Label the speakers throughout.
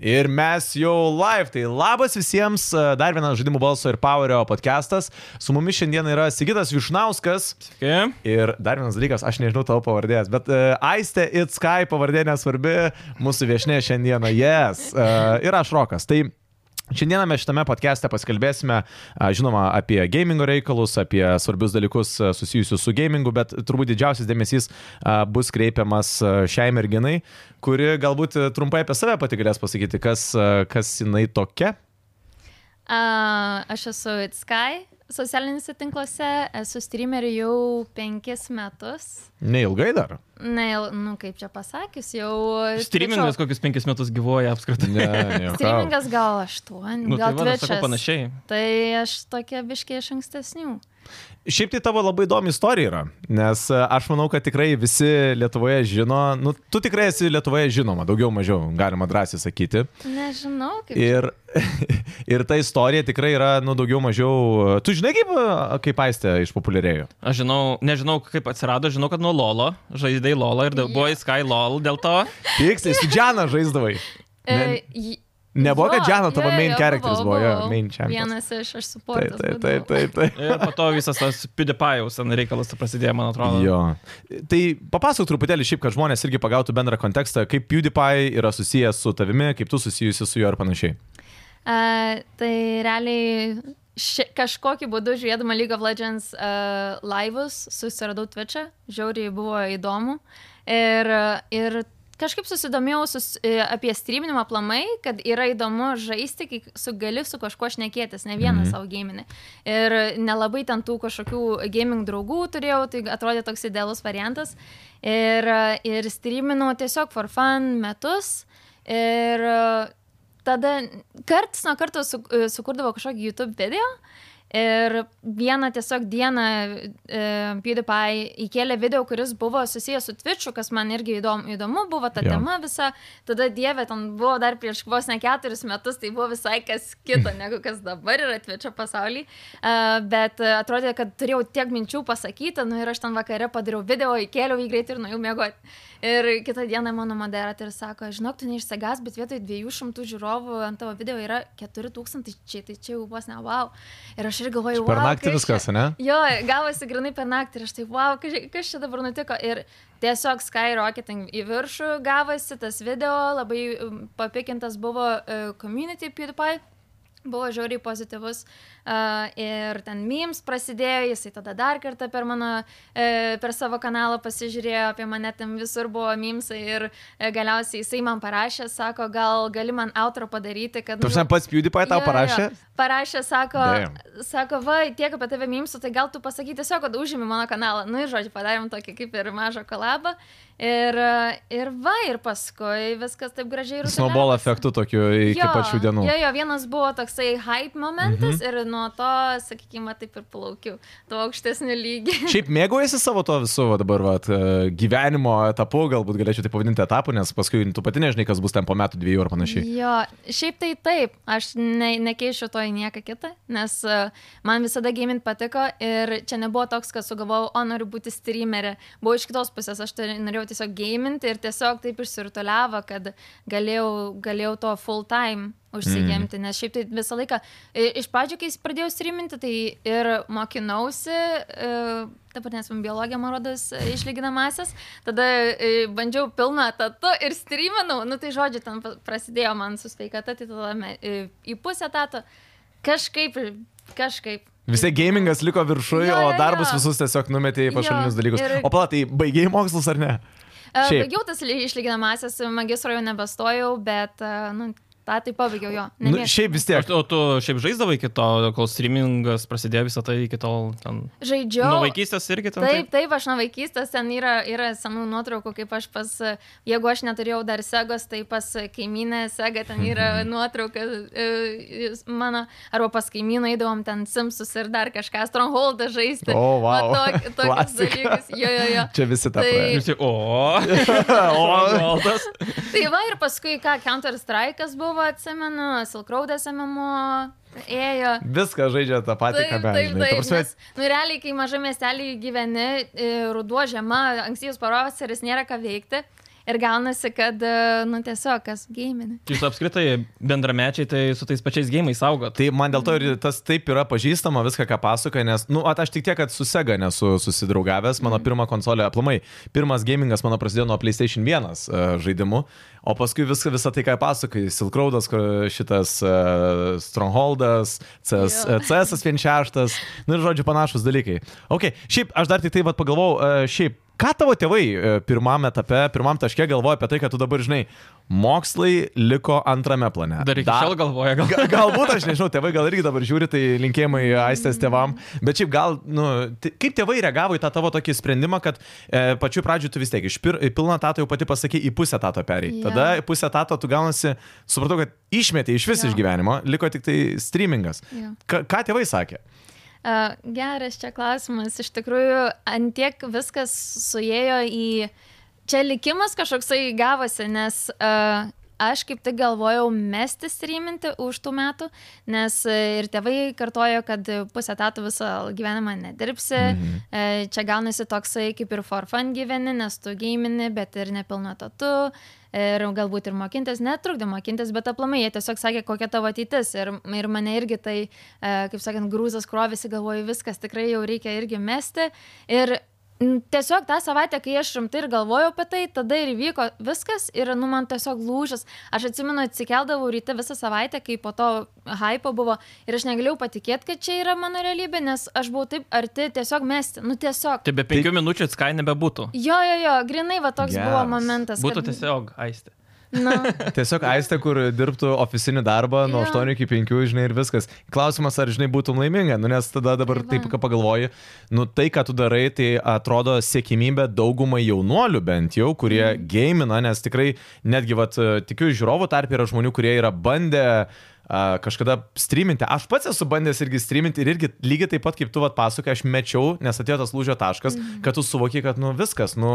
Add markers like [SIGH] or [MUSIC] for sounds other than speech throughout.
Speaker 1: Ir mes jau live, tai labas visiems, e, dar vienas žaidimų balso ir powerio podcastas. Su mumis šiandien yra Sigitas Višnauskas
Speaker 2: Sveiki.
Speaker 1: ir dar vienas dalykas, aš nežinau tavo pavardės, bet uh, Aiste It Sky pavardė nesvarbi, mūsų viešinė šiandieną, yes, uh, ir aš Rokas. Tai Šiandieną mes šitame podcast'e pasikalbėsime, a, žinoma, apie gamingo reikalus, apie svarbius dalykus a, susijusius su gamingu, bet turbūt didžiausias dėmesys a, bus kreipiamas a, šiai merginai, kuri galbūt a, trumpai apie save pati galės pasakyti, kas, a, kas jinai tokia.
Speaker 3: A, Aš esu Itskai socialinėse tinkluose, esu streameriu jau penkis metus.
Speaker 1: Neilgai dar.
Speaker 3: Na, jau, nu kaip čia pasakius, jau.
Speaker 2: Streamingas
Speaker 3: Twitch'o-
Speaker 2: kokius penkis metus gyvoja apskritai.
Speaker 1: Ne, nejuokauju.
Speaker 3: Streamingas gal aštuoni,
Speaker 2: Nu, tai
Speaker 3: gal
Speaker 2: va, aš sakau
Speaker 3: Twitch'as.
Speaker 2: panašiai.
Speaker 3: Tai aš tokia biškiai iš ankstesnių.
Speaker 1: Šiaip tai tavo labai įdomi istorija yra, nes e, aš manau, kad tikrai visi Lietuvoje žino, nu, tu tikrai esi Lietuvoje žinoma, daugiau mažiau, galima drąsiai sakyti.
Speaker 3: Nežinau, kaip.
Speaker 1: Ir, [LAUGHS] ir ta istorija tikrai yra, nu, daugiau mažiau, e, tu žinai, kaip, e, kaip aistė išpopuliarėjo.
Speaker 2: Aš žinau, nežinau kaip atsirado, žinau, kad nuo Lolo, žaidai Lolo ir yeah. buvo į Sky Lol dėl to.
Speaker 1: Tiksliai, su Džana žaisdavai. Ne,
Speaker 3: E, j-
Speaker 1: nebuvo,
Speaker 3: jo,
Speaker 1: kad Džana tavo
Speaker 3: jo,
Speaker 1: main
Speaker 3: jo,
Speaker 1: characteris buvo, jo,
Speaker 3: buvau.
Speaker 1: main champion.
Speaker 3: Vienas iš aš
Speaker 1: Taip,
Speaker 3: suportas.
Speaker 1: taip, taip, taip, taip.
Speaker 2: Ir po to visas tas PewDiePie'aus ten reikalas prasidėjo, man atrodo.
Speaker 1: Jo. Tai papasakok truputėlį šiaip, kad žmonės irgi pagautų bendrą kontekstą, kaip PewDiePie yra susijęs su tavimi, kaip tu susijusi su juo ir panašiai.
Speaker 3: Tai A, tai realiai ši, kažkokiu būdu žiūrėdama League of Legends uh, laivus susiradau Twitch'ą, žiauriai buvo įdomu. Ir, ir kažkaip susidomėjau sus, e, apie streaminimą plamai, kad yra įdomu žaisti, kai su gali su kažkuo šnekėtis, ne vieną
Speaker 1: Mhm.
Speaker 3: mm. savo gėminį. Ir nelabai ten tų kažkokių gaming draugų turėjau, tai atrodė toks idealus variantas. Ir, e, ir streaminau tiesiog for fun metus. Ir e, tada karts nuo karto su, e, sukurdavo kažkokį YouTube video. Ir vieną tiesiog dieną e, PewDiePie įkėlė video, kuris buvo susijęs su Twitch'u, kas man irgi įdomu, įdomu buvo ta
Speaker 1: Jo.
Speaker 3: jo. tema visa. Tada dievė, ten buvo dar prieš vos ne keturis metus, tai buvo visai kas
Speaker 1: [LAUGHS]
Speaker 3: kita, negu kas dabar yra Twitch'o pasaulyje. Uh, bet e, atrodė, kad turėjau tiek minčių pasakyti, nu ir aš ten vakare padariau video, įkėliau į greitį ir nuėjau mėgoti. Ir kitą dieną mano moderatorius sako, žinok, tu neišsigas, bet vietoj 200 žiūrovų ant tavo video yra 4000, čia tai čia jau vos ne wow. Ir aš ir galvoju,
Speaker 1: Per
Speaker 3: wow,
Speaker 1: naktį
Speaker 3: kas
Speaker 1: viskas,
Speaker 3: čia-
Speaker 1: ne?
Speaker 3: Jo, gavosi grinai per naktį ir aš taip, wow, kas, čia- kas čia dabar nutiko. Ir tiesiog skyrocketing į viršų gavosi tas video, labai mm, papikintas buvo e, community PewDiePie, buvo žiauriai pozityvus. Uh, ir ten memes prasidėjo, jisai tada dar kartą per mano, e, per savo kanalą pasižiūrėjo, apie mane ten visur buvo memesai ir e, galiausiai jisai man parašė, sako, gal gali man outro padaryti, kad...
Speaker 1: Tu žinai, pats PewDiePie tau
Speaker 3: Jo, jo, jo.
Speaker 1: parašė?
Speaker 3: Parašė, sako,
Speaker 1: Damn.
Speaker 3: sako, va, tiek apie tave mimsu, tai gal tu pasaky tiesiog, kad užimi mano kanalą. Na, nu, ir žodžiu, padarėm tokį kaip ir mažą kolabą. Ir, e, ir va, ir paskui viskas taip gražiai ir
Speaker 1: Snowball efektų tokių iki
Speaker 3: Jo,
Speaker 1: pat šių dienų. Mhm.
Speaker 3: Jo, jo, vienas buvo toksai hype momentas mm -hmm. ir nuo to, sakykime, taip ir plaukiu tuo aukštesniu lygiu.
Speaker 1: Šiaip mėgaujasi savo to viso va, dabar vat, e, gyvenimo etapu, galbūt galėčiau tai pavadinti etapu, nes paskui tu pati nežinai, kas bus ten po metų dviejų ar panašiai.
Speaker 3: Jo, šiaip tai taip, aš ne, nekeišiu to į nieką kitą, nes e, man visada gaming patiko ir čia nebuvo toks, kad sugalvojau, o noriu būti streamerė. Buvo iš kitos pusės, aš turi, norėjau tiesiog gaming ir tiesiog taip išsirutuliavo, kad galėjau, galėjau to full time užsijimti, mm. nes šiaip tai visą laiką, i- iš pradžių, kai pradėjau streaminti, tai ir mokinausi, e, dabar nes man biologija, man rodas, e, išlyginamasis, tada e, bandžiau pilną etatą ir streaminau, nu tai žodžiu, ten pa- prasidėjo man su sveikata, tai tada me- e, į pusę etato kažkaip, kažkaip. E,
Speaker 1: Visi gamingas liko viršuje,
Speaker 3: Jo,
Speaker 1: o
Speaker 3: jo,
Speaker 1: darbus
Speaker 3: jo.
Speaker 1: visus tiesiog numetė į
Speaker 3: Jo,
Speaker 1: pašalinius dalykus.
Speaker 3: ir-
Speaker 1: O palatai, baigiai mokslus ar ne?
Speaker 3: E,
Speaker 1: Šiaip.
Speaker 3: Baigiau tas li- išlyginamasis, magistro jau nebestojau, bet, e, nu, tą tai pabaigiau jo.
Speaker 1: Nu,
Speaker 3: nemėgstu.
Speaker 1: šiaip vis tiek.
Speaker 2: Aš, o tu šiaip žaisdavai iki to, kol streamingas prasidėjo visą tai iki tol. Ten...
Speaker 3: Žaidžiau.
Speaker 2: Nuo vaikystės irgi ten.
Speaker 3: Taip, taip, aš nuo vaikystės ten yra, yra senų nuotraukų, kaip aš pas, jeigu aš neturėjau dar segos, tai pas kaimynę segą ten yra
Speaker 1: Mhm.
Speaker 3: nuotrauka e, jis- mano, arba pas kaimyną eidavom ten Simsus ir dar kažką, Strongholdą žaisti.
Speaker 1: O, vau. [LAUGHS]
Speaker 3: Va, tok, tokius
Speaker 1: Klasika.
Speaker 3: dalykus. Jo, jo, jo.
Speaker 1: Čia visi tą
Speaker 3: Tai-
Speaker 1: praėjo.
Speaker 2: Visi, o,
Speaker 1: [LAUGHS]
Speaker 2: o, valdas.
Speaker 3: Tai va ir paskui, ką, Counter Strike'as buvo, atsimenu, Silkraudas MMO ėjo.
Speaker 1: Viską žaidžia tą patį, ką
Speaker 3: Taip,
Speaker 1: mes.
Speaker 3: taip,
Speaker 1: žinai. Ta
Speaker 3: taip.
Speaker 1: prasme,
Speaker 3: Nes, nu, realiai, kai mažame miestelį gyveni, e, ruduo žiema, ankstyvas pavasaris, nėra ką veikti. Ir gaunasi, kad, e, nu tiesiog, kas gėminė.
Speaker 2: Jūs apskritai bendramečiai tai su tais pačiais gėjimais augot.
Speaker 1: Tai man dėl to
Speaker 2: Mhm.
Speaker 1: ir tas taip yra pažįstama viską, ką pasakoja, nes, nu, at, aš tik tiek, kad su Sega nesu susidraugavęs,
Speaker 2: Mhm.
Speaker 1: mano pirmą konsolę aplamai, pirmas gamingas mano prasidėjo nuo PlayStation 1 uh, žaidimų, o paskui viską, visą tai, ką pasakoja, Silkraudas, šitas uh, Strongholdas, e, CS,
Speaker 3: Jo.
Speaker 1: CS vien šeštas, nu ir žodžiu panašus dalykai. Ok, šiaip aš dar tik taip pat pagalvojau, uh, šiaip Ką tavo tėvai e, pirmam etape, pirmam taške galvoja apie tai, kad tu dabar žinai, mokslai liko antrame plane.
Speaker 2: Dar iki šiol galvoja, gal.
Speaker 1: Ga- Galbūt aš nežinau, tėvai gal irgi dabar žiūri, tai linkėjimai aistės tėvam, bet šiaip gal, nu, t- kaip tėvai reagavo į tą tavo tokį sprendimą, kad e, pačiu pradžiu tu vis tiek iš pir, į pilną tatą jau pati pasakai, į pusę tatą perėjai.
Speaker 3: Jo.
Speaker 1: Tada į pusę tatą tu gaunasi, supratau, kad išmetė iš vis
Speaker 3: Jo.
Speaker 1: iš gyvenimo, liko tik tai streamingas.
Speaker 3: Jo.
Speaker 1: Ka, ką tėvai sakė?
Speaker 3: E, Geras čia klausimas. Iš tikrųjų, antiek viskas suėjo į... Čia likimas kažkoksai gavosi, nes uh, aš kaip tik galvojau mesti streaminti už tų metų, nes e, ir tėvai kartojo, kad pusę tatų visą gyvenimą nedirbsi. Mhm. Čia gaunasi toksai kaip ir for fun gyveni, nes tu gimini, bet ir nepilnu tatu. Ir galbūt ir mokintis, netrukdė mokintis, bet aplamai jie tiesiog sakė, kokia tavo ateitis. Ir, ir mane irgi tai, e, kaip sakant, grūzas krovėsi, galvoju, viskas tikrai jau reikia irgi mesti. Ir n, tiesiog tą savaitę, kai aš rimtai ir galvojau apie tai, tada ir vyko viskas ir, nu, man tiesiog lūžis. Aš atsimenu, atsikeldavau ryte visą savaitę, kai po to hypo buvo ir aš negalėjau patikėti, kad čia yra mano realybė, nes aš buvau taip arti tiesiog mesti. Nu, tiesiog.
Speaker 2: Tai be penkių minučių atskai nebebūtų.
Speaker 3: Jo, jo, jo, grinai va toks buvo
Speaker 1: Geras.
Speaker 3: momentas.
Speaker 2: Būtų tiesiog aistė.
Speaker 3: Nu,
Speaker 1: Tiesiog aistė, kur dirbtų oficinį darbą nuo
Speaker 3: Jo.
Speaker 1: 8 iki 5, žinai, ir viskas. Klausimas, ar, žinai, būtum laiminga, nu, nes tada dabar
Speaker 3: Tai
Speaker 1: taip,
Speaker 3: va.
Speaker 1: ką pagalvoji, nu tai, ką tu darai, tai atrodo siekimybė daugumai jaunuolių bent jau, kurie mm. gėmina, nes tikrai netgi, vat, tikiu, žiūrovų tarp yra žmonių, kurie yra bandę a, kažkada streaminti. Aš pats esu bandęs irgi streaminti ir irgi lygiai taip pat kaip tu vat pasakoji, aš mečiau, nes atėjo tas lūžio taškas, mm. kad tu suvoki, kad nu viskas, nu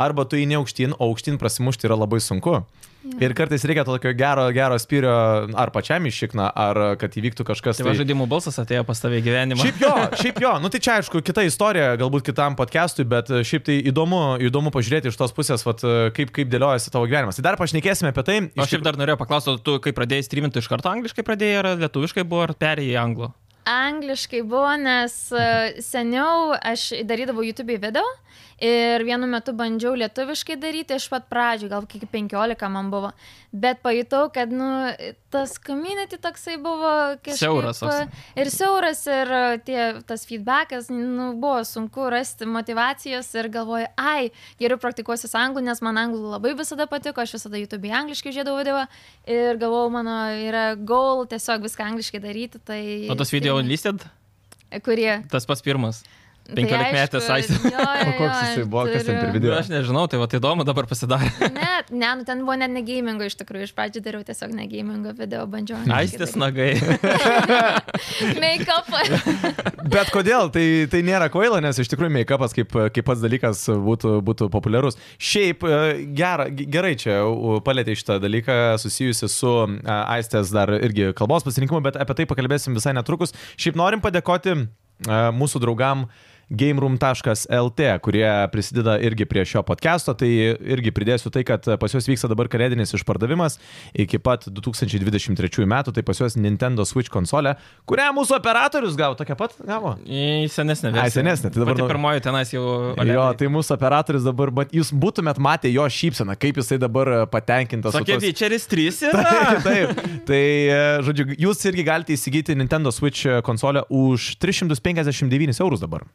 Speaker 1: arba tu įne aukštyn, o aukštyn prasimušti yra labai sunku. Ja. Ir kartais reikia to tokio gero, gero spyrio ar pačiam išikna, ar kad įvyktų kažkas.
Speaker 2: Tai va žaidimų balsas atėjo pas tave į gyvenimą.
Speaker 1: Šiaip jo, šiaip jo, nu tai čia aišku, kita istorija, galbūt kitam podcastui, bet e, šiaip tai įdomu, įdomu pažiūrėti iš tos pusės, vat, e, kaip, kaip dėliojasi tavo gyvenimas. Tai dar pašnekėsime apie tai.
Speaker 2: Nu, Aš šiaip dar norėjau paklausti, o tu kai pradėjai streaminti, iš karto angliškai pradėjai, ar lietuviškai buvo, ar perėjai į anglų?
Speaker 3: Angliškai buvo, nes e, seniau aš darydavau YouTube video ir vienu metu bandžiau lietuviškai daryti iš pat pradžių, gal kiek 15 man buvo, bet pajutau, kad nu, tas community toksai buvo kažkaip...
Speaker 2: Siauras toks.
Speaker 3: Ir siauras, ir e, tie, tas feedbackas, nu, buvo sunku rasti motivacijos ir galvoju, ai, geriau praktikuosiu anglų, nes man anglų labai visada patiko, aš visada YouTube angliškai žiedavau video ir galvojau, mano yra goal tiesiog viską angliškai daryti. Tai,
Speaker 2: O tas video unlisted,
Speaker 3: Kurie. tai
Speaker 2: tas pats pirmas. 15-metės aistė.
Speaker 1: [LAUGHS] Koks jisai buvo, kas ten per video?
Speaker 2: Aš nežinau, tai va tai įdomu dabar pasidarė.
Speaker 1: [LAUGHS]
Speaker 3: Net, ne, nu ten buvo net negamingo iš tikrųjų, iš pradžių dariau tiesiog negamingo video, bandžiau.
Speaker 2: Aistės nagai.
Speaker 1: [LAUGHS]
Speaker 3: Make-up.
Speaker 2: [LAUGHS]
Speaker 1: Bet kodėl? Tai, tai nėra kvaila, nes iš tikrųjų make-upas kaip, kaip pats dalykas būtų, būtų populiarus. Šiaip e, gera, ge- gerai čia u, palėtė šitą dalyką susijusi su e, Aistės dar irgi kalbos pasirinkimu, bet apie tai pakalbėsim visai netrukus. Šiaip norim padėkoti e, mūsų draugam gameroom.lt, kurie prisideda irgi prie šio podcast'o. Tai irgi pridėsiu tai, kad pas juos vyksta dabar kalėdinis išpardavimas iki pat 2023 metų, tai pas juos Nintendo Switch konsolė, kurią mūsų operatorius gavo, tokia pat gavo.
Speaker 2: Į senesnę
Speaker 1: Ai,
Speaker 2: versiją.
Speaker 1: senesnė, tai dabar
Speaker 2: Pati
Speaker 1: nau-
Speaker 2: pirmoji tenais jau.
Speaker 1: Jo, tai mūsų operatorius dabar, bet jūs būtumėt matę jo šypseną, kaip jisai dabar e, patenkintas. su
Speaker 2: Sakė,
Speaker 1: tos-
Speaker 2: Vyčeris
Speaker 1: [LAUGHS]
Speaker 2: 3 yra.
Speaker 1: Taip, taip. Tai, e, žodžiu, jūs irgi galite įsigyti Nintendo Switch e, konsolę už 359 eurus dabar.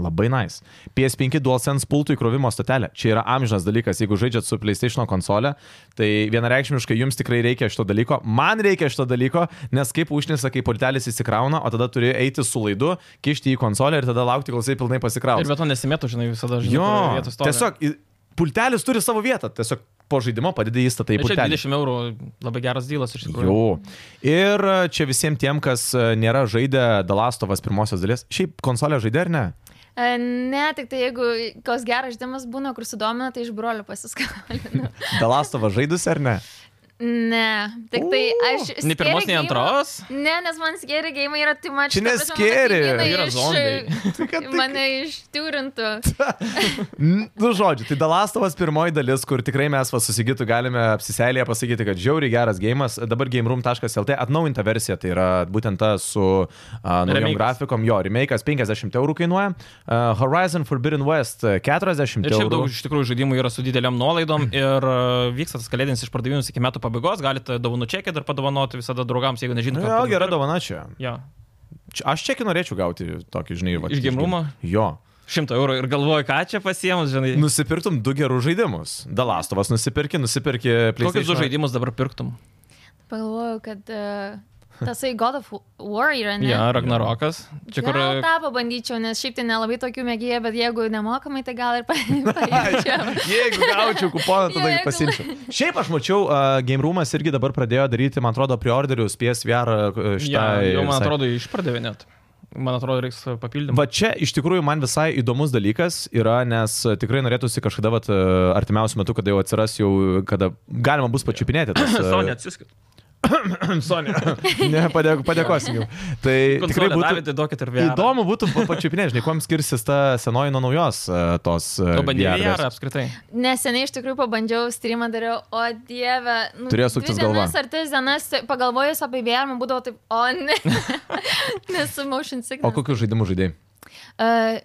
Speaker 1: Labai nice. PS5 DualSense pultų įkrovimo stotelė. Čia yra amžinas dalykas. Jeigu žaidžiat su PlayStation konsolė, tai vienareikšmiškai jums tikrai reikia šito dalyko. Man reikia šito dalyko, nes kaip užnisa, kai pultelis įsikrauna, o tada turi eiti su laidu, kišti į konsolę ir tada laukti, kol jisai pilnai pasikraus.
Speaker 2: Ir be to nesimėtų, žinai, visada žinai.
Speaker 1: Jo,
Speaker 2: vietos to.
Speaker 1: tiesiog i- pultelis turi savo vietą, tiesiog po žaidimo padidai įstatą į
Speaker 2: Nu, Čia
Speaker 1: pultelį.
Speaker 2: 20 eurų labai geras dylas iš tikrųjų.
Speaker 1: Jau. Ir e, čia visiems tiem, kas e, nėra žaidę Dalastovas pirmosios dalies, šiaip konsolę žaidė ar ne?
Speaker 3: E, Ne, tik tai jeigu koks geras žaidimas būna, kur sudomina, tai iš brolių pasiskolinu.
Speaker 1: Dalastovas žaidusi ar ne?
Speaker 3: [LAUGHS] Ne, tik tai aš.
Speaker 2: Nei pirmos, nei
Speaker 3: scary game-
Speaker 2: antros.
Speaker 3: Ne, nes man skeri gėjimai yra tai mačiau.
Speaker 1: Čia ne scary.
Speaker 2: Yra
Speaker 3: [LAUGHS]
Speaker 2: zombiai.
Speaker 1: Tai kad- tai-
Speaker 3: Mane ištiūrintų.
Speaker 2: [LAUGHS]
Speaker 1: N- Nu, žodžiu, tai Dalastovas pirmoji dalis, kur tikrai mes va, susigytų galime apsiselėje pasakyti, kad žiauriai geras gėjimas. Dabar gameroom.lt atnaujinta versija, tai yra būtent ta su uh, naujom
Speaker 2: Remake'as.
Speaker 1: grafikom. Jo, remake'as 50 eurų kainuoja, uh, Horizon Forbidden West e, 40
Speaker 2: Ir šiaip
Speaker 1: eurų.
Speaker 2: daug iš tikrųjų žaidimų yra su dideliam
Speaker 1: [CLEARS THROAT]
Speaker 2: nuolaidom ir e, vyksta tas kalėdinis išpardavimas iki metų pabaigos, galite dovanų čekį dar padovanoti visada draugams, jeigu nežinote.
Speaker 1: Nu, jo, gera dovana čia.
Speaker 2: Ja.
Speaker 1: Čia- Aš čekį norėčiau gauti tokį, žinai, va.
Speaker 2: Iš
Speaker 1: iš game-
Speaker 2: gameroom-o?
Speaker 1: Jo.
Speaker 2: Šimtą eurų ir galvoju, ką čia pasiemus, žinai.
Speaker 1: Nu, Nusipirktum du gerus žaidimus. Dalastovas nusipirki, nusipirki
Speaker 2: Kokius du
Speaker 1: PlayStation.
Speaker 2: žaidimus dabar pirktum?
Speaker 3: Pagalvojau, kad uh, tasai God of War yra, ne?
Speaker 2: Ja, Ragnarokas. Čia kur... e-
Speaker 3: Gal tą pabandyčiau, nes šiaip tai nelabai tokių mėgėjų, bet jeigu nemokamai, tai gal ir [LAUGHS] pa-
Speaker 2: [LAUGHS]
Speaker 3: paimčiau.
Speaker 1: Jeigu gaučiau kuponą,
Speaker 3: Jo,
Speaker 1: tada jį
Speaker 3: jeigu-
Speaker 1: pasimčiau. Šiaip aš mačiau, uh, Game Roomas irgi dabar pradėjo daryti, man atrodo, priorderius PSVR e,
Speaker 2: Ja,
Speaker 1: šitai.
Speaker 2: jau, man
Speaker 1: visai.
Speaker 2: atrodo, išpardavė net. Man atrodo, reiks e, papildymų. [CLEARS THROAT]
Speaker 1: Va čia iš tikrųjų man visai įdomus dalykas yra, nes e, tikrai norėtųsi kažkada vat, e, artimiausiu metu, kada jau atsiras, jau, kada galima bus pačiupinėti. tas, e,
Speaker 2: Savo [CLEARS THROAT] neatsiskit.
Speaker 1: Sonia. Ne, padėk, padėkosim jau. Tai [LAUGHS] tikrai
Speaker 2: Tikrai
Speaker 1: būtų
Speaker 2: būtų duokit ir vėl.
Speaker 1: įdomu būtų pa- pačiupinėti, žinai, kuo skirsis ta senoji nuo naujos e, tos. e,
Speaker 2: Pabandyti
Speaker 1: VR versijos.
Speaker 2: VR apskritai.
Speaker 3: Neseniai iš tikrųjų pabandžiau streamą dariau, o dieve. Nu,
Speaker 1: Turėjo suktis
Speaker 3: dvi
Speaker 1: galva.
Speaker 3: Dienas ar tris dienas tai pagalvojus apie vėjimą būdavo taip, o
Speaker 1: [LAUGHS]
Speaker 3: ne. Nesu motion signal.
Speaker 1: O kokius žaidimus žaidėjai?
Speaker 3: Uh,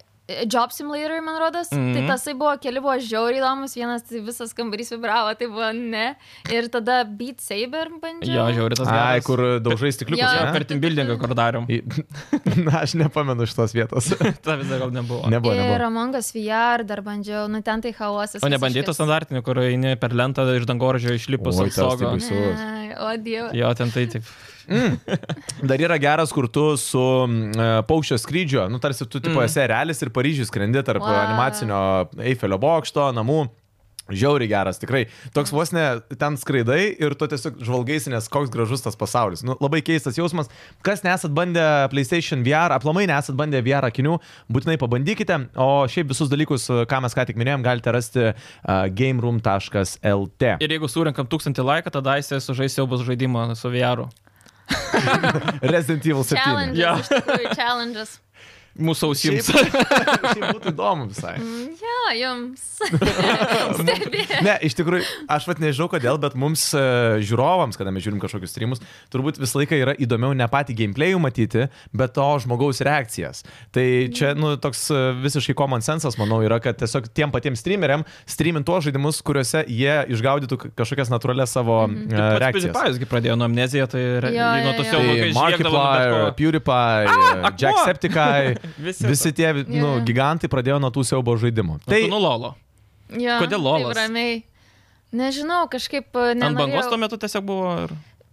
Speaker 3: Job Simulator, man rodos, mm -hmm. tai
Speaker 2: Mhm.
Speaker 3: tasai buvo, keli buvo žiauriai įdomus, vienas tai visas kambarys vibravo, tai buvo ne. Ir tada Beat Saber bandžiau.
Speaker 2: Jo, žiauriai tas.
Speaker 1: Ai,
Speaker 2: geras.
Speaker 1: kur e, daužai stikliukus.
Speaker 3: Jo,
Speaker 1: ne?
Speaker 2: Per timbuildingą, kur
Speaker 1: [LAUGHS]
Speaker 2: darėm.
Speaker 1: Į- Na, aš nepamenu šitos vietos.
Speaker 2: Ta vis dar gal nebuvo.
Speaker 1: Nebuvo,
Speaker 3: Ir
Speaker 1: nebuvo.
Speaker 3: Amongas VR dar bandžiau, nu ten tai chaosas.
Speaker 2: O nebandai to
Speaker 3: visiškas.
Speaker 2: standartinio, kur eini per lentą iš dangoražio išlipus
Speaker 1: Oi, tas
Speaker 2: ant
Speaker 1: tai
Speaker 2: stogo.
Speaker 1: baisu. standartinio.
Speaker 3: Ai, O dieve.
Speaker 2: Jo, ten tai taip.
Speaker 1: Dar yra geras, kur tu su uh, paukščio skrydžio, nu tarsi tu tipo
Speaker 2: Mm.
Speaker 1: esi realis ir Paryžius skrendi tarp wow.
Speaker 3: Wow.
Speaker 1: animacinio Eifelio bokšto, namų. Žiauriai geras, tikrai. Toks vos ne ten skraidai ir tu tiesiog žvalgaisi, nes koks gražus tas pasaulis. Nu, labai keistas jausmas. Kas nesat bandę PlayStation VR, aplamai nesat bandę VR akinių, būtinai pabandykite. O šiaip visus dalykus, ką mes ką tik minėjom, galite rasti uh, gameroom.lt.
Speaker 2: Ir jeigu surinkam tūkstantį laiką, tada jisai sužais jau bus žaidimą su VR.
Speaker 1: Resident Evil 7.
Speaker 3: Challenges,
Speaker 2: Jo.
Speaker 3: iš tikrųjų,
Speaker 1: [LAUGHS]
Speaker 3: challenges.
Speaker 2: Mūsų ausims. [LAUGHS]
Speaker 1: Šiaip būtų įdomu visai.
Speaker 3: Jo, Mm, jums.
Speaker 1: [LAUGHS]
Speaker 3: Stebėti.
Speaker 1: Ne, iš tikrųjų, aš pat nežinau kodėl, bet mums e, žiūrovams, kada mes žiūrim kažkokius streamus, turbūt visą laiką yra įdomiau ne patį gameplayų matyti, bet to žmogaus reakcijas. Tai čia, nu, toks e, visiškai common sensas, manau, yra, kad tiesiog tiem patiems streameriam streamint tuos žaidimus, kuriuose jie išgaudytų ka- kažkokias natūralias savo mm
Speaker 2: Mhm.
Speaker 1: -hmm. reakcijas.
Speaker 2: Pavyzdžiui, pradėjo nuo amnezijos, tai re-
Speaker 3: Jo, jo,
Speaker 2: nuo
Speaker 3: jo.
Speaker 2: tos jau
Speaker 1: Tai
Speaker 2: kai
Speaker 1: Markiplier,
Speaker 2: žiūrėdavo.
Speaker 1: PewDiePie,
Speaker 2: Ah, akmuo!
Speaker 1: e, Jacksepticeye,
Speaker 2: [LAUGHS] Visi.
Speaker 1: visi tie nu,
Speaker 3: Jo.
Speaker 1: gigantai pradėjo nuo tų siaubo žaidimų.
Speaker 2: Tai
Speaker 1: Tai
Speaker 2: nulolo.
Speaker 3: Jo,
Speaker 2: Kodėl lolas?
Speaker 3: Taip, ramiai. Nežinau, kažkaip e,
Speaker 2: Ant bangos tuo
Speaker 3: nenorėjau.
Speaker 2: metu tiesiog buvo. Ir...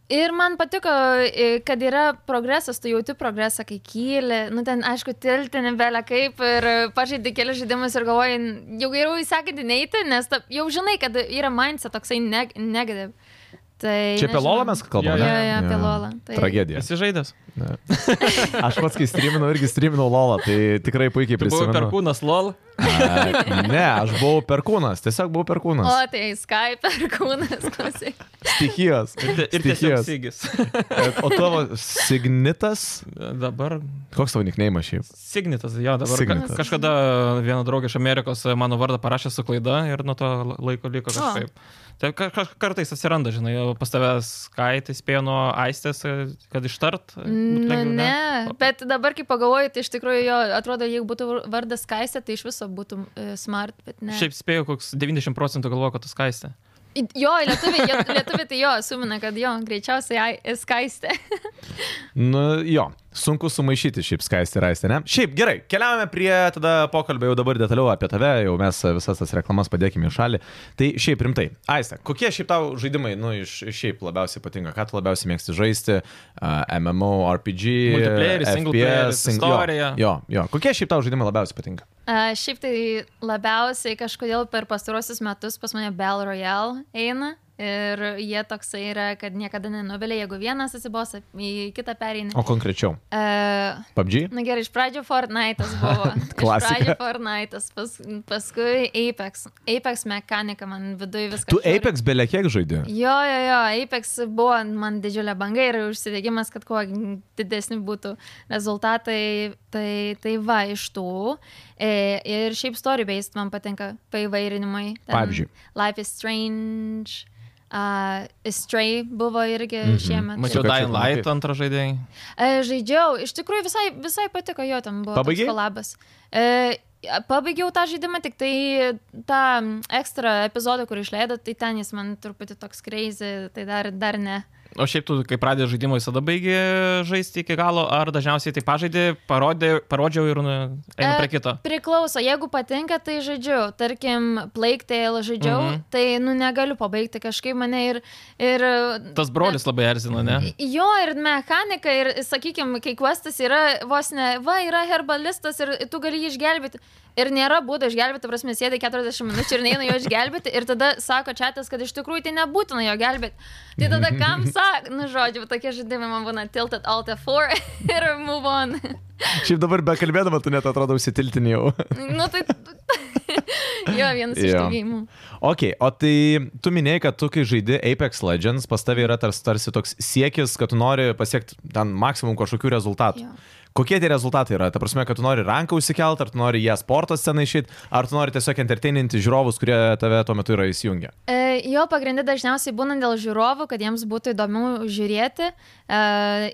Speaker 3: Ir man patiko, i, kad yra progresas, tu jauti progresą, kai kyli, nu ten, aišku, tiltinė belė kaip ir pažaidai kelias žaidimus ir galvoji, n- jau geriau įsakyti neiti, nes ta, jau žinai, kad yra mindset toksai neg negative. Tai,
Speaker 1: Čia apie
Speaker 3: nežinau.
Speaker 1: Lolą mes kalbame?
Speaker 2: Jo,
Speaker 1: ne?
Speaker 3: jo, jo, apie
Speaker 1: Jo.
Speaker 3: Lolą. Tai-
Speaker 1: Tragedija.
Speaker 2: Esi žaidęs.
Speaker 1: [LAUGHS] Aš pats, kai streaminau, irgi streaminau Lolą, tai tikrai puikiai
Speaker 2: Tu buvai
Speaker 1: prisimenu.
Speaker 2: perkūnas lol.
Speaker 1: A, Ne, aš buvau perkūnas, tiesiog buvau
Speaker 3: O,
Speaker 1: perkūnas.
Speaker 3: tai Skype ir kūnas,
Speaker 2: [LAUGHS]
Speaker 3: klausyk.
Speaker 1: Stichijos.
Speaker 2: Ir, te- ir tiesiog
Speaker 1: Stichijos.
Speaker 2: sigis. [LAUGHS]
Speaker 1: O tavo signitas?
Speaker 2: Dabar
Speaker 1: Koks tavo nikneimas šiaip?
Speaker 2: Signitas, jo, dabar
Speaker 1: Signitas.
Speaker 2: Signitas. kažkada viena draugė iš Amerikos e, mano vardą parašė su klaida ir nuo to la- laiko liko kažkaip. Tai ka ka kartais atsiranda, žinai, o pas tavęs skaitai spėjo nuo aistės, e, kad ištart. e, būtų
Speaker 3: Nu,
Speaker 2: lengviau,
Speaker 3: ne, bet dabar, kai pagalvoju, tai iš tikrųjų jo, atrodo, jeigu būtų vardas Kaistė, tai iš viso būtų e, smart, bet ne.
Speaker 2: Šiaip spėjo, koks 90 procentų galvoja, kad tu skaistė.
Speaker 3: I- Jo, lietuviai, jie- lietuviai tai jo, sumina, kad jo, greičiausiai ai- Skaistė.
Speaker 1: Nu jo, sunku sumaišyti šiaip skaisti ir aisti, ne? Šiaip gerai, keliaujame prie tada pokalbio jau dabar detaliau apie tave, jau mes visas tas reklamas padėkime į šalį. Tai šiaip rimtai. Aiste, kokie šiaip tau žaidimai, nu iš iš šiaip labiausiai patinka, ką tu labiausiai mėgsti žaisti? Uh, MMO, RPG,
Speaker 2: Multiplayeris,
Speaker 1: FPS,
Speaker 2: singleplayeris,
Speaker 1: sing- jo,
Speaker 2: istorija.
Speaker 1: Jo, jo, kokie šiaip tau žaidimai labiausiai patinka?
Speaker 3: A, Šiaip tai labiausiai kažkodėl per pastarosius metus pas mane Bell Royale eina. Ir jie toksai yra, kad niekada nenuvelia, jeigu vienas atsibosa, į kitą pereina.
Speaker 1: O konkrečiau,
Speaker 3: E,
Speaker 1: PUBG?
Speaker 3: Na gerai, iš pradžių Fortnite'as buvo.
Speaker 1: [LAUGHS]
Speaker 3: Iš
Speaker 1: Klasika.
Speaker 3: pradžių Fortnite'as, pas, paskui Apex. Apex mechanika man viduje viskas.
Speaker 1: Tu Apex belė kiek žaidži?
Speaker 3: [LAUGHS] Jo, jo, jo, Apex buvo man didžiulė banga ir užsidėgymas, kad kuo didesni būtų rezultatai, tai, tai va iš tų. E, ir šiaip story-based man patinka paivairinimai. Ten
Speaker 1: Pavyzdžiui?
Speaker 3: Life is Strange. Uh, Stray buvo irgi
Speaker 1: Mhm.
Speaker 3: šiemet.
Speaker 2: Mačiau
Speaker 1: Su kačiu
Speaker 2: Dying Light
Speaker 1: pamatai.
Speaker 2: antrą žaidėją.
Speaker 3: E, Žaidžiau, iš tikrųjų visai, visai patiko jo tam buvo.
Speaker 1: Pabaigei?
Speaker 3: Labas. E, Pabaigiau tą žaidimą, tik tai tą ekstra epizodą, kurį išleido, tai ten jis man truputį toks kreizė, tai dar, dar ne.
Speaker 2: O šiaip tu, kai pradėjai žaidimą, visada baigi žaisti iki galo, ar dažniausiai tai pažaidė, parodė, parodžiau ir nu, einu
Speaker 3: E,
Speaker 2: prie kito.
Speaker 3: Priklauso, jeigu patinka, tai žaidžiu. Tarkim, Plague Tale žaidžiau, mm
Speaker 2: Mhm.
Speaker 3: -hmm. tai nu negaliu pabaigti kažkaip mane ir... ir
Speaker 2: Tas brolis
Speaker 3: e.
Speaker 2: labai erzina, ne?
Speaker 3: Jo ir mechanika, ir, sakykime, kai questas yra vos ne, va, yra herbalistas ir tu gali jį išgelbėti. Ir nėra būdo išgelbėti, prasme, sėdė 40 minučių ir neina jo išgelbėti. Ir tada sako čatas, kad iš tikrųjų tai nebūtina jo gelbėti. Tai tada kam sako, nu žodžiu, va tokie žaidimai man būna tilted alt F4 [LAUGHS] ir move on.
Speaker 1: Šiap dabar bekalbėdama tu net atrodo užsitiltinėjau.
Speaker 3: nu tai... [LAUGHS] jo, vienas iš
Speaker 1: Jo.
Speaker 3: tų gėjimų.
Speaker 1: Ok, o tai tu minėjai, kad tu kai žaidži Apex Legends, pas tavai yra tarsi, tarsi toks siekis, kad tu nori pasiekti ten maksimum kažkokių rezultatų.
Speaker 3: Jo.
Speaker 1: Kokie tie rezultatai yra? Ta prasme, kad tu nori ranką užsikelt, ar tu nori ją sporto sceną išėti, ar tu nori tiesiog entertaininti žiūrovus, kurie tave tuo metu yra įsijungę.
Speaker 3: E, Jo pagrindai dažniausiai būna dėl žiūrovų, kad jiems būtų įdomu žiūrėti. E,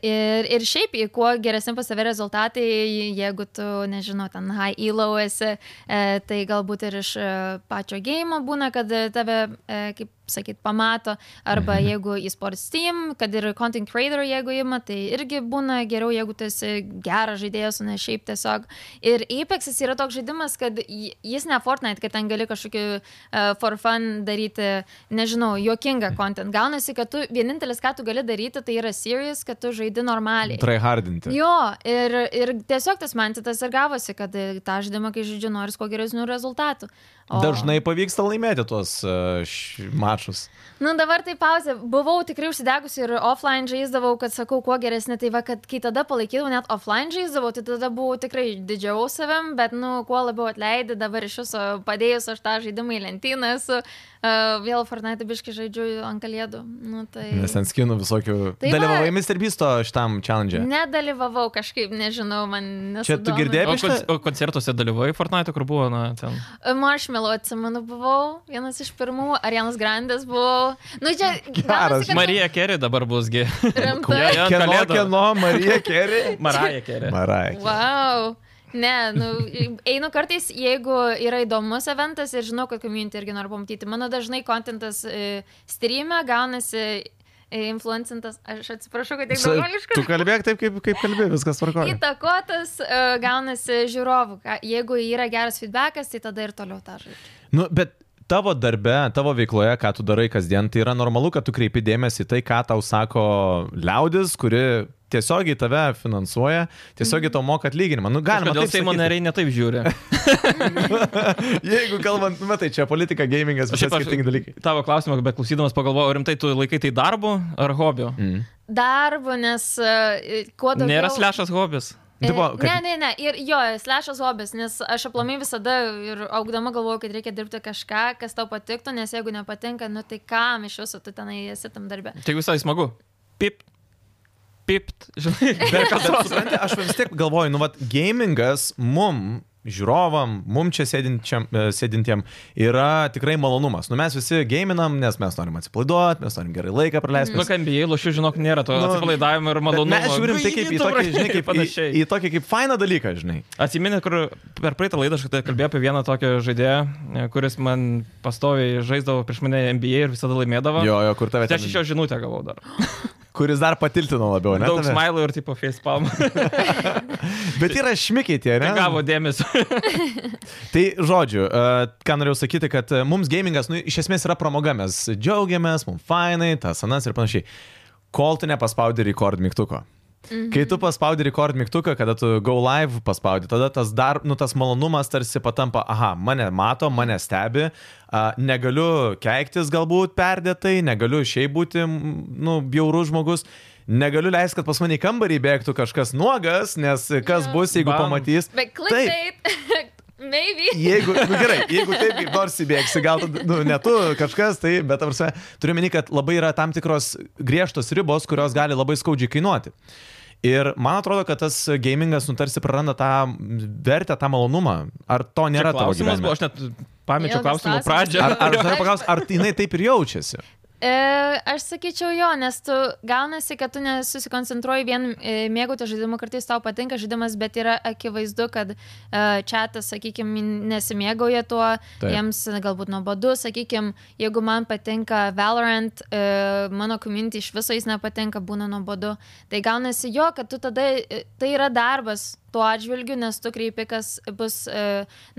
Speaker 3: Ir, ir šiaip, į kuo geresni pas save rezultatai, jeigu tu, nežinau, ten high elo esi, e, tai galbūt ir iš e, pačio gėjimo būna, kad e, tave, e, kaip sakyt, pamato. Arba jeigu į sports team, kad ir content creator, jeigu ima, tai irgi būna geriau, jeigu tu esi geras žaidėjas, o ne šiaip tiesiog. Ir Apex yra toks žaidimas, kad ji- jis ne Fortnite, kad ten gali kažkokį uh, for fun daryti, nežinau, juokingą content. Gaunasi, kad tu vienintelis, ką tu gali daryti, tai yra series, kad tu žaidi normaliai.
Speaker 1: Tryhardinti.
Speaker 3: Jo, ir, ir tiesiog tas mantitas ir gavosi, kad e, tą žaidimą, kai žaidžiu, noriu kuo geresnių rezultatų. O-
Speaker 1: Dažnai pavyksta laimėti tuos uh, š- mačus.
Speaker 3: Nu dabar tai pauzė. Buvau tikrai užsidegusi ir offline žaisdavau, kad sakau, kuo geresnė. Tai va, kad kai tada palaikydavau, net offline žaisdavau, tai tada buvau tikrai didžiau savim, bet, nu, kuo labiau atleidai, dabar iš viso padėjus aš tą žaidimą į lentyną esu, uh, vėl Fortnite biškai žaidžiu ant kalėdų. Nu, tai...
Speaker 1: Nes ten skinų visokių.
Speaker 3: Tai va.
Speaker 1: Dalyvavai Mr. Bisto šitam challenge.
Speaker 3: Nedalyvavau kažkaip, nežinau, man nesudomino.
Speaker 1: Čia tu girdėjai
Speaker 2: O,
Speaker 1: apie
Speaker 2: kon
Speaker 1: šitą?
Speaker 2: o koncertuose dalyvai Fortnite, kur buvo, na, ten.
Speaker 3: E, Marshmallow, atsimenu, buvau vienas iš pirmų, Arianas Grandes buvau. Nu, čia... gaunasi, kad-
Speaker 2: Marija Kerry dabar busgi.
Speaker 3: Rimtai?
Speaker 2: Jo, jo, ant
Speaker 1: Kieno,
Speaker 2: kalėdų.
Speaker 1: kieno, Marija Kerry.
Speaker 3: [LAUGHS]
Speaker 2: Maraja Kerry.
Speaker 1: Maraja.
Speaker 3: Wow. Ne, nu, einu kartais, jeigu yra įdomus eventas ir žinau, kad community irgi noriu pamatyti. Mano dažnai kontentas e, streame gaunasi e, influencintas, aš atsiprašau, kad tiek
Speaker 1: Sa- Tu
Speaker 3: daugiškas.
Speaker 1: kalbėk taip, kaip, kaip kalbė, viskas tvarkoja.
Speaker 3: Įtakotas e, gaunasi žiūrovų. Ka- Jeigu yra geras feedbackas, tai tada ir toliau tą žaidžiu.
Speaker 1: Nu, bet tavo darbe, tavo veikloje, ką tu darai kasdien, tai yra normalu, kad tu kreipi dėmesį į tai, ką tau sako liaudis, kuri tiesiogiai tave finansuoja, tiesiogiai tau moka atlyginimą. Nu, galima
Speaker 2: Kažkodėl
Speaker 1: taip
Speaker 2: Seimo
Speaker 1: sakyti.
Speaker 2: nariai netaip
Speaker 1: [LAUGHS]
Speaker 2: žiūri.
Speaker 1: Jeigu kalbant, nu, matai, čia politika, gamingas,
Speaker 2: Šiaip
Speaker 1: visi
Speaker 2: aš-
Speaker 1: skirtingi [LAUGHS] dalykai.
Speaker 2: Tavo klausimą, bet klausydamas pagalvojau, rimtai tu laikai tai darbu ar hobiu?
Speaker 1: Mm.
Speaker 3: Darbu, nes e, kuo daugiau...
Speaker 2: Nėra slešas hobis.
Speaker 3: E,
Speaker 1: Tipo, Tai kad...
Speaker 3: Ne, ne, ne, ir jo, slešas hobis, nes aš aplamai visada ir augdama galvoju, kad reikia dirbti kažką, kas tau patiktų, nes jeigu nepatinka, nu tai kam iš viso tu tenai esi tam darbė.
Speaker 2: Tai visai smagu. Pip. Pipt. [LAUGHS] Žinai, be
Speaker 1: [LAUGHS] Bet supranti, aš vis tiek galvoju, nu, vat, gamingas mum, žiūrovam, mum čia sėdinčiam, e, sėdintiem yra tikrai malonumas. Nu, mes visi gaminam, nes mes norim atsipalaiduoti, mes norim gerai laiką praleisti.
Speaker 2: Nu,
Speaker 1: mes-
Speaker 2: kambėjai, lošių, žinok, nėra to
Speaker 1: Nu,
Speaker 2: atsipalaidavimo ir malonumo. Nu,
Speaker 1: Bet Mes žiūrim tai kaip į tokį,
Speaker 2: [LAUGHS]
Speaker 1: žinai, kaip panašiai. Į, į tokį kaip fainą dalyką, žinai.
Speaker 2: Atsiminė, kur per praeitą laidą aš tai kalbėjau apie vieną tokį žaidėją, e, kuris man pastoviai žaisdavo prieš mane NBA ir visada laimėdavo.
Speaker 1: Jo, jo, kur tave
Speaker 2: Tai aš iš jo žinutę gavau dar.
Speaker 1: Kuris dar patiltino labiau, ne?
Speaker 2: Daug
Speaker 1: tave?
Speaker 2: smilų ir tipo facepalm.
Speaker 1: Bet yra šmikiai tie, ne?
Speaker 2: [LAUGHS] Gavo dėmesio.
Speaker 1: Tai žodžiu, e, ką norėjau sakyti, kad e, mums gamingas, nu, iš esmės yra pramoga, mes džiaugiamės, mums fainai, tas anas ir panašiai. Kol tu nepaspaudi record mygtuko. Mhm. Kai tu paspaudi record mygtuką, kada tu go live paspaudi, tada tas, dar, nu, tas malonumas tarsi patampa, aha, mane mato, mane stebi, a, negaliu keiktis galbūt perdėtai, negaliu šiaip būti, m, nu, bjaurus žmogus. Negaliu leisti, kad pas mane į kambarį bėgtų kažkas nuogas, nes kas
Speaker 3: Jo.
Speaker 1: bus, jeigu
Speaker 2: Bam.
Speaker 1: pamatys.
Speaker 3: Bet
Speaker 1: Taip.
Speaker 3: clickbait, [LAUGHS] maybe.
Speaker 1: Jeigu, nu gerai, jeigu taip kaip nors įbėgsi, gal tada, nu, ne tu kažkas, tai, bet ar sve, turiu meni, kad labai yra tam tikros griežtos ribos, kurios gali labai skaudžiai kainuoti. Ir man atrodo, kad tas gamingas, nu, tarsi praranda tą vertę, tą malonumą. Ar to nėra tavo
Speaker 2: klausimas,
Speaker 1: gyvenime?
Speaker 2: buvo, aš net pamečiau
Speaker 3: Ilgas
Speaker 2: klausimų
Speaker 3: klausimas.
Speaker 2: pradžią.
Speaker 1: Ar, ar,
Speaker 3: Aišku.
Speaker 1: ar, paklaus, ar jinai taip ir jaučiasi?
Speaker 3: E, aš sakyčiau jo, nes tu gaunasi, kad tu nesusikoncentruoji vien e, mėgauti žaidimu, kartais tau patinka žaidimas, bet yra akivaizdu, kad e, čatas, sakykime, nesimėgauja tuo,
Speaker 1: Taip.
Speaker 3: Taip. jiems galbūt nuobodu, sakykime, jeigu man patinka Valorant, e, mano community iš viso jis nepatinka, būna nuobodu, tai gaunasi jo, kad tu tada, e, tai yra darbas tuo atžvilgiu, nes tu kreipi, kas bus e,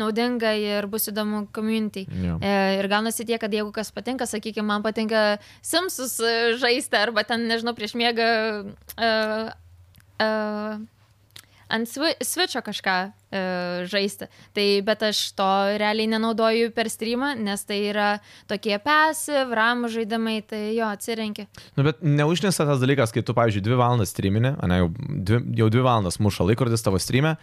Speaker 3: naudinga ir bus įdomu community.
Speaker 1: Jo.
Speaker 3: E, Ir gaunasi tie, kad jeigu kas patinka, sakykime, man patinka Simsus e, žaisti arba ten, nežinau, prieš miegą uh, uh, ant swi- switcho kažką uh, žaisti. Tai bet aš to realiai nenaudoju per streamą, nes tai yra tokie passive, ramų žaidimai, tai jo atsirenki.
Speaker 1: Nu, bet neužnisa tas dalykas, kai tu, pavyzdžiui, dvi valandas streaminė, ne, jau dvi, jau dvi valandas muša laikrodis tavo streamė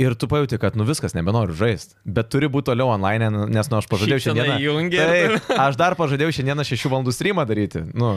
Speaker 1: ir tu pajūti, kad, nu viskas, nebenoriu žaisti, bet turi būti toliau online, nes, nu, aš pažadėjau
Speaker 2: Šypseną
Speaker 1: šiandieną.
Speaker 2: įjungi ir-
Speaker 1: Taip, aš dar pažadėjau šiandieną šešių valandų streamą daryti. Nu,
Speaker 3: [LAUGHS]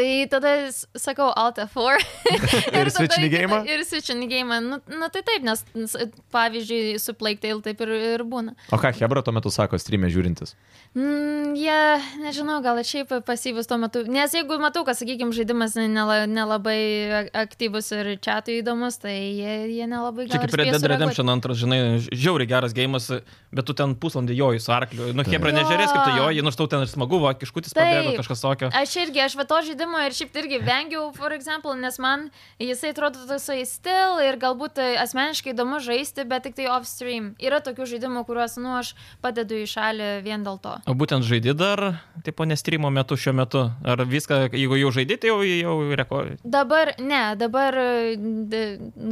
Speaker 3: Tai tada s- sakau Alt
Speaker 1: [LAUGHS]
Speaker 3: F4.
Speaker 1: Ir
Speaker 3: tada
Speaker 1: switchinį
Speaker 3: kitą-
Speaker 1: geimą?
Speaker 3: Ir switchinį gėjimą. Na nu, nu, tai taip, nes s- pavyzdžiui, su Playktail taip ir, ir būna.
Speaker 1: o ką Hebra tuo metu sako streamė žiūrintis?
Speaker 3: Mm, jie, nežinau, gal ir šiaip pasyvus tuo metu. Nes jeigu matau, kad, sakykime, žaidimas nela- nelabai ak- aktyvus ir čia tai įdomus, tai jie, jie nelabai
Speaker 2: [LAUGHS] Čia
Speaker 3: gali.
Speaker 2: kaip prie Dead Redemption antras, žinai, ž- žiauriai geras gėjimas, bet tu ten pusvalandį joji su arkliu. Nu, Hebra,
Speaker 3: Jo.
Speaker 2: nežiūrės, kaip tu joji, nu, štau ten ir smagu, va, kiškutis
Speaker 3: Taip.
Speaker 2: pabėgo, kažkas tokio.
Speaker 3: Aš irgi, aš va to žaidimo ir šiaip irgi vengiau, for example, nes man jisai atrodo toksai stil ir galbūt tai asmeniškai įdomu žaisti, bet tik tai off stream. Yra tokių žaidimų, kuriuos, nu, aš padedu į šalį vien dėl to.
Speaker 2: O būtent žaidži dar, tipo, nestrymo metu šiuo metu. Ar viską, jeigu jau žaidži, tai jau, jau reko.
Speaker 3: Dabar, ne, dabar e, d-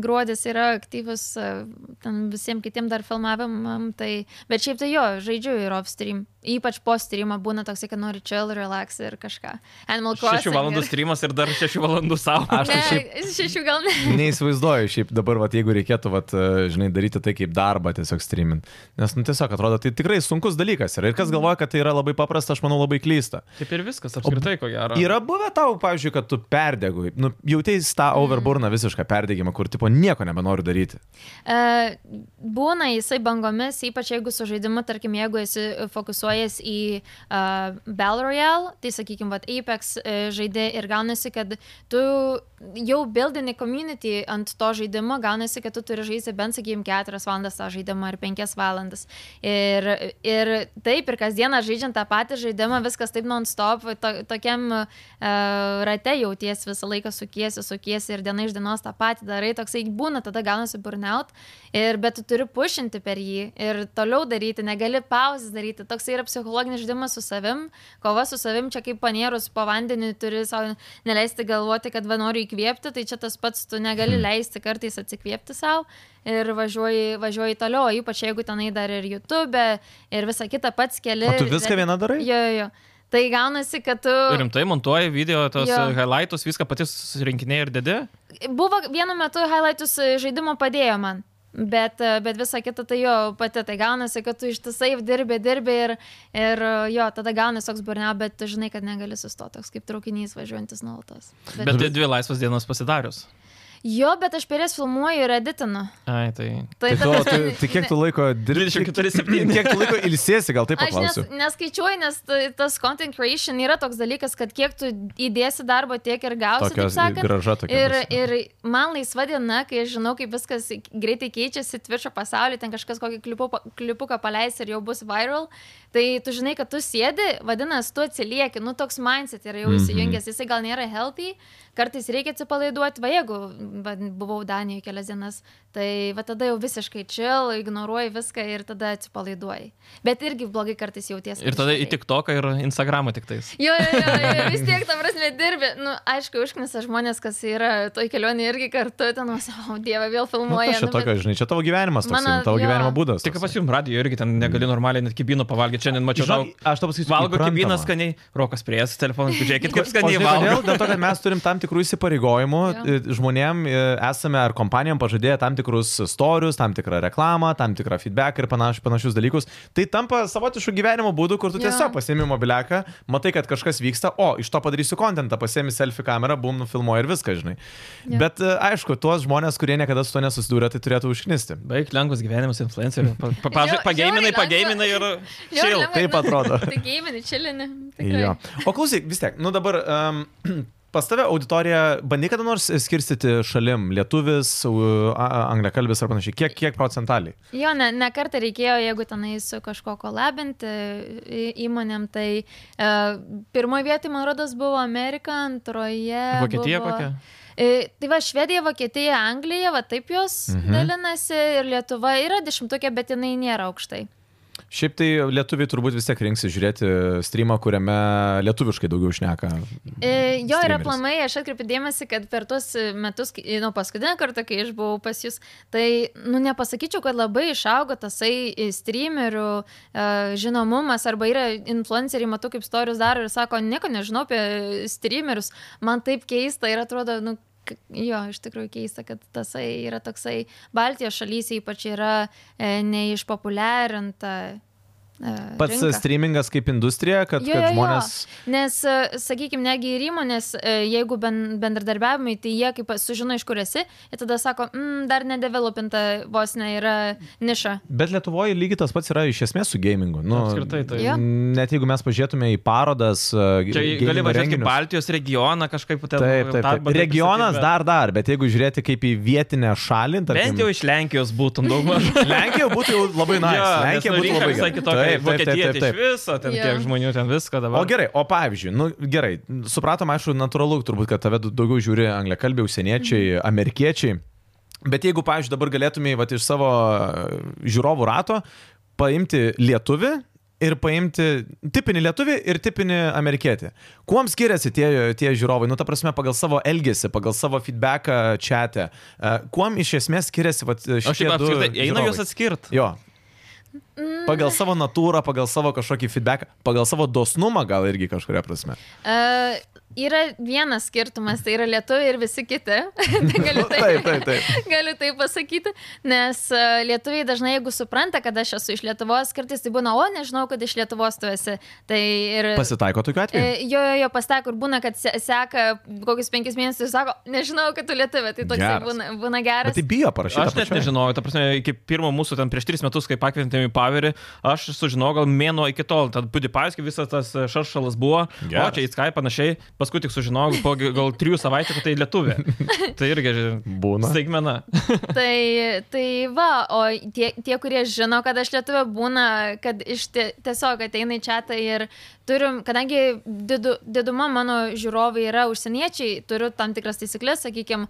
Speaker 3: gruodis yra aktyvus e, ten visiems kitiem dar filmavimam, tai, bet šiaip tai jo, žaidžiu ir off stream. Ypač po streamą būna toks, kad nori chill, relax ir kažką. Animal Crossing.
Speaker 2: 6 valandų
Speaker 3: ir...
Speaker 2: streamas ir dar 6 valandų savo.
Speaker 1: Aš tai šiaip
Speaker 3: Ne, šešių gal ne.
Speaker 1: Neįsivaizduoju šiaip dabar, vat, jeigu reikėtų, vat, e, žinai, daryti tai kaip darbą tiesiog streamint. Nes, nu, tiesiog atrodo, tai tikrai sunkus dalykas yra. Ir kas galvoja, kad tai yra labai paprasta, aš manau, labai klysta.
Speaker 2: Taip ir viskas, apskritai, ko gero.
Speaker 1: Yra buvę tau, pavyzdžiui, kad tu perdegui, nu, jautėjai tą
Speaker 3: Mhm.
Speaker 1: overburną visišką perdegimą, kur tipo nieko nebenoriu daryti.
Speaker 3: E, Būna jisai bangomis, ypač jeigu su žaidimu, tarkim, jeigu esi fokusuojas į uh, Battle Royale, tai sakykime, vat, Apex e, žaidė ir gaunasi, kad tu jau buildini community ant to žaidimo, gaunasi, kad tu turi žaisti bent, sakykime, 4 valandas tą žaidimą ar 5 valandas. Ir, ir taip, ir kasdieną žaidžiant tą patį žaidimą, viskas taip non-stop, to, tokiam uh, rate jauties visą laiką sukiesi, sukiesi ir diena iš dienos tą patį darai, toksai būna, tada gaunasi burnout, ir, bet tu turi pušinti per jį ir toliau daryti, negali pauzes daryti, toksai yra psichologinis žaidimas su savim, kova su savim, čia kaip panierus po vandeniu turi savo neleisti galvoti, kad va noriu įkvėpti, tai čia tas pats, tu
Speaker 1: Hmm.
Speaker 3: negali leisti kartais atsikvėpti savo ir važiuoji, važiuoji toliau, ypač jeigu tenai dar ir YouTube e, ir visa kita pats keli.
Speaker 1: O tu viską
Speaker 3: dar-
Speaker 1: viena darai?
Speaker 3: Tai Jo, jo, jo. Tai gaunasi, kad tu...
Speaker 2: Rimtai montuoji video, tos
Speaker 3: Jo.
Speaker 2: yeah. highlightus, viską pati susirinkiniai ir dedi.
Speaker 3: Buvo vienu metu highlightus e, žaidimo padėjo man. Bet, e, bet visa kita tai jo pati, tai gaunasi, kad tu ištisai dirbi, dirbi ir, ir e, jo, tada gaunasi toks burne, bet tu žinai, kad negali sustoti, toks kaip traukinys važiuojantis nuolatos.
Speaker 2: Bet tai dvi laisvas dienas pasidarius.
Speaker 3: Jo, bet aš per jas filmuoju ir editinu.
Speaker 2: Ai, tai.
Speaker 1: Tai
Speaker 3: ta
Speaker 1: tu,
Speaker 3: prasme, [LAUGHS]
Speaker 1: tu, tai kiek tu laiko dirbi?
Speaker 2: 24/7.
Speaker 1: [CLEARS THROAT] Kiek tu laiko ilsiesi, gal taip
Speaker 3: Aš nes,
Speaker 1: tai paklausiu.
Speaker 3: neskaičiuoju, nes ta- tas content creation yra toks dalykas, kad kiek tu įdėsi darbo, tiek ir gausi,
Speaker 1: Tokios
Speaker 3: taip sakant.
Speaker 1: graža tokia.
Speaker 3: Ir,
Speaker 1: bus. Nu,
Speaker 3: ir man laisva diena, kai aš žinau, kaip viskas greitai keičiasi Twitch'o pasaulyje, ten kažkas kokį klipu, klipuką paleis ir jau bus viral, tai tu žinai, kad tu sėdi, vadinasi, tu atsilieki, nu toks mindset yra jau
Speaker 1: Mhm.
Speaker 3: įsijungęs, jisai gal nėra healthy, kartais reikia atsipalaiduoti, va jeigu va, buvau Danijoje kelias dienas, tai va tada jau visiškai chill, ignoruoji viską ir tada atsipalaiduoji. Bet irgi blogai kartais jauties.
Speaker 2: Ir tada į tik toką ir Instagramą tik tais.
Speaker 3: Jo, jo, jo, jo, vis tiek, ta prasme, dirbi. Na, nu, aišku, užknisa žmonės, kas yra toj kelionėje irgi kartu, ten, o savo dievą vėl
Speaker 1: Nu,
Speaker 3: filmuoja.
Speaker 1: kas čia
Speaker 3: bet-
Speaker 1: tokio, žinai, čia tavo gyvenimas, toks,
Speaker 3: Mano-
Speaker 1: tavo
Speaker 3: jo.
Speaker 1: gyvenimo būdas.
Speaker 2: Tik
Speaker 1: toksai.
Speaker 2: pas jums radijo irgi ten negali normaliai net kibino pavalgyti. Šiandien mačiau
Speaker 1: Žinok,
Speaker 2: daug.
Speaker 1: aš tau pasakysiu,
Speaker 2: Valgo
Speaker 1: kaip
Speaker 2: kibiną
Speaker 1: įprantama.
Speaker 2: skaniai, rokas prie jas telefoną, žiūrėkit,
Speaker 1: O
Speaker 2: kaip skaniai
Speaker 1: žinai kodėl?
Speaker 2: valgo.
Speaker 1: Dėl to, kad mes turim tam tikrų įsipareigojimų,
Speaker 3: Jo.
Speaker 1: i, žmonėm i, esame ar kompanijom pažadėję tam tikrus storius, tam tikrą reklamą, tam tikrą feedback ir panaš, panašius dalykus. Tai tampa savotiškų gyvenimo būdų, kur tu
Speaker 3: Jo.
Speaker 1: tiesiog pasiemi mobiliaką, matai, kad kažkas vyksta, o iš to padarysiu kontentą, pasiemi selfie kamerą, bum, nufilmuoji ir viską, žinai.
Speaker 3: Jo.
Speaker 1: Bet e, aišku, tuos žmonės, kurie niekada su to nesusidūrė, tai turėtų užknisti.
Speaker 2: Baig lengvas gyvenimas influencerių.
Speaker 3: Žiau-
Speaker 2: Pageiminai,
Speaker 3: žiauriai
Speaker 2: pageiminai ir...
Speaker 3: Jo,
Speaker 2: chill.
Speaker 3: lengva,
Speaker 1: taip
Speaker 3: nu, [LAUGHS]
Speaker 1: atrodo.
Speaker 3: Tai gėminį, čilinį.
Speaker 1: Jo. O klausyk, vis tiek, nu dabar um, [CLEARS THROAT] pas tave auditorija, bandai kada nors skirstyti šalim, lietuvis, u- a- a- angliakalbis ar panašiai, kiek, kiek procentaliai?
Speaker 3: Jo, ne, ne kartą reikėjo, jeigu tenai su kažko kolabinti į- įmonėm, tai e, pirmoje vietoje, man rodos, buvo Amerika, antroje.
Speaker 2: Vokietija
Speaker 3: buvo...
Speaker 2: kokia?
Speaker 3: E, Tai va, Švedija, Vokietija, Anglija, va taip jos
Speaker 1: Mhm.
Speaker 3: mhm. dalinasi ir Lietuva yra dešimtukė, bet jinai nėra aukštai.
Speaker 1: Šiaip tai lietuviai turbūt vis tiek rinksi žiūrėti streamą, kuriame lietuviškai daugiau šneka.
Speaker 3: E, Jo ir
Speaker 1: Streameris.
Speaker 3: aplamai, aš atkreipiu dėmesį, kad per tuos metus, kai- nuo paskutinę kartą, kai aš buvau pas jūs, tai, nu, nepasakyčiau, kad labai išaugo tasai e, streamerių e, žinomumas, arba yra influenceriai, matau, kaip storius daro ir sako, nieko nežinau apie streamerius, man taip keista ir atrodo, nu, k- jo, iš tikrųjų keista, kad tasai yra toksai, Baltijos šalyse ypač yra e, neišpopuliarinta. e,
Speaker 1: Pats
Speaker 3: rinka.
Speaker 1: streamingas kaip industrija, kad,
Speaker 3: Jo,
Speaker 1: kad
Speaker 3: jo, jo.
Speaker 1: žmonės...
Speaker 3: Nes, sakykime, negi ir įmonės, e, jeigu ben, bendradarbiavimai, tai jie kaip sužino, iš kur esi, ir tada sako, mm, dar nedevelopinta vos ne yra niša.
Speaker 1: Bet Lietuvoje lygiai tas pats yra iš esmės su gamingu. Nu,
Speaker 2: Apskritai tai.
Speaker 3: Jo.
Speaker 1: Net jeigu mes pažiūrėtume į parodas, e,
Speaker 2: Čia gali važiuoti į Baltijos regioną kažkaip ten.
Speaker 1: Taip, taip,
Speaker 2: tą
Speaker 1: taip.
Speaker 2: bandai
Speaker 1: Regionas
Speaker 2: pristatyt, bet-
Speaker 1: dar dar, bet jeigu žiūrėti kaip į vietinę šalį, tarkim,
Speaker 2: Bent jau iš Lenkijos būtum daugmaž.
Speaker 1: Lenkija būtų jau labai nice.
Speaker 2: Jo, nes,
Speaker 1: Lenkija
Speaker 2: nu,
Speaker 1: būtų
Speaker 2: rinka
Speaker 1: labai
Speaker 2: visai
Speaker 1: gerai.
Speaker 2: kitokia. Vokietija tai iš
Speaker 1: taip.
Speaker 2: viso, ten
Speaker 3: Jo.
Speaker 2: kiek žmonių ten viską
Speaker 1: O
Speaker 2: dabar.
Speaker 1: gerai, o pavyzdžiui, nu gerai, supratom, aišku, natūralu, turbūt, kad tave daugiau žiūri angliakalbiai, užsieniečiai, amerikiečiai. Bet jeigu, pavyzdžiui, dabar galėtumėjai vat, iš savo e, žiūrovų rato paimti lietuvi ir paimti tipinį lietuvį ir tipinį amerikietį. Kuom skiriasi tie, tie žiūrovai, nu ta prasme, pagal savo elgesį, pagal savo feedbacką čia, kuom iš esmės skiriasi vat, šitie...
Speaker 2: O šiaip
Speaker 1: du
Speaker 2: apskritai, eina
Speaker 1: žiūrovai?
Speaker 2: juos atskirti.
Speaker 1: Jo.
Speaker 3: Mm.
Speaker 1: Pagal savo natūrą, pagal savo kažkokį feedbacką, pagal savo dosnumą gal irgi kažkuria prasme.
Speaker 3: E, Yra vienas skirtumas, tai yra lietuviai ir visi kiti. [LAUGHS] Tai galiu tai,
Speaker 1: Nu, Taip, taip,
Speaker 3: [LAUGHS]
Speaker 1: taip.
Speaker 3: galiu tai pasakyti, nes e, lietuviai dažnai, jeigu supranta, kad aš esu iš Lietuvos, kartais tai būna, o nežinau, kad iš Lietuvos tu esi. Tai ir...
Speaker 1: Pasitaiko tokiu atveju.
Speaker 3: E, Jo, jo, jo pasitaiko ir būna, kad se- seka kokius penkis mėnesius ir sako, nežinau, kad tu lietuvė, tai toks
Speaker 1: Geras.
Speaker 3: būna, būna
Speaker 1: Bet
Speaker 3: geras.
Speaker 1: tai bijo parašyti.
Speaker 2: Aš net nežinojau, ta prasme, iki pirmo mūsų ten prieš tris metus, kai pakvietėme į Pavirį, aš sužinojau gal mėno iki tol, tad Pudipaiskis visas tas e, šaršalas buvo,
Speaker 1: Geras.
Speaker 2: o čia į Skype panašiai, paskui tik sužinojau po gi- gal trijų savaičių, kad tai lietuvė. tai irgi, žinai,
Speaker 1: Būna.
Speaker 2: staigmena.
Speaker 3: tai, tai va, o tie, tie, kurie žino, kad aš lietuvė būna, kad iš tie, tiesiog ateina į čia tai ir turim, kadangi didu, diduma mano žiūrovai yra užsieniečiai, turiu tam tikras taisyklės, sakykime,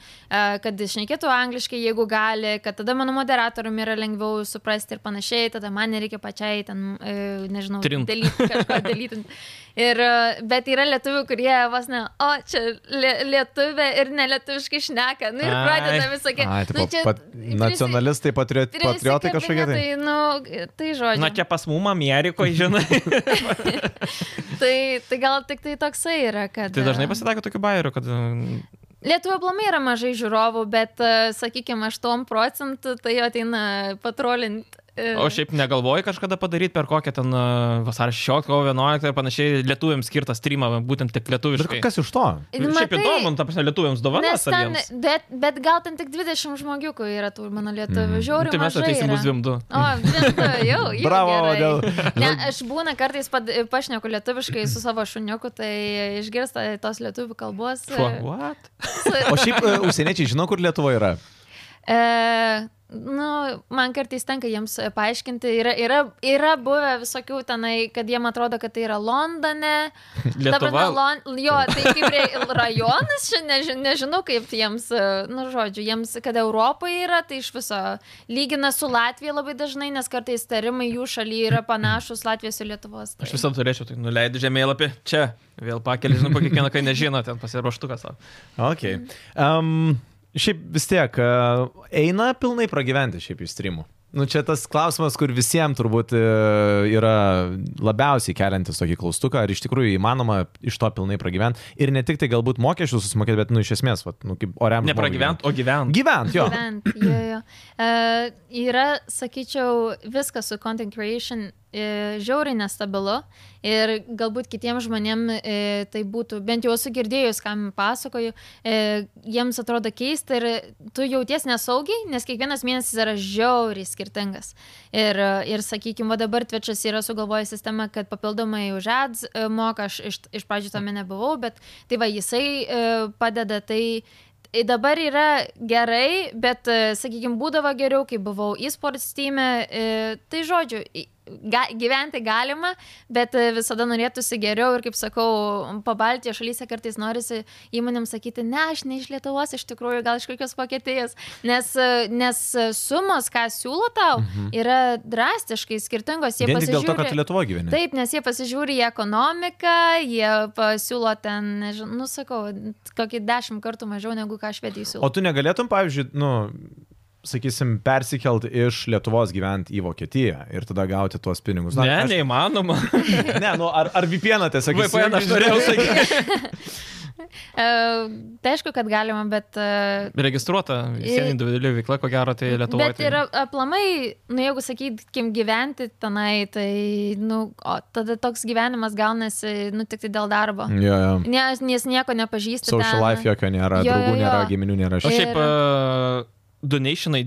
Speaker 3: kad išnekėtų angliškai, jeigu gali, kad tada mano moderatoriumi yra lengviau suprasti ir panašiai, tada man nereikia pačiai ten, e, nežinau,
Speaker 2: Trint.
Speaker 3: dalyti, kažką dalyti. Ir, e, bet yra lietuvių, kurie vos ne, o čia lie, lietuvė ir nelietuviškai šneka, nu ir
Speaker 2: Ai.
Speaker 3: pradeda visokie.
Speaker 1: Ai, tai
Speaker 3: nu, čia
Speaker 1: pat,
Speaker 3: prisi-
Speaker 1: nacionalistai, patriot, patriotai kažkokie. Tai.
Speaker 3: prisikabina, Tai, nu, tai žodžiu.
Speaker 2: Na, čia pas mumą Amerikoje, žinai.
Speaker 1: [LAUGHS]
Speaker 3: tai, tai gal tik tai toksai yra, kad...
Speaker 2: tai dažnai pasitaiko tokių bairių, kad... e,
Speaker 3: Lietuvo aplamai yra mažai žiūrovų, bet, sakykime, 8 procentų tai jo ateina e, patrolinti.
Speaker 2: O šiaip negalvoji kažkada padaryti per kokią ten e, vasario 16, kovo 11 ir panašiai lietuviams skirtą streamą, būtent tik lietuviškai.
Speaker 1: Bet kas iš to?
Speaker 2: Šiaip įdomu, nu, ta prasme, lietuviams dovana
Speaker 3: nu, Nes ten,
Speaker 2: saviems.
Speaker 3: bet, bet gal ten tik 20 žmogiukų yra tų mano
Speaker 1: Mhm.
Speaker 3: lietuvių. Žiauriai.
Speaker 2: Tai mes
Speaker 3: mažai
Speaker 2: ateisim
Speaker 3: yra.
Speaker 2: bus 2-2.
Speaker 3: O, dviem du, jau. jau
Speaker 1: [LAUGHS] Bravo,
Speaker 3: gerai.
Speaker 1: dėl-
Speaker 3: Ne, aš būna kartais pad, pašneku lietuviškai su savo šuniuku, tai išgirsta tos lietuvių kalbos. e,
Speaker 2: Šuo. What?
Speaker 1: O šiaip e, užsieniečiai žino, kur Lietuva yra.
Speaker 3: E, Nu, man kartais tenka jiems e, paaiškinti, yra, yra, yra buvę visokių tenai, kad jiem atrodo, kad tai yra Londone. Ta prasme,
Speaker 2: Lietuva.
Speaker 3: Lon... Jo, tai kaip re- rajonas, čia neži... nežinau kaip jiems, e, nu, žodžiu, jiems, kad Europoje yra, tai iš viso lygina su Latvija labai dažnai, nes kartais tarimai jų šalyje yra panašus Latvijos ir Lietuvos. Tai.
Speaker 2: Aš visada turėčiau, tai nuleidžiu žemėlapį, čia, vėl pakeliu, žinau, po kiekvieną, kai nežino, ten pasiruoštukas.
Speaker 1: Okay. Um, šiaip vis tiek, uh, eina pilnai pragyventi šiaip iš streamų. Nu, čia tas klausimas, kur visiems turbūt e, yra labiausiai keliantis tokį klaustuką, ar iš tikrųjų įmanoma iš to pilnai pragyventi. Ir ne tik tai galbūt mokesčius susimokėti, bet, nu, iš esmės, vat, nu, kaip oriam. žmogui
Speaker 2: Nepragyvent, o
Speaker 1: gyvent.
Speaker 2: gyvent.
Speaker 1: Gyvent, jo.
Speaker 3: Gyvent, jo, jo. E, yra, sakyčiau, viskas su content creation e, žiauriai nestabilu ir galbūt kitiems žmonėms e, tai būtų, bent jau esu girdėjus, kam pasakoju, e, jiems atrodo keista ir tu jauties nesaugiai, nes kiekvienas mėnesis yra žiauriai skirtingas. Ir, e, ir sakykime, dabar Twitch'as yra sugalvojęs sistemą, kad papildomai už ads e, moka, aš iš, iš pradžių tame nebuvau, bet tai va, jisai e, padeda tai Tai Dabar yra gerai, bet, sakykime, būdavo geriau, kai buvau e-sports teame. Tai žodžiu, i- ga, gyventi galima, bet e, visada norėtųsi geriau ir, kaip sakau, pabaltijo šalyse kartais norisi įmonėms sakyti, ne, aš ne iš Lietuvos, iš tikrųjų, gal iš kokios Vokietijos, nes, e, nes e, sumos, ką siūlo tau, yra drastiškai skirtingos. Jie
Speaker 1: Mhm. Vien tik dėl to, kad
Speaker 3: pasižiūri-
Speaker 1: tu Lietuvo gyveni.
Speaker 3: Taip, nes jie pasižiūri į ekonomiką, jie pasiūlo ten, nežinau, nu sakau, kokį dešimt kartų mažiau negu ką švedijai
Speaker 1: O
Speaker 3: siūlo.
Speaker 1: tu negalėtum, pavyzdžiui, nu, sakysim, persikelt iš Lietuvos gyvent į Vokietiją ir tada gauti tuos pinigus.
Speaker 2: Ne,
Speaker 1: aš-
Speaker 2: neįmanoma.
Speaker 1: ne, nu, ar, ar VPN
Speaker 2: [LAUGHS]
Speaker 1: tiesiog
Speaker 2: VPN aš
Speaker 1: įsijungi, [LAUGHS]
Speaker 2: norėjau
Speaker 1: žinai.
Speaker 2: sakyti.
Speaker 3: E, tai aišku, kad galima, bet... e,
Speaker 2: Registruota, visiems individuali veikla, ko gero, tai Lietuvoje.
Speaker 3: Bet yra aplamai, nu jeigu sakykim gyventi tenai, tai, nu, o tada toks gyvenimas gaunasi, nu, tik tai dėl darbo.
Speaker 1: Jo, jo.
Speaker 3: Ne, nes nieko nepažįstu.
Speaker 1: Mm. Social
Speaker 3: ten.
Speaker 1: life jokio nėra,
Speaker 3: Jo, jo,
Speaker 1: draugų
Speaker 3: jo.
Speaker 1: nėra, giminių nėra.
Speaker 2: O
Speaker 1: Aš...
Speaker 3: Ir-
Speaker 2: šiaip uh, donationai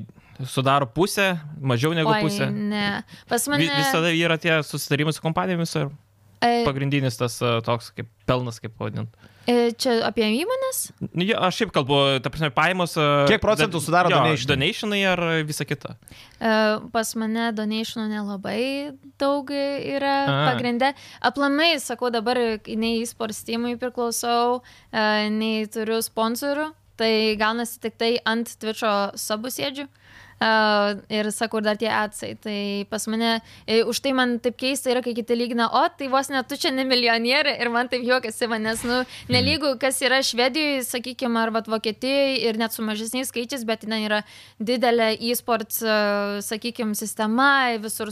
Speaker 2: sudaro pusę, mažiau negu
Speaker 3: Oi,
Speaker 2: pusę.
Speaker 3: Ne. Pas
Speaker 2: Vi,
Speaker 3: mane...
Speaker 2: visada yra tie susitarimai su kompanijomis ir
Speaker 3: e,
Speaker 2: pagrindinis tas e, toks kaip pelnas, kaip vadinant.
Speaker 3: e, Čia apie įmonės?
Speaker 2: Nu, jo, aš šiaip kalbu, ta prasme, pajamos. e,
Speaker 1: Kiek procentų sudaro donationai?
Speaker 2: donationai ar visa kita?
Speaker 3: E, Pas mane donationų nelabai daug yra
Speaker 2: A.
Speaker 3: pagrindė. Aplamai, sakau, dabar nei e-sportstimui priklausau, e, nei turiu sponsorių, tai gaunasi tik tai ant Twitch'o sabusėdžių. Uh, ir sakau, ir dar tie atsai. Tai pas mane, e, už tai man taip keista yra, kai kiti lygina, o tai vos net tu čia ne milijonierė ir man taip juokasi, man, nes, nu,
Speaker 2: Mhm.
Speaker 3: nelygu, kas yra Švedijoje, sakykime, ar vat Vokietijoje ir net su mažesniais skaičiais, bet ten yra didelė e-sports, e, sakykime, sistema, visur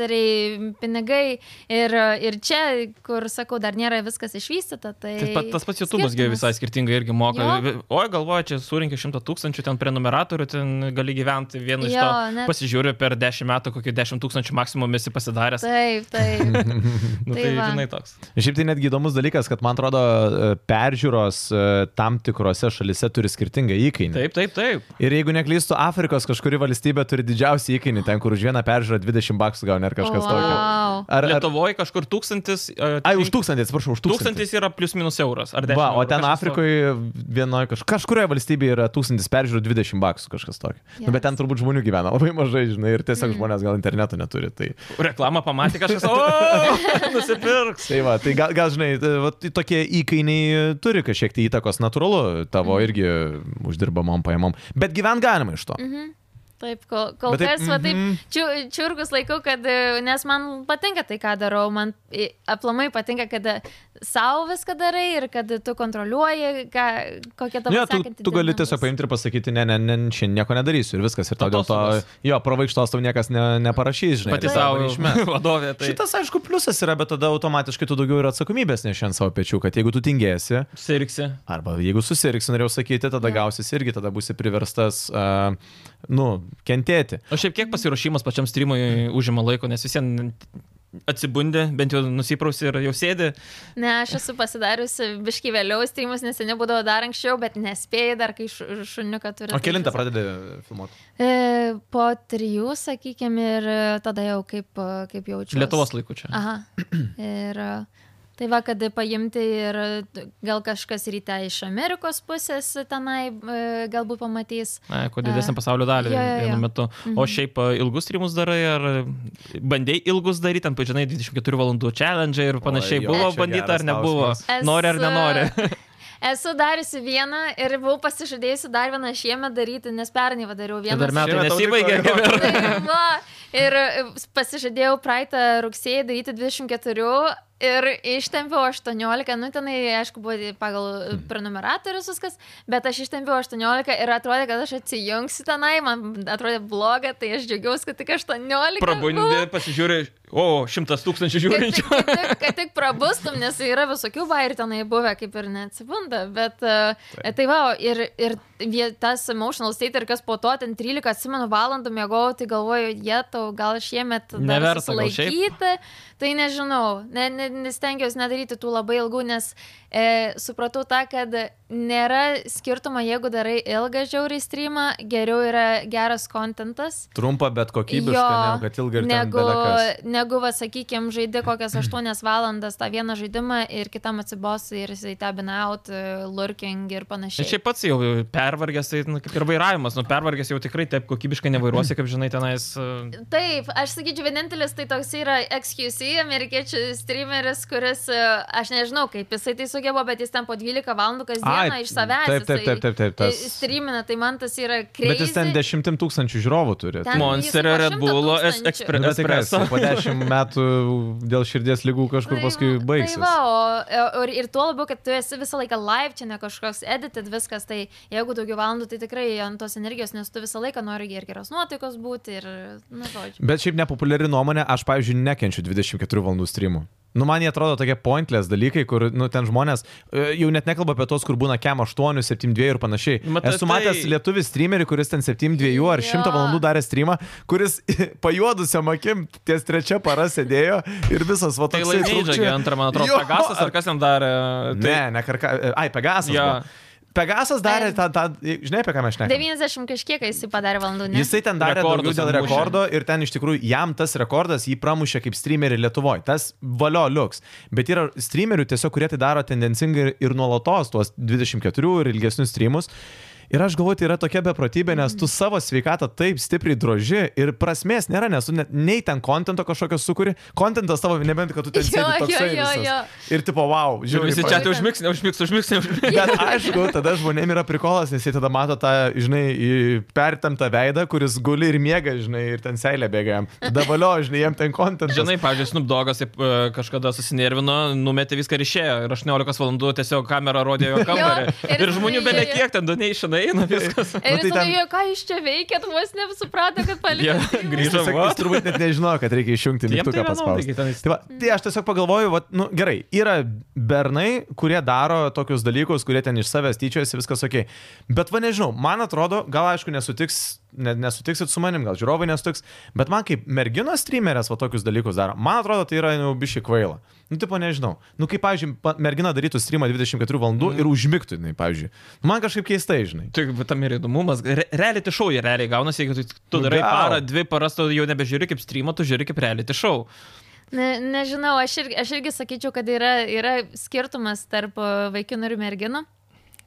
Speaker 3: sponsoriai, pinigai ir, ir čia, kur, sakau, dar nėra viskas išvystyta. Tai
Speaker 2: Tai pat, tas pats YouTube'as gi
Speaker 3: skirtumas.
Speaker 2: visai skirtingai irgi moka.
Speaker 3: Jo.
Speaker 2: Vi- Oi, galvoju, čia surinkė 100 tūkstančių ten prenumeratorių, ten gali gyventi vienu iš
Speaker 3: Jo,
Speaker 2: to.
Speaker 3: net-
Speaker 2: Pasižiūriu per 10 metų, kokį 10 tūkstančių maksimum esi pasidaręs.
Speaker 3: Taip, taip.
Speaker 2: [LAUGHS] nu,
Speaker 3: tai
Speaker 2: tai
Speaker 3: va.
Speaker 2: žinai toks.
Speaker 1: Šiaip tai netgi įdomus dalykas, kad man atrodo, e, peržiūros e, tam tikrose šalise turi skirtingą įkainį.
Speaker 2: Taip, taip, taip.
Speaker 1: Ir jeigu neklystu, Afrikos kažkuri valstybė turi didžiausią įkainį, ten kur už vieną peržiūrą 20 baksų gauni ar kažkas tokio. Ar,
Speaker 3: Wow.
Speaker 1: ar...
Speaker 2: Lietuvoje kažkur tūkstantis. e,
Speaker 1: Ai, už tūkstantį, atsiprašau, už tūkstantį.
Speaker 2: Tūkstantis yra plus minus euras. Ar 10
Speaker 1: Va, o
Speaker 2: eurų,
Speaker 1: ten
Speaker 2: kažkas
Speaker 1: Afrikoje vienoje kaž... kažkurioje valstybėje yra tūkstantis peržiūrų 20 baksų kažkas tokio. Yes. Nu, bet ten turbūt žmonių gyvena labai mažai, žinai, ir tiesiog mm. žmonės gal interneto neturi. Tai,
Speaker 2: tokio. Reklamą pamatė kažkas. O, [LAUGHS] nusipirks.
Speaker 1: tai, va, tai gal, gal žinai, t- va, t- tokie įkainiai turi kažkiek tai įtakos natūralu tavo irgi uždirbamom pajamom. Bet gyvent galima iš to. Mm.
Speaker 3: Taip, kol, kol
Speaker 1: Bet taip,
Speaker 3: taip, kas, va taip,
Speaker 1: mhm.
Speaker 3: čiu, čiurgus laikau, kad, e, nes man patinka tai, ką darau, man e, aplamai patinka, kad e, savo viską darai ir kad tu kontroliuoji, ką, kokia tavo
Speaker 1: Ne, Nu tu,
Speaker 3: sekanti
Speaker 1: tu gali
Speaker 3: diena
Speaker 1: tiesiog
Speaker 3: bus.
Speaker 1: paimti ir pasakyti, ne, ne, ne, šiandien nieko nedarysiu ir viskas. Ir tau dėl to,
Speaker 2: Atostogos.
Speaker 1: jo, pravaikštos tau niekas ne, neparašys, žinai.
Speaker 2: Pati
Speaker 1: ir
Speaker 2: savo
Speaker 1: išmes.
Speaker 2: vadovė.
Speaker 1: Tai...
Speaker 2: [LAUGHS] Tai...
Speaker 1: Šitas, aišku, pliusas yra, bet tada automatiškai tu daugiau ir atsakomybės nešiant savo pečių, kad jeigu tu tingėsi,
Speaker 2: Sirksi.
Speaker 1: arba jeigu susirgsi, norėjau sakyti, tada
Speaker 3: Jo.
Speaker 1: gausis irgi, tada būsi priverstas, uh, nu, kentėti.
Speaker 2: O šiaip kiek pasiruošimas pačiam streamui užima laiko, nes visiems atsibundė, bent jau nusiprausi ir jau sėdi.
Speaker 3: Ne, aš esu pasidariusi biški vėliau streamus, nes seniai būdavo dar anksčiau, bet nespėjai dar, kai šu- šuniuką turi.
Speaker 1: O kilintą pradedi filmuoti.
Speaker 3: E, po trijų, sakykime, ir e, tada jau kaip, e, kaip jaučiu.
Speaker 2: [CLEARS THROAT] Lietuvos laiku čia.
Speaker 3: Aha. Ir e, Tai va, kad paimti ir gal kažkas ryte iš Amerikos pusės tenai e, galbūt pamatys.
Speaker 2: Na, kuo didesnį pasaulio dalį
Speaker 3: jo, jo, jo.
Speaker 2: vienu metu.
Speaker 1: Mhm.
Speaker 2: O šiaip e, ilgus streamus darai, ar bandėjai ilgus daryti, ten, pažinai, 24 valandų challenge e ir panašiai.
Speaker 1: jo,
Speaker 2: Oi, buvo
Speaker 1: čia
Speaker 2: bandyta
Speaker 1: geras
Speaker 2: ar nebuvo?
Speaker 1: klausimas.
Speaker 2: Nori ar
Speaker 3: Esu-
Speaker 2: nenori?
Speaker 3: [LAUGHS] Esu dariusi vieną ir buvau pasižadėjusi dar vieną šiemet daryti, nes pernai va dariau
Speaker 2: Tai
Speaker 3: vieną.
Speaker 2: dar metai
Speaker 1: Šiemet tau liko,
Speaker 2: nesibaigė.
Speaker 1: jo.
Speaker 2: kaip ir- [LAUGHS]
Speaker 3: Tai [LAUGHS] va, ir e, pasižadėjau praeitą rugsėjį daryti 24 ir ištempiau 18, nu tenai, aišku, buvo pagal prenumeratorius viskas, bet aš ištempiau 18 ir atrodė, kad aš atsijungsiu tenai, man atrodė bloga, tai aš džiaugiausi, kad tik nu, 18.
Speaker 2: Prabundi,
Speaker 3: buvo.
Speaker 2: pasižiūri, o, šimtas tūkstančių
Speaker 3: Kad tik,
Speaker 2: žiūrinčių.
Speaker 3: kad, tik, kad tik prabustum, nes yra visokių vairių tenai buvę, kaip ir neatsibunda, bet uh, tai va, ir, ir vie- tas emotional state ir kas po to, ten 13, atsimenu, valandų mėgau, tai galvoju, jie tau gal šiemet
Speaker 2: Neverta gal šiaip?
Speaker 3: laikyti, tai nežinau, ne, ne, nestengiausi nedaryti tų labai ilgų, nes e, supratau tą, kad nėra skirtumo, jeigu darai ilgą žiaurį streamą, geriau yra geras kontentas.
Speaker 1: Trumpa, bet kokybiška,
Speaker 3: Jo,
Speaker 1: ne, kad ilga ir ten
Speaker 3: Negu,
Speaker 1: belekas.
Speaker 3: negu va, sakykime, žaidė kokias 8 valandas tą vieną žaidimą ir kitam atsibos ir jisai tabin out, e, lurking ir
Speaker 2: Ir
Speaker 3: panašiai.
Speaker 2: šiaip pats jau pervargęs, tai nu, kaip ir vairavimas, nu pervargęs jau tikrai taip kokybiškai nevairuosi, kaip žinai, tenais. e,
Speaker 3: Taip, aš sakyčiau, vienintelis tai toks yra XQC, amerikiečių streameris, kuris, e, aš nežinau, kaip jisai tai sugebo, bet jis ten po 12 valandų kasdieną
Speaker 1: Ai,
Speaker 3: iš savęs.
Speaker 1: taip, taip, taip, taip, taip, tas-
Speaker 3: jisai Streamina, tai man tas yra kreivas.
Speaker 1: Bet jis ten dešimtim tūkstančių žiūrovų turi. tai-
Speaker 3: Ten-
Speaker 2: Monsterio,
Speaker 3: jis po
Speaker 2: Red Bullo,
Speaker 3: 100
Speaker 2: es-
Speaker 3: tūkstančių.
Speaker 2: ekspre-
Speaker 1: Nu, bet tai kas,
Speaker 2: Espresso.
Speaker 1: po dešimt metų dėl širdies lygų kažkur paskui baigsis.
Speaker 3: Tai va, o, ir, ir tuo labiau, kad tu esi visą laiką live, čia ne kažkoks edited viskas, tai jeigu daugiau valandų, tai tikrai ant tos energijos, nes tu visą laiką nori ir geros nuotaikos būti ir, na, žodžiu.
Speaker 1: Bet šiaip nepopuliari nuomonė, aš, pavyzdžiui, nekenčiu 24 valandų streamų. Nu, man jie atrodo tokie pointless dalykai, kur, nu, ten žmonės, e, jau net nekalba apie tos, kur būna KEM 8, 72 ir panašiai.
Speaker 2: Matai,
Speaker 1: Esu matęs
Speaker 2: tai-
Speaker 1: lietuvių streamerį, kuris ten 72 ar 100
Speaker 3: Jo.
Speaker 1: valandų darė streamą, kuris [LAUGHS] pajuodusiam akim ties trečia para sėdėjo ir visas va
Speaker 2: Tai
Speaker 1: toks.
Speaker 2: laimėjai žaidžia antrą, man atrodo, Pegasas ar kas jam darė. Tai,
Speaker 1: Ne, ne karka. Ai, Pegasas.
Speaker 2: Jo.
Speaker 1: Ja. Pegasas darė
Speaker 3: Ai.
Speaker 1: tą, tą, žinai apie ką mes šnekame.
Speaker 3: 90 kažkiek jisai padarė valandų, ne?
Speaker 1: Jisai ten darė
Speaker 2: Rekordus
Speaker 1: daugiau dėl
Speaker 2: ten mušė.
Speaker 1: rekordo ir ten iš tikrųjų jam tas rekordas jį pramušė kaip streamerį Lietuvoje. Tas valio liuks. Bet yra streamerių tiesiog, kurie tai daro tendencingai ir nuolatos tuos 24 ir ilgesnius streamus. Ir aš galvoju, tai yra tokia beprotybė, nes
Speaker 3: Mhm.
Speaker 1: tu savo sveikatą taip stipriai droži ir prasmės nėra, nes tu net nei ten kontento kažkokio sukuri, kontentas tavo nebent, kad tu ten
Speaker 3: Jo,
Speaker 1: sėdi
Speaker 3: jo,
Speaker 1: toksai
Speaker 3: jo,
Speaker 1: visas.
Speaker 3: jo.
Speaker 1: Ir tipo, wow,
Speaker 2: Ir
Speaker 1: žiūri,
Speaker 2: visi čia tai užmiks, neužmiks, užmiks, neužmiks.
Speaker 1: Bet aišku, tada žmonėm yra prikolas, nes jie tada mato tą, žinai, į pertemptą veidą, kuris guli ir miega, žinai, ir ten seilė bėga jam. Tada valio, žinai, jam ten kontent.
Speaker 2: Žinai, pavyzdžiui, Snoop Dogas taip, e, kažkada susinervino, numetė viską ir išėjo. Ir 18 valandų tiesiog kamera rodė jo kambarį.
Speaker 3: ir
Speaker 2: ir žmonių
Speaker 3: jis
Speaker 2: beveik
Speaker 3: nuėjo.
Speaker 2: kiek ten, du neišanai, eina viskas.
Speaker 1: Nu, tai
Speaker 3: Ir nu, tai
Speaker 1: ten-
Speaker 3: tada, ten... ką jūs čia veikėt, vos
Speaker 1: [LAUGHS]
Speaker 3: nesuprato, kad
Speaker 2: Jie
Speaker 3: palikėt.
Speaker 2: [LAUGHS] grįžo.
Speaker 1: Jis,
Speaker 2: va.
Speaker 1: jis turbūt net nežinojo, kad reikia išjungti
Speaker 2: Jiem tai
Speaker 1: mygtuką
Speaker 2: vienodai,
Speaker 1: paspausti.
Speaker 2: gi ten jis-
Speaker 1: Tai, va, tai aš tiesiog pagalvoju, va, nu, gerai, yra bernai, kurie daro tokius dalykus, kurie ten iš savęs tyčiojasi, viskas ok. Bet va nežinau, man atrodo, gal aišku nesutiks, ne, nesutiksit su manim, gal žiūrovai nesutiks, bet man kaip merginos streamerės va tokius dalykus daro, man atrodo, tai yra jau bišį kvaila. Nu, tipo, nežinau. Nu, kaip, pavyzdžiui, pa- mergina darytų streamą 24 valandų
Speaker 2: Mhm.
Speaker 1: ir užmigtų, jinai, pavyzdžiui. Nu, Man kažkaip keistai, žinai.
Speaker 2: Tai va, tam ir įdomumas. Re- Reality show jie realiai gaunasi, jeigu tu, tu
Speaker 1: Nu,
Speaker 2: darai
Speaker 1: gal.
Speaker 2: parą, dvi paras, tu jau nebežiūri kaip streamą, tu žiūri kaip reality show.
Speaker 3: Ne, nežinau, aš irgi, aš irgi sakyčiau, kad yra, yra skirtumas tarp e, vaikinų ir merginų.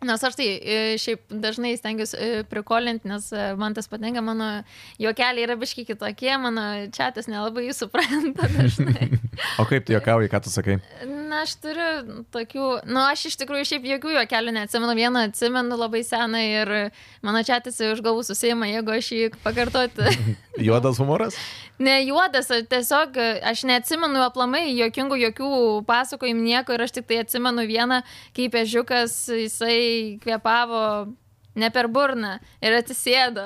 Speaker 3: Nes aš tai e, šiaip dažnai stengiuosi e, prikolinti, nes e, man tas patinka, mano juokeliai yra biški kitokie, mano čatas nelabai jų supranta dažnai.
Speaker 1: O kaip tu juokauji, ką tu sakai?
Speaker 3: Na, aš turiu tokių, nu, aš iš tikrųjų šiaip jokių juokelių neatsimenu, vieną atsimenu labai seną ir mano čatas už galvų susima, jeigu aš jį pakartoti.
Speaker 1: Juodas humoras?
Speaker 3: Ne juodas, o tiesiog e, aš neatsimenu aplamai jokingų, jokių pasakojimų nieko ir aš tik tai atsimenu vieną, kaip ežiukas jisai kvepavo ne per burną ir atsisėdo.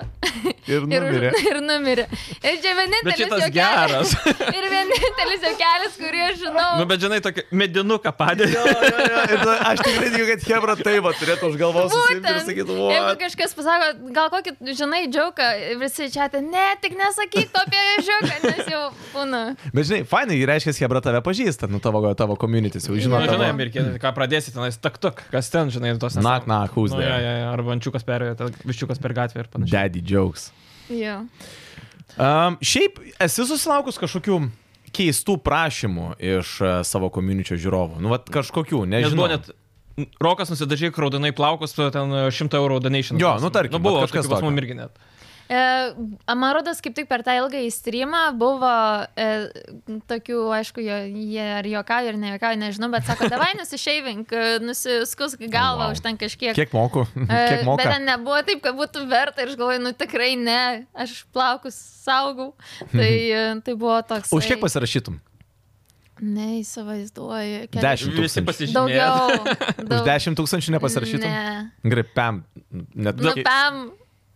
Speaker 1: Ir numirė.
Speaker 3: [LAUGHS] Ir, ir numirė. Ir čia
Speaker 2: Bet
Speaker 3: vienintelis.
Speaker 2: šitas
Speaker 3: juokelis-
Speaker 2: geras.
Speaker 3: [LAUGHS] Ir vienintelis jau kelias, kurį aš žinau.
Speaker 2: Nu, bet žinai, tokį medinuką padėjo.
Speaker 1: Jo, jo, jo. Ir tada aš tikrai tikiu, kad Hebra taip va turėtų už galvos susimti ir
Speaker 3: Būtent.
Speaker 1: sakyti,
Speaker 3: Jeigu
Speaker 1: o.
Speaker 3: kažkas pasako, gal kokį, žinai, džiauką, visi čia tai, ne, tik nesakyk to apie žiūką, nes jau būna.
Speaker 1: Bet žinai, fainai, reiškia, Hebra tave pažįsta, nu tavo, tavo community, jau žino
Speaker 2: Na,
Speaker 3: Jo.
Speaker 2: Nu, žinai,
Speaker 1: tavo.
Speaker 2: amerikiečiai, ką pradėsi tenais, tak, tak, kas ten, žinai, tos
Speaker 1: Nak, nak, who's
Speaker 2: Nu, ja,
Speaker 1: there?
Speaker 2: ja, ja, arba ančiukas perėjo, ten viščiukas per gatvę ir panašiai.
Speaker 1: Daddy jokes.
Speaker 3: Jo.
Speaker 1: Um, šiaip esi susilaukus kažkokių keistų prašymų iš e, savo komuničio žiūrovų? Nu, vat kažkokių,
Speaker 2: Nes
Speaker 1: nežinau.
Speaker 2: buvo net Rokas nusidažyk raudonai plaukus, ten 100 eurų donation.
Speaker 1: Jo, nu, tarkim,
Speaker 2: Nu, buvo
Speaker 1: vat kažkas
Speaker 2: kažkas pas
Speaker 1: tokio.
Speaker 2: mum irgi net.
Speaker 3: E, Amarodas kaip tik per tą ilgą įstrymą buvo e, tokių, aišku, jo, jie ar juokauja, ar nejuokauja, nežinau, bet sako, davai nusišeivink, e, nusiskusk galvą
Speaker 1: Wow.
Speaker 3: už ten kažkiek.
Speaker 1: Kiek
Speaker 3: [LAUGHS]
Speaker 1: moku?
Speaker 3: E,
Speaker 1: Kiek
Speaker 3: Bet
Speaker 1: moka?
Speaker 3: ten nebuvo taip, kad būtų verta ir aš galvoju, nu tikrai ne, aš plaukus
Speaker 1: [LAUGHS]
Speaker 3: saugau. Tai, e, tai buvo toks.
Speaker 1: Už kiek pasirašytum?
Speaker 3: Neįsivaizduoju. keli-
Speaker 1: Dešimt.
Speaker 2: Visi
Speaker 1: tūkstančių.
Speaker 2: pasižymėjo.
Speaker 3: Daugiau.
Speaker 1: [LAUGHS] Už 10 tūkstančių nepasirašytum?
Speaker 3: Ne.
Speaker 1: Gripiam. Net
Speaker 3: Nu, pam.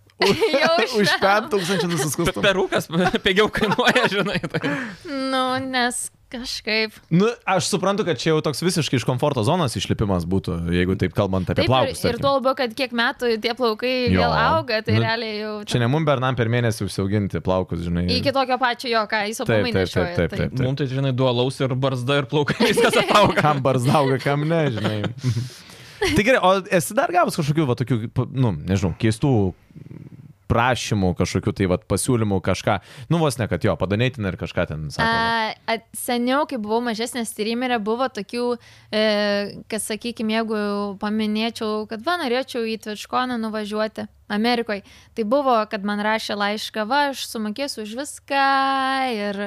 Speaker 3: [LAUGHS] Jau
Speaker 1: [LAUGHS] Už
Speaker 3: špem.
Speaker 1: 5 tūkstančių
Speaker 2: Pe-
Speaker 3: [LAUGHS]
Speaker 1: nusiskustum.
Speaker 2: Perukas [LAUGHS] pigiau kainuoja, žinai. Tai.
Speaker 3: Nu, nes kažkaip.
Speaker 1: Nu, aš suprantu, kad čia jau toks visiškai iš komforto zonos išlipimas būtų, jeigu taip kalbant apie
Speaker 3: ir,
Speaker 1: plaukus.
Speaker 3: ir
Speaker 1: tarkim.
Speaker 3: tuo labiau, kad kiek metų tie plaukai
Speaker 1: Jo.
Speaker 3: jo. vėl auga, tai
Speaker 1: Nu,
Speaker 3: nu, realiai jau
Speaker 1: Čia ne mum bernam per mėnesį užsiauginti plaukus, žinai.
Speaker 3: iki tokio pačio jo, ką jis
Speaker 1: Taip, taip,
Speaker 3: apamai
Speaker 1: taip,
Speaker 3: nešioja.
Speaker 1: taip, taip. taip.
Speaker 2: Mums tai, žinai, duolaus ir barzda ir plaukai [LAUGHS] viskas atauga.
Speaker 1: Kam barzdauga, kam ne, žinai.
Speaker 3: [LAUGHS]
Speaker 1: tai gerai, o esi dar gavus kažkokių, va, tokių, pa- nu, nežinau, keistų prašymų, kažkokių tai, va, pasiūlymų, kažką, nu, vos ne, kad jo, padanėtin ir kažką ten sako.
Speaker 3: A, a, seniau, kai buvau mažesnė streamerė, buvo tokių, e, kad, sakykime, jeigu paminėčiau, kad va, norėčiau į Tvičkoną nuvažiuoti Amerikoje, tai buvo, kad man rašė laišką, va, aš sumokėsiu už viską, ir,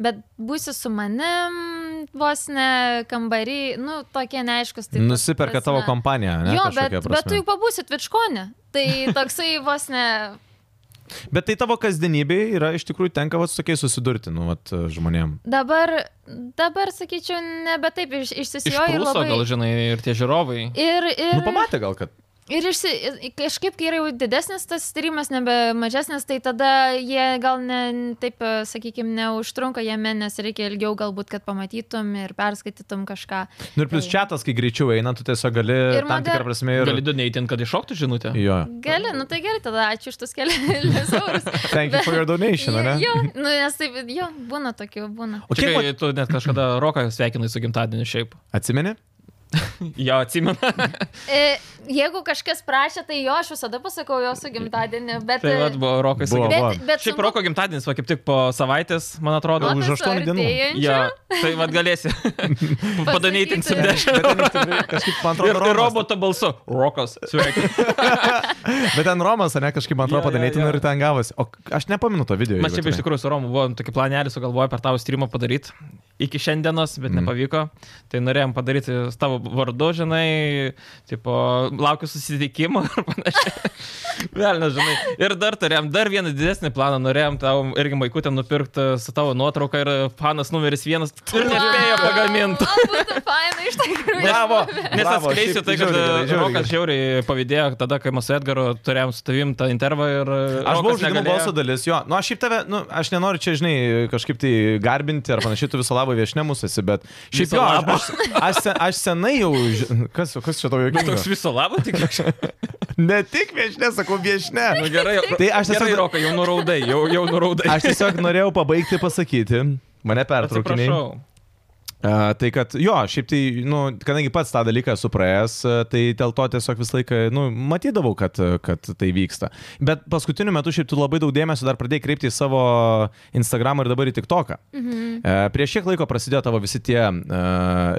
Speaker 3: bet būsi su manim vos ne kambarį, nu, tokie neaiškus.
Speaker 1: va.
Speaker 3: Tai
Speaker 1: Nusiperka tavo
Speaker 3: prasme.
Speaker 1: kompaniją, ne?
Speaker 3: Jo,
Speaker 1: kažkokia
Speaker 3: bet,
Speaker 1: prasme.
Speaker 3: bet tu juk pabūsi Tvičkonė. Tai toksai vos ne...
Speaker 1: bet tai tavo kasdienybėje yra iš tikrųjų tenka vat, su tokiais susidurti, nu, vat, žmonėm.
Speaker 3: Dabar, dabar sakyčiau, nebe taip iš, išsisijoju ir
Speaker 2: Išprūso
Speaker 3: labai...
Speaker 2: gal, žinai, ir tie žiūrovai.
Speaker 3: Ir, ir,
Speaker 1: Nu, pamatė gal, kad
Speaker 3: ir išsi, i- kažkaip, kai yra jau didesnis tas tyrimas, nebe mažesnis, tai tada jie gal ne, taip, sakykime, neužtrunka jame, nes reikia ilgiau galbūt, kad pamatytum ir perskaitytum kažką.
Speaker 1: Nu ir plus
Speaker 3: Tai.
Speaker 1: čatas, kai greičiau eina, tu tiesiog gali tam
Speaker 3: Ir
Speaker 1: tikrą
Speaker 3: moder-
Speaker 1: prasme ir...
Speaker 2: Ir... Gali donėtin, kad iššoktų žinutę.
Speaker 1: Jo.
Speaker 3: Gali, nu tai gerai, tada ačiū už tus [LAUGHS] kelius eurus.
Speaker 1: Thank you for your donation,
Speaker 3: Jo,
Speaker 1: ne?
Speaker 3: jo, nu, nes taip, jo, būna tokių, būna.
Speaker 1: O
Speaker 2: Čia,
Speaker 1: kiek...
Speaker 2: kai
Speaker 1: vat-
Speaker 2: tu net kažkada Roką sveikinai su gimtadieniu šiaip.
Speaker 3: [LAUGHS]
Speaker 1: Atsimeni?
Speaker 2: Jo,
Speaker 1: [LAUGHS]
Speaker 2: atsimenu.
Speaker 3: E, jeigu kažkas prašė, tai jo, aš visada pasakau jo su gimtadieniu, bet... e,
Speaker 2: tai vad buvo Rokas.
Speaker 1: Buvo.
Speaker 2: Bet...
Speaker 3: Bet, bet
Speaker 2: Šiaip
Speaker 3: sunku-
Speaker 2: Roko gimtadienis, va kaip tik po savaitės, man atrodo.
Speaker 3: O,
Speaker 1: už
Speaker 3: tai
Speaker 1: aštuonių dienų.
Speaker 3: suartėjančių.
Speaker 2: Jo, tai vad
Speaker 1: [LAUGHS]
Speaker 2: galėsi padanėtin su
Speaker 3: Pasakyti.
Speaker 2: dešimt.
Speaker 1: Bet ten kažkaip, man
Speaker 2: Ir,
Speaker 1: atrodo,
Speaker 2: ir
Speaker 1: Romas,
Speaker 2: roboto balsu. Rokas, sveiki.
Speaker 1: bet ten Romas, ne, kažkaip, man
Speaker 2: Jo,
Speaker 1: atrodo,
Speaker 2: jo,
Speaker 1: padanėtinu
Speaker 2: jo.
Speaker 1: ir ten gavosi. O k- aš nepaminu to video.
Speaker 2: Mes
Speaker 1: jeigu
Speaker 2: šiaip iš
Speaker 1: atvirai.
Speaker 2: tikrųjų su Romu buvom tokį planelį sugalvoję per tavo streamą padaryti iki šiandienos,
Speaker 1: Mhm.
Speaker 2: bet mm. nepavyko. Tai norėjom padaryti su tavo vardu, žinai, tipo, laukiu susitikimo ir panašiai.
Speaker 1: [LAUGHS]
Speaker 2: Vėl nežinai. Ir dar turėjom dar vieną didesnį planą, norėjom tau irgi maikutę nupirkti su tavo nuotrauka ir fanas numeris vienas ir nespėjo pagaminti.
Speaker 3: O, būtų fainai, iš tikrųjų.
Speaker 2: Bravo, nes
Speaker 1: Bravo,
Speaker 2: atskleisiu
Speaker 1: šiaip
Speaker 2: tai, kad
Speaker 1: žiauriai gerai,
Speaker 2: e,
Speaker 1: žiauriai
Speaker 2: Rokas žiauriai pavydėjo tada, kai mes su Edgaru turėjom su tavim tą intervą ir... e,
Speaker 1: Aš buvau
Speaker 2: Rokas
Speaker 1: žaidimo
Speaker 2: negalėjo.
Speaker 1: balso dalis, jo. Nu, aš šiaip tave, nu, aš nenoriu čia, žinai, kažkaip tai garbinti ar panašiai, tu viso labo viešne mūsų esi, bet šiaip
Speaker 2: Viso
Speaker 1: jo,
Speaker 2: labo.
Speaker 1: aš, aš, aš, se- aš senai jau... ži- Kas, kas čia tavo
Speaker 2: Toks
Speaker 1: jokių?
Speaker 2: viso labo tik aš.
Speaker 1: Ne tik viešne, sakau viešne.
Speaker 2: Nu, gerai,
Speaker 1: Tai aš
Speaker 2: gerai,
Speaker 1: tiesiog-
Speaker 2: Rokai, jau nuraudai, jau, jau nuraudai.
Speaker 1: Aš tiesiog norėjau pabaigti pasakyti, mane pertraukiniai.
Speaker 2: Atsiprašau.
Speaker 1: A, tai kad, jo, šiaip tai, nu, kadangi pats tą dalyką esu praėjęs, a, tai dėl to tiesiog visą laiką, nu, matydavau, kad, a, kad tai vyksta. Bet paskutiniu metu šiaip tu labai daug dėmesio dar pradėjai kreipti į savo Instagramą ir dabar į TikToką. Mhm. Prieš kiek laiko prasidėjo tavo visi tie uh,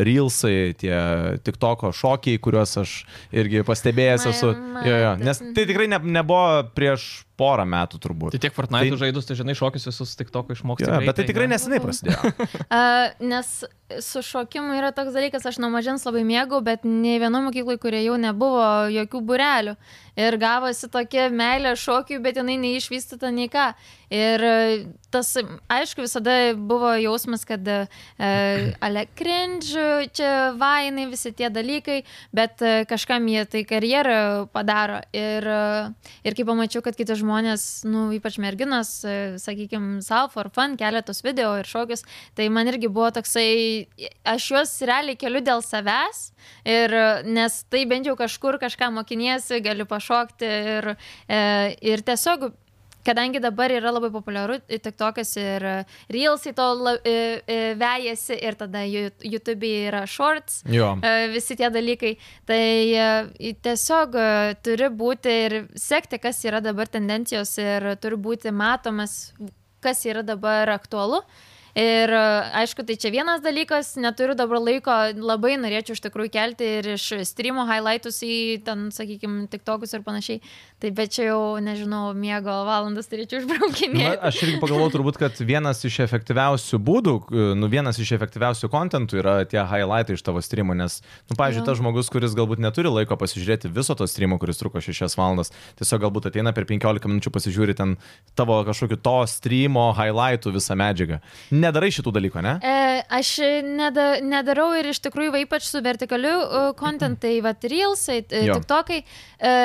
Speaker 1: reelsai, tie TikToko šokiai, kuriuos aš irgi pastebėjęs
Speaker 3: Ma-
Speaker 1: esu.
Speaker 3: ma-
Speaker 1: Jo, jo, nes tai tikrai ne, nebuvo prieš porą metų turbūt.
Speaker 2: Tai tiek Fortnite tai... žaidus, tai žinai, šokius visus tik toko išmoksti.
Speaker 1: Jo, bet tai tikrai neseniai prasidėjo.
Speaker 3: A, nes su šokimu yra toks dalykas, aš nuo mažens labai mėgau, bet nei vieno mokyklai, kurie jau nebuvo jokių burelių. Ir gavosi tokia meilė šokiui, bet jinai neišvystyta nei ką. Ir e, tas, aišku, visada buvo jausmas, kad e, ale cringe, čia vainai, visi tie dalykai, bet e, kažkam jie tai karjerą padaro. Ir, e, ir kai pamačiau, kad kiti žmonės, nu, ypač merginos, sakykime, savo for fun, keletos video ir šokius, tai man irgi buvo toksai, aš juos realiai keliu dėl savęs, ir, e, nes tai bent jau kažkur kažką mokiniesi, gali pašokti ir, e, ir tiesiog, kadangi dabar yra labai populiaru e, TikTokas ir e, Reelsai to la- e, e, vejasi ir tada Ju- YouTube yra Shorts,
Speaker 1: Jo.
Speaker 3: e, visi tie dalykai. Tai e, tiesiog e, turi būti ir sekti, kas yra dabar tendencijos ir turi būti matomas, kas yra dabar aktualu. Ir e, aišku, tai čia vienas dalykas, neturiu dabar laiko, labai norėčiau iš tikrųjų kelti ir iš streamų highlightus į ten, sakykime, tik tokius ir panašiai. Tai bet čia jau, nežinau, miego valandas turėčiau
Speaker 1: Na,
Speaker 3: išbraukinėti.
Speaker 1: aš irgi pagalvoju turbūt, kad vienas iš efektyviausių būdų, nu, vienas iš efektyviausių kontentų yra tie highlightai iš tavo streamų, nes, nu, pavyzdžiui,
Speaker 3: Jo.
Speaker 1: tas žmogus, kuris galbūt neturi laiko pasižiūrėti viso to streamo, kuris truko 6 valandas, tiesiog galbūt ateina per 15 minučių pasižiūri ten tavo kažkokiu to streamo highlightų visą medžiagą. Nedarai šitų dalykų, ne?
Speaker 3: E, aš neda, nedarau ir iš tikrųjų, va, ypač su vertikaliu kontentai, va, reelsai,
Speaker 1: Jo.
Speaker 3: tik tokai, e,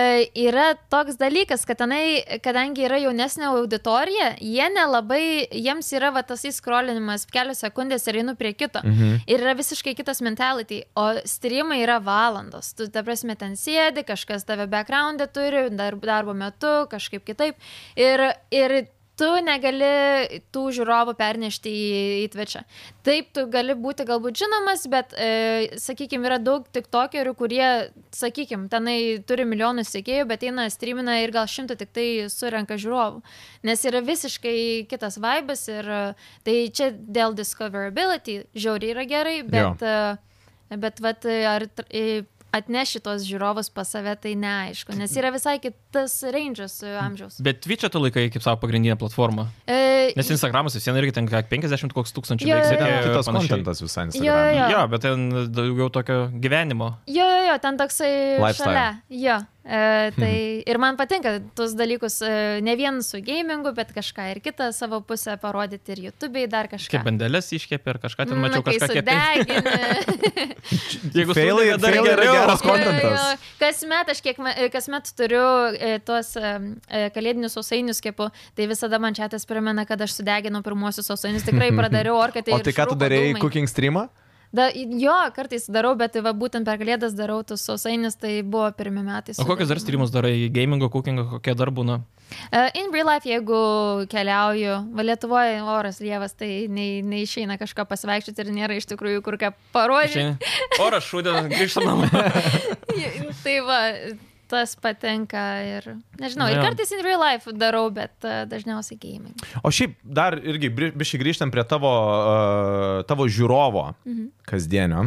Speaker 3: yra toks dalykas, kad tenai, kadangi yra jaunesnė auditorija, jie nelabai, jiems yra va, tas įskrolinimas kelios sekundės ir einu prie kito.
Speaker 1: Mhm.
Speaker 3: Ir yra visiškai kitas mentality, o streamai yra valandos. Tu, ta prasme, ten sėdi, kažkas tave background'e turi, dar, darbo metu, kažkaip kitaip. Ir, ir tu negali tų žiūrovų pernešti į, į Twitch'ą. Taip, tu gali būti galbūt žinomas, bet, e, sakykime, yra daug tik tokerių, kurie, sakykime, tenai turi milijonus sekėjų, bet eina streamina ir gal šimtą tik tai surenka žiūrovų. Nes yra visiškai kitas vaibas ir e, tai čia dėl discoverability žiauriai yra gerai,
Speaker 1: Jo.
Speaker 3: bet, e, bet vat, e, ar tr- e, atneši tos žiūrovus pas save, tai neaišku, nes yra visai kitas rangas amžiaus.
Speaker 2: Bet Twitch'ą tu laikai kaip savo pagrindinę platformą.
Speaker 3: E,
Speaker 2: Nes Instagramas vis vien irgi ten kiek 50 koks tūkstančių
Speaker 3: Jo, jo,
Speaker 2: laiks.
Speaker 3: jo.
Speaker 1: Ten
Speaker 3: e,
Speaker 1: kitas kontentas visai.
Speaker 3: Jo, jo,
Speaker 1: Instagrame.
Speaker 3: jo.
Speaker 2: Jo, bet ten daugiau tokio gyvenimo.
Speaker 3: Jo, jo, jo, ten toksai
Speaker 1: Lifestyle.
Speaker 3: šalia. Jo.
Speaker 1: [LAUGHS]
Speaker 3: E, tai ir man patinka tuos dalykus e, ne vien su gamingu, bet kažką ir kitą savo pusę parodyti ir YouTube'ai dar
Speaker 2: Kaip
Speaker 3: kažką. Mm,
Speaker 2: bandelės iškėpė ir kažką
Speaker 1: Mm,
Speaker 2: ten mačiau,
Speaker 3: kai
Speaker 2: kažką
Speaker 1: [LAUGHS]
Speaker 2: kiek.
Speaker 3: sudegini.
Speaker 2: [LAUGHS] Jeigu
Speaker 1: Failai-
Speaker 2: sudegė, dar
Speaker 1: failai yra
Speaker 2: geriau.
Speaker 1: geras
Speaker 3: Jo,
Speaker 1: kontentas.
Speaker 3: jo. Kasmet aš kiek, ma- e, kasmet turiu e, tuos em, e, kalėdinius sausainius kepu, tai visada man čia tas primena, kad aš sudeginau pirmuosius sausainius,
Speaker 1: [LAUGHS]
Speaker 3: tikrai pradariau orką.
Speaker 1: O tai ką tu darėjai, cooking streamą?
Speaker 3: Da, jo, kartais darau, bet tai va, būtent per kalėdas darau tuos sausainius, tai buvo pirmie metai.
Speaker 2: O kokius dar
Speaker 3: sudegimo.
Speaker 2: streamus darai, gamingo, cookingo, kokie dar būna?
Speaker 3: E, In real life, jeigu keliauju, va Lietuvoje oras lievas, tai nei, neišeina kažką pasivaikščioti ir nėra iš tikrųjų kur ką parodyti. [LAUGHS]
Speaker 2: Išeini. Oras šūdė,
Speaker 1: [LAUGHS]
Speaker 2: grįžtam namo.
Speaker 3: tai va, tas patenka ir, nežinau,
Speaker 2: Na
Speaker 3: ir
Speaker 2: jo.
Speaker 3: kartais in real life darau, bet uh, dažniausiai gaming.
Speaker 1: O šiaip dar irgi bri- biškai grįžtam prie tavo, uh, tavo žiūrovo mhm. kasdienio.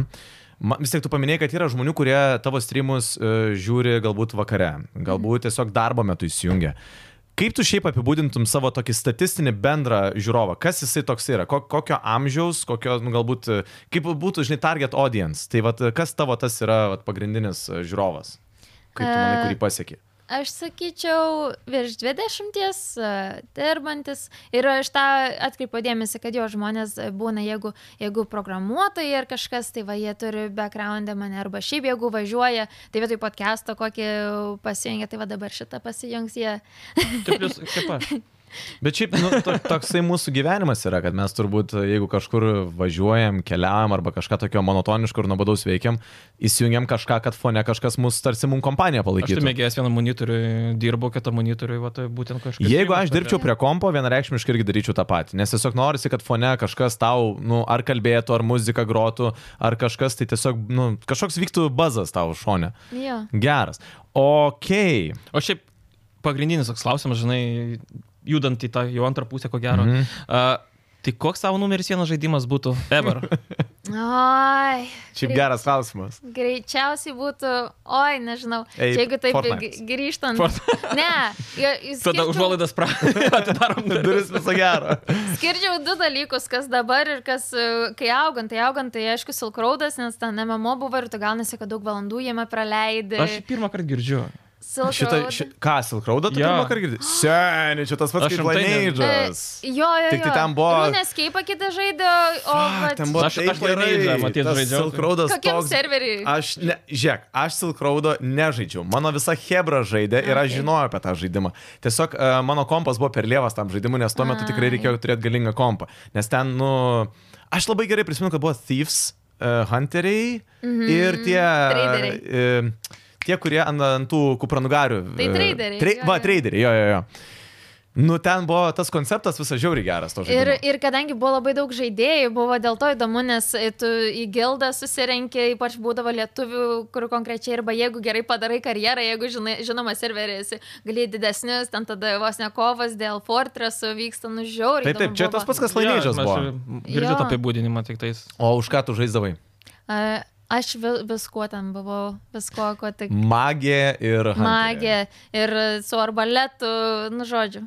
Speaker 1: Ma, vis tiek tu paminėjai, kad yra žmonių, kurie tavo streamus uh, žiūri galbūt vakare, galbūt tiesiog darbo metu įsijungia. Kaip tu šiaip apibūdintum savo tokį statistinį bendrą žiūrovą? Kas jisai toks yra? Ko, kokio amžiaus, kokio, nu, galbūt, e, kaip būtų, žinai, target audience? Tai vat, e, kas tavo tas yra vat, pagrindinis e, žiūrovas? Kaip tu manai,
Speaker 3: E,
Speaker 1: kurį pasiekė?
Speaker 3: Aš sakyčiau, virš 20 e, dirbantis ir aš tą atkreipiu dėmesį, kad jo žmonės e, būna, jeigu, jeigu programuotojai ar kažkas, tai va jie turi backgroundą mane, arba šiaip jeigu važiuoja, tai vietoj podcast'o kokį pasijungia, tai va dabar šitą pasijungs jie.
Speaker 2: Taip, jūs kaip aš.
Speaker 1: Bet šiaip nu, to, toksai mūsų gyvenimas yra, kad mes turbūt, jeigu kažkur važiuojam, keliaujam arba kažką tokio monotoniško ir nuobodaus veikiam, įsijungiam kažką, kad fone kažkas mus tarsi mum kompaniją
Speaker 2: Aš tai
Speaker 1: palaikytų.
Speaker 2: mėgėjęs vieną monitorių, dirbu kitą monitorių, va, tai būtent kažkas.
Speaker 1: Jeigu aš
Speaker 2: streamas,
Speaker 1: dirbčiau prie kompo, vienareikšmiškai irgi daryčiau tą patį, nes tiesiog norisi, kad fone kažkas tau, nu, ar kalbėtų, ar muzika grotų, ar kažkas, tai tiesiog, nu, kažkoks vyktų bazas tau šone.
Speaker 3: Jo.
Speaker 1: Geras. Okei. Okay.
Speaker 2: O šiaip pagrindinis toks klausimas, žinai, judant į tą jau antrą pusę, ko gero.
Speaker 1: Mhm.
Speaker 2: Mm -hmm. uh, tai koks tavo numeris vienas žaidimas būtų?
Speaker 1: [LAUGHS]
Speaker 2: Ever.
Speaker 3: Oi.
Speaker 1: Šiaip geras klausimas. [LAUGHS]
Speaker 3: Greičiausiai būtų, oi, nežinau,
Speaker 1: Ei,
Speaker 3: čia jeigu taip
Speaker 1: Fortnite.
Speaker 3: g- grįžtant.
Speaker 2: Fortnite.
Speaker 3: Ne, jis.
Speaker 2: Tada užuolaidas
Speaker 1: [LAUGHS]
Speaker 2: pra... atidarom duris.
Speaker 1: Duris viso gero.
Speaker 3: Skirdžiau du dalykus, kas dabar ir kas, e, kai augant, tai augant, tai aišku, silkraudas, nes ten MMO buvo ir tu gaunasi, kad daug valandų jame praleidai.
Speaker 2: Aš jį pirmą kartą girdžiu.
Speaker 1: Šitą, ši, ką, Silkraudą tu
Speaker 2: Jo.
Speaker 1: pirmą kartą girdėjai? Seniai, čia tas pats
Speaker 2: Aš
Speaker 1: kaip
Speaker 2: rimtai ne-
Speaker 1: Laneidžas.
Speaker 3: E, Jo, jo, jo.
Speaker 1: Tik tai ten buvo-
Speaker 3: Nes keipa kitą žaidė, o... vat-
Speaker 1: Ten
Speaker 2: Aš- aš Lineage'ą, matyt, žaidžiau, tai-
Speaker 1: Silkraudas.
Speaker 3: Kokiam serveriui?
Speaker 1: Aš, ne, žiūrėk, aš Silkraudo nežaidžiau. Mano visa Hebra žaidė ir aš
Speaker 3: Okay.
Speaker 1: žinojau apie tą žaidimą. Tiesiog uh, mano kompas buvo per lievas tam žaidimui, nes tuo metu tikrai
Speaker 3: Ai.
Speaker 1: reikėjo turėti galingą kompą. Nes ten, nu, aš labai gerai prisimenu, kad buvo Thieves, uh, Hunteriai
Speaker 3: Mhm.
Speaker 1: ir tie... e,
Speaker 3: Traderiai.
Speaker 1: Uh, tie, kurie ant, ant tų kupranugarių.
Speaker 3: Tai traderiai,
Speaker 1: Tre,
Speaker 3: jo,
Speaker 1: va,
Speaker 3: jo.
Speaker 1: traderiai, jo, jo, jo. Nu, ten buvo tas konceptas visą žiaurį geras to
Speaker 3: Ir,
Speaker 1: žaidimo.
Speaker 3: ir kadangi buvo labai daug žaidėjų, buvo dėl to įdomu, nes e, tu į gildą susirenki, ypač būdavo lietuvių, kur konkrečiai arba jeigu gerai padarai karjerą, jeigu žinai, žinoma serveris, gali didesnius, ten tada vos ne kovas dėl Fortressų vyksta nu, nužiauriai.
Speaker 1: Taip, taip, čia tas pats, kas laimėžas buvo.
Speaker 2: Girdžiu
Speaker 3: Jo.
Speaker 2: tą apibūdinimą tik tais.
Speaker 1: O už ką tu žaisdavai?
Speaker 3: Aš vi- viskuo ten buvau, viskuo, ko tik.
Speaker 1: Magė ir... Hunterė.
Speaker 3: Magė ir su arbaletu, nu žodžiu,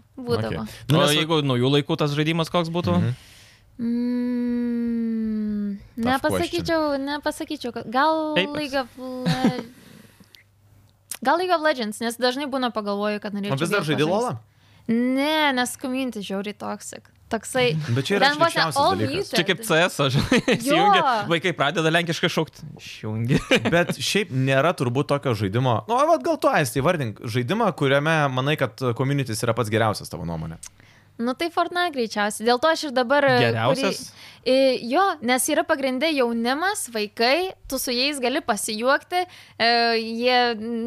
Speaker 1: Okei.
Speaker 3: būdavo. Okay.
Speaker 2: Nu,
Speaker 1: Nu,
Speaker 2: o
Speaker 1: nes... Mhm.
Speaker 2: jeigu naujų laikų tas žaidimas koks būtų? Mm -hmm.
Speaker 3: Mm,
Speaker 1: Tough question.
Speaker 3: nepasakyčiau, nepasakyčiau, kad gal
Speaker 2: Papers.
Speaker 3: League of Le... Gal League of Legends, nes dažnai būna pagalvoju, kad norėčiau.
Speaker 1: O vis dar
Speaker 3: vėl
Speaker 1: žaidė
Speaker 3: pažaist.
Speaker 1: Lola?
Speaker 3: Ne, nes community žiauri toksik. Toksai.
Speaker 1: Bet čia yra
Speaker 3: Ten vos ne
Speaker 1: šlykščiausias
Speaker 3: all
Speaker 1: dalykas.
Speaker 3: muted.
Speaker 2: Čia kaip CS, aš žinai, įsijungia. Vaikai pradeda lenkiškai šaukti. Išjungi.
Speaker 1: Bet šiaip nėra turbūt tokio žaidimo. Nu, o vat gal tu aistai vardink žaidimą, kuriame manai, kad communities yra pats geriausias tavo nuomonė.
Speaker 3: Nu tai Fortnite greičiausiai. Dėl to aš ir dabar. e,
Speaker 2: Geriausias.
Speaker 3: Kurį, e, jo, nes yra pagrindė jaunimas, vaikai, tu su jais gali pasijuokti, e, jie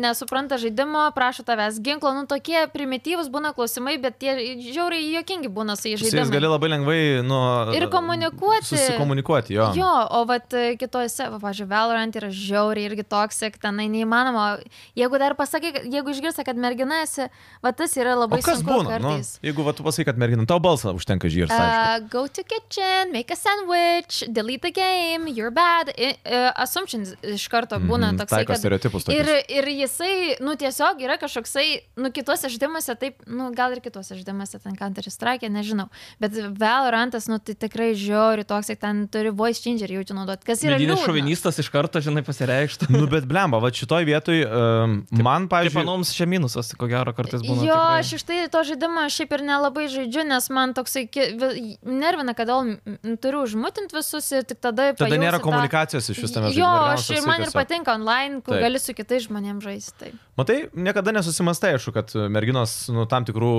Speaker 3: nesupranta žaidimo, prašo tavęs ginklo, nu tokie primityvūs būna klausimai, bet tie žiauriai jokingi būna su jais
Speaker 1: Su jais
Speaker 3: žaidimai.
Speaker 1: gali labai lengvai, nu...
Speaker 3: Ir komunikuoti.
Speaker 1: Susikomunikuoti, jo.
Speaker 3: Jo, o vat e, kitose, va, pažiūrėjau, Valorant yra žiauriai irgi toksik, tenai neįmanoma. Jeigu dar pasakai, kad- jeigu išgirsi, kad mergina esi, va tas yra
Speaker 1: O
Speaker 3: labai
Speaker 1: kas
Speaker 3: sunku
Speaker 1: būna? Nu,
Speaker 3: kartais.
Speaker 1: jeigu va, tu pasakai, kad merginam, tau balsą užtenka žyrs. Uh,
Speaker 3: Uh, go to kitchen, make a sandwich, delete the game, you're bad. I, uh, assumptions iš karto būna
Speaker 1: Mhm,
Speaker 3: mm, toksai.
Speaker 1: taiko stereotipus tokius.
Speaker 3: ir, ir jisai, nu tiesiog yra kažkoksai, nu kitose žaidimuose, taip, nu gal ir kitose žaidimuose ten Counter Strike, nežinau. Bet Valorantas, nu tai tikrai žiauri toksai, ten turi voice changer jaučiu naudoti. Kas tai yra
Speaker 2: Vidinis
Speaker 3: liūdna.
Speaker 2: šovinistas iš karto, žinai, pasireikštų.
Speaker 1: nu, bet blemba, va šitoj vietoj um, man,
Speaker 2: Taip,
Speaker 1: pavyzdžiui,
Speaker 2: manoms čia minusas, ko gero, kartais būna.
Speaker 3: Jo,
Speaker 2: tikrai.
Speaker 3: aš iš tai to žaidimo šiaip ir nelabai žaidžiu, nes man toksai ki- vi- nervina, kad vėl m- turiu užmutinti visus ir tik tada...
Speaker 1: tada nėra
Speaker 3: pajausi tą-
Speaker 1: komunikacijos iš vis tame žaidime.
Speaker 3: Jo,
Speaker 1: ir
Speaker 3: aš
Speaker 1: gaunas
Speaker 3: ir
Speaker 1: toksai
Speaker 3: man ir
Speaker 1: tiesiog-
Speaker 3: patinka online, kur
Speaker 1: Taip.
Speaker 3: taip. gali su kitais žmonėms žaisti.
Speaker 1: [LAUGHS]
Speaker 3: Taip.
Speaker 1: Matai, niekada nesusimastai, aišku, kad merginos nu, tam tikrų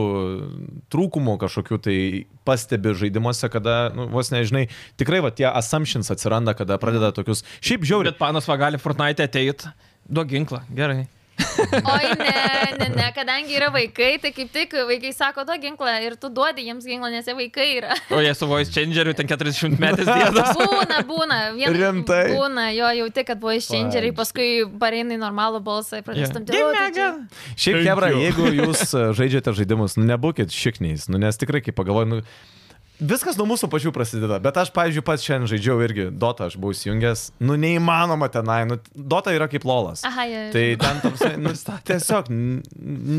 Speaker 1: trūkumų kažkokių tai pastebi žaidimuose, kada, nu, vos nežinai, tikrai va tie assumptions atsiranda, kada pradeda tokius šiaip žiauriai.
Speaker 2: Bet panas va gali Fortnite ateit, duok ginklą, gerai.
Speaker 3: Oi, ne, ne, ne, kadangi yra vaikai, tai kaip tik vaikai sako, duok ginklą ir tu duodi jiems ginklą, nes jie vaikai
Speaker 1: [LAUGHS]
Speaker 3: yra.
Speaker 2: O jie su voice changeriu ten 40 metais dėda.
Speaker 3: [LAUGHS] Būna, būna, vien,
Speaker 1: Rimtai?
Speaker 3: būna, jo jauti, kad buvo iščengeriai, paskui pareina į normalų balsą ir
Speaker 2: Jo.
Speaker 3: pradės tam tikrai.
Speaker 1: Šiaip,
Speaker 2: Thank
Speaker 1: Hebra,
Speaker 2: you. [LAUGHS]
Speaker 1: jeigu jūs e, žaidžiate žaidimus, nu, nebūkit šikniais, nu, nes tikrai, kai pagalvoju, nu, viskas nuo mūsų pačių prasideda, bet aš, pavyzdžiui, pats šiandien žaidžiau irgi Dota, aš buvau įjungęs, nu, neįmanoma tenai, nu, Dota yra kaip lolas.
Speaker 3: Aha, jie.
Speaker 1: Tai ten toks, nu, tiesiog n-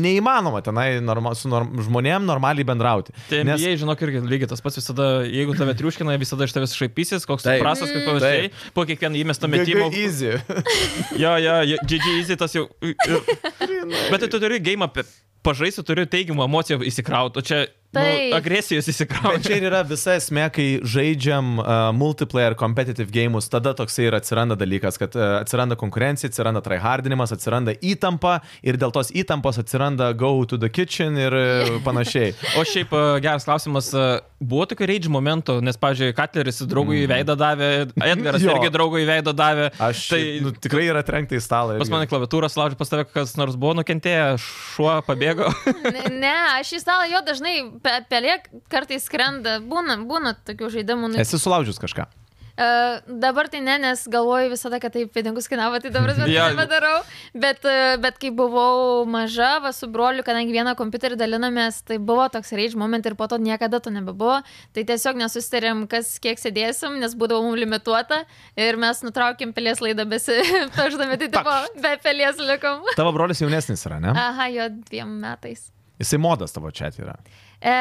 Speaker 1: neįmanoma tenai norma, su norm, žmonėm normaliai bendrauti.
Speaker 2: Tai nes... jie, žinok, irgi lygiai tas pats visada, jeigu tave triuškina, jie visada iš tavęs šaipysis, koks tu
Speaker 1: Taip.
Speaker 2: prastas,
Speaker 3: Mm.
Speaker 2: kaip panašiai, po kiekvieno įmesto metimo. [LAUGHS]
Speaker 1: Easy. [LAUGHS]
Speaker 2: Jo, jo, jo, GG Easy tas jau. Bet tai tu turi game apie pažaisti, turi teigiamą emociją įsikrauti, o čia nu,
Speaker 3: Taip.
Speaker 1: Bet
Speaker 2: agresijos
Speaker 1: čia
Speaker 2: įsikrauti.
Speaker 1: ir yra visa esmė, kai žaidžiam uh, multiplayer competitive games, tada toksai ir atsiranda dalykas, kad uh, atsiranda konkurencija, atsiranda tryhardinimas, atsiranda įtampa ir dėl tos įtampos atsiranda go to the kitchen ir e, panašiai.
Speaker 2: O šiaip e, geras klausimas, e, buvo tokių reidž momentų, nes, pavyzdžiui, Katleris draugui į veidą davė, Edgaras
Speaker 1: Mm. Jo.
Speaker 2: irgi draugui į veidą davė.
Speaker 1: Aš tai, nu, tikrai yra trenkta į stalą.
Speaker 2: Pas mane klaviatūros laužė, pas tave kas nors buvo nukentėję, šuo
Speaker 1: [LAUGHS]
Speaker 2: pabėgo.
Speaker 3: Ne, ne, aš į stalą jo dažnai pe- pelė kartais skrenda, būna, būna tokių žaidimų. nu,
Speaker 1: Esi sulaužius kažką.
Speaker 3: E, dabar tai ne, nes galvoju visada, kad tai pinigus kainavo, tai dabar visą
Speaker 2: Jo.
Speaker 3: tai padarau. Bet, e, bet kai buvau maža, va su broliu, kadangi vieną kompiuterį dalinomės, tai buvo toks reidž moment ir po to niekada to nebebuvo. Tai tiesiog nesusitarėm, kas kiek sėdėsim, nes būdavo mums limituota ir mes nutraukėm pelės laidą [LAUGHS] besipaždami, tai tipo, be pelės likom.
Speaker 1: Tavo brolis jaunesnis yra, ne?
Speaker 3: Aha, jo dviem metais.
Speaker 1: Jisai modas tavo čia yra.
Speaker 3: E,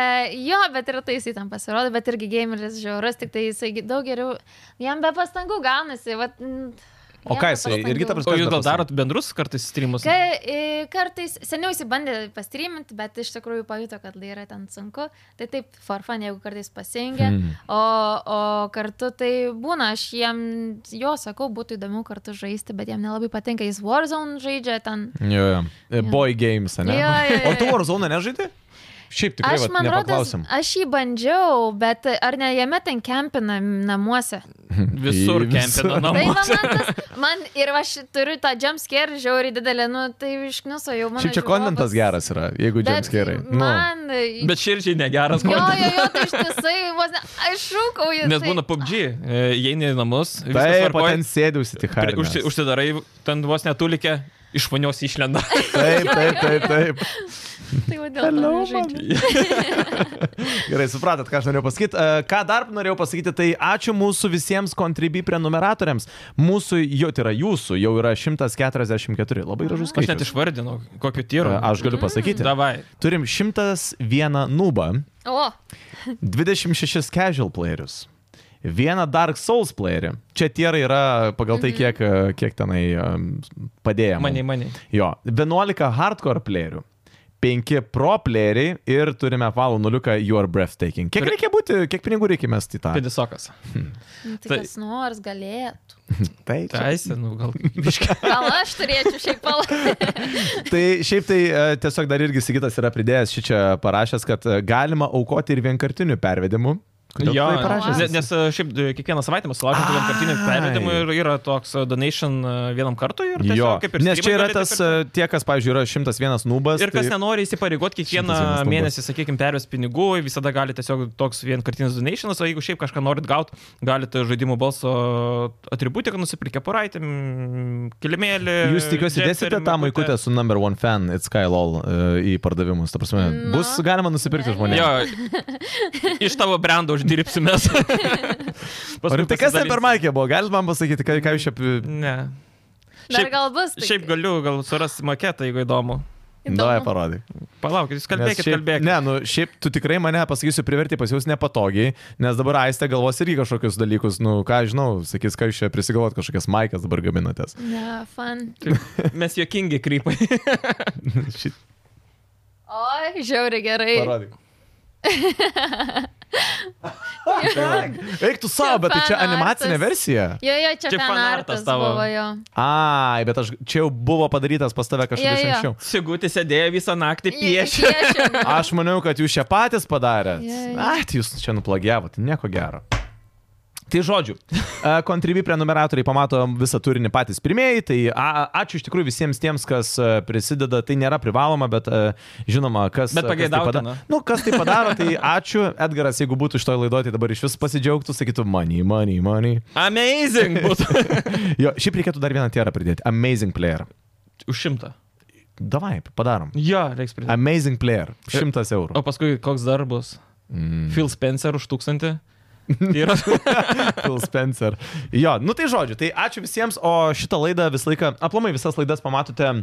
Speaker 3: jo, bet ir tai jisai tam pasirodo, bet irgi gameris žiaurus, tik tai jisai gi- daug geriau, jam be pastangų gaunasi. Vat, mm,
Speaker 1: O
Speaker 3: jam
Speaker 1: ką
Speaker 3: be
Speaker 1: jisai? Irgi ta
Speaker 3: pastangų.
Speaker 1: prasme.
Speaker 2: O jūs gal darot bandrus kartais streamus?
Speaker 3: Ka, e, kartais seniau įsibandė pastryminti, bet iš tikrųjų pajuto, kad tai yra ten sunku. Tai taip, forfan, jeigu kartais pasijungia.
Speaker 1: Mhm.
Speaker 3: O, o kartu tai būna, aš jiem, jo sakau, būtų įdomu kartu žaisti, bet jiem nelabai patinka. Jis Warzone žaidžia ten.
Speaker 1: Jo, jo. E,
Speaker 3: Jo.
Speaker 1: Boy games, ne?
Speaker 3: Jo, jo, jo,
Speaker 1: O tu
Speaker 3: jo.
Speaker 1: Warzone nežaidai? Šiaip tikrai,
Speaker 3: aš,
Speaker 1: vat,
Speaker 3: man rodos,
Speaker 1: nepaklausėm.
Speaker 3: aš jį bandžiau, bet ar ne jame ten kempina namuose?
Speaker 2: Visur
Speaker 1: Į visur.
Speaker 2: kempina nu.
Speaker 3: Tai va,
Speaker 2: namuose.
Speaker 3: man, tas, man ir aš turiu tą jumpscare žiaurį didelį, nu tai išknuso jau mano.
Speaker 1: Šiaip čia
Speaker 3: žiūrovas.
Speaker 1: kontentas geras yra, jeigu
Speaker 3: Bet
Speaker 1: džiams gerai.
Speaker 3: Man. Bet
Speaker 2: Bet širdžiai negeras
Speaker 3: jo,
Speaker 2: kontentas.
Speaker 3: jo, jo, tai iš tiesai, vos ne, aš šūkauju.
Speaker 2: Nes
Speaker 3: tai-
Speaker 2: būna PUBG, e, įeini į namus, viskas
Speaker 1: Nu, Taip, o
Speaker 2: tvarkoj,
Speaker 1: ten sėdėjusi tik
Speaker 2: pri- užsi-
Speaker 1: hardas.
Speaker 2: užsidarai, ten vos netulikė, iš vanios
Speaker 3: [LAUGHS]
Speaker 2: išlenda.
Speaker 1: Taip, taip, taip, taip.
Speaker 3: Tai vadėl to nežaidžiu.
Speaker 1: [LAUGHS] Gerai, supratat, ką aš norėjau pasakyti. E, Ką dar norėjau pasakyti, tai ačiū mūsų visiems kontribį prenumeratoriams. Mūsų, jo, tai yra jūsų, jau yra 144. Labai gražus
Speaker 2: Aš net
Speaker 1: skaičius.
Speaker 2: išvardinau, kokio
Speaker 1: E,
Speaker 2: tyro.
Speaker 1: Aš galiu pasakyti.
Speaker 2: Davai.
Speaker 1: Turim 101 nubą,
Speaker 3: O,
Speaker 1: 26 casual playerius. Vieną Dark Souls playerį. Čia tiera yra pagal
Speaker 2: Mhm.
Speaker 1: tai, kiek, e, kiek tenai um, padėjo. mum.
Speaker 2: Maniai, maniai.
Speaker 1: Jo, 11 hardcore playerių, 5 pro playeriai ir turime valų nuliuką Your Breathtaking. Kiek
Speaker 2: Turi-
Speaker 1: reikia būti, kiek pinigų reikia mesti į tą?
Speaker 2: Pidisokas.
Speaker 3: nu, tai
Speaker 2: Tai-
Speaker 3: kas nors galėtų.
Speaker 1: Tai, čia-
Speaker 2: Teisė, nu
Speaker 1: [LAUGHS]
Speaker 2: gal. biškį.
Speaker 3: Gal aš turėčiau šiaip
Speaker 2: [LAUGHS]
Speaker 3: palaikyti.
Speaker 1: tai šiaip tai e, tiesiog dar irgi Sigitas yra pridėjęs šį čia parašęs, kad e, galima aukoti ir vienkartinių pervedimų. Kodėl
Speaker 2: Jo,
Speaker 1: tu tai parašęs?
Speaker 2: ne- nes e, šiaip e, kiekvieną savaitę mes sulaukiam tokiam kartiniam
Speaker 1: Ai.
Speaker 2: pervedimui ir yra toks e, donation e, vienam kartui ir tiesiog,
Speaker 1: Jo,
Speaker 2: kaip ir
Speaker 1: nes čia
Speaker 2: streamai
Speaker 1: yra
Speaker 2: gali
Speaker 1: tas,
Speaker 2: taip ir-
Speaker 1: e, tie, kas, pavyzdžiui, yra 101 nubas. tai-
Speaker 2: Ir kas nenori įsipareigoti kiekvieną
Speaker 1: 101 numbas.
Speaker 2: mėnesį, sakykime, pervės pinigų, visada gali tiesiog toks vienkartinis donationas, o jeigu šiaip kažką norit gauti, galite žaidimų balso atributiką nusipirkę poraitį, mm, kilimėlį.
Speaker 1: Jūs tikiuosi dėsite tą maikutę su number one fan, it's Kylol į pardavimus. Ta prasme,
Speaker 3: Na.
Speaker 1: bus galima nusipirkti žmonėms.
Speaker 2: Jo, iš tavo brendo uždirbsime.
Speaker 1: [LAUGHS] O rimtai, tai kas ten per Maikė buvo? Galit man pasakyti, ką, ką jūs čia...
Speaker 2: Ne.
Speaker 3: Dar
Speaker 2: Šiaip-
Speaker 3: gal bus. tai-
Speaker 2: Šiaip galiu, gal surasti maketą, jeigu įdomu.
Speaker 3: Įdomu.
Speaker 1: Davai parodyk.
Speaker 2: Palaukit, jūs
Speaker 1: Nes
Speaker 2: kalbėkit,
Speaker 1: šiaip,
Speaker 2: kalbėkit.
Speaker 1: Ne, nu šiaip tu tikrai mane, pasakysiu, priverti pasijausti nepatogiai, nes dabar Aistė galvos irgi kažkokius dalykus, nu ką aš žinau, sakys, ką jūs čia prisigalvot, kažkokias Maikas dabar
Speaker 2: [LAUGHS]
Speaker 1: gaminatės.
Speaker 3: Ne, fan.
Speaker 2: Mes jokingi krypai. [LAUGHS]
Speaker 1: Šit-
Speaker 3: O, žiauri gerai.
Speaker 1: Parodyk. Eik tu savo, bet tai čia
Speaker 3: fanartas.
Speaker 1: animacinė versija.
Speaker 3: Jo, jo, čia,
Speaker 2: Čia
Speaker 3: čia
Speaker 2: fanartas
Speaker 3: fanartas
Speaker 2: tavo.
Speaker 3: buvo jo.
Speaker 1: Ai, bet aš, čia jau buvo padarytas pas tave kažkas
Speaker 3: Jo, jo.
Speaker 1: anksčiau.
Speaker 2: Sigutė sėdėjo visą naktį piešė.
Speaker 3: Piešia.
Speaker 2: [LAUGHS]
Speaker 1: Aš maniau, kad jūs čia patys padarėt.
Speaker 3: Jo, jo.
Speaker 1: Ai, tai jūs čia nuplagiavot, nieko gero. Tai žodžiu, kontribį prenumeratoriai pamato visą turinį patys pirmieji, tai a, ačiū iš tikrųjų visiems tiems, kas e, prisideda, tai nėra privaloma, bet e, žinoma, kas...
Speaker 2: Bet
Speaker 1: kas tai pada-
Speaker 2: pageidautina.
Speaker 1: Nu, kas tai padaro, tai ačiū. Edgaras, jeigu būtų iš to laiduoti, tai dabar iš vis pasidžiaugtų, sakytų, money, money, money.
Speaker 2: Amazing būtų. [LAUGHS]
Speaker 1: Jo, šiaip reikėtų dar vieną tierą pridėti. Amazing player.
Speaker 2: Už šimtą.
Speaker 1: Davai, padarom.
Speaker 2: Jo, reiks pridėti.
Speaker 1: Amazing player. Šimtas eurų.
Speaker 2: O paskui koks dar bus? Mm. Phil Spencer už [LAUGHS] tūkstantį. Tai yra
Speaker 1: Phil Spencer. Jo, nu tai žodžiu, tai ačiū visiems, o šitą laidą visą laiką, aplamai visas laidas pamatote e,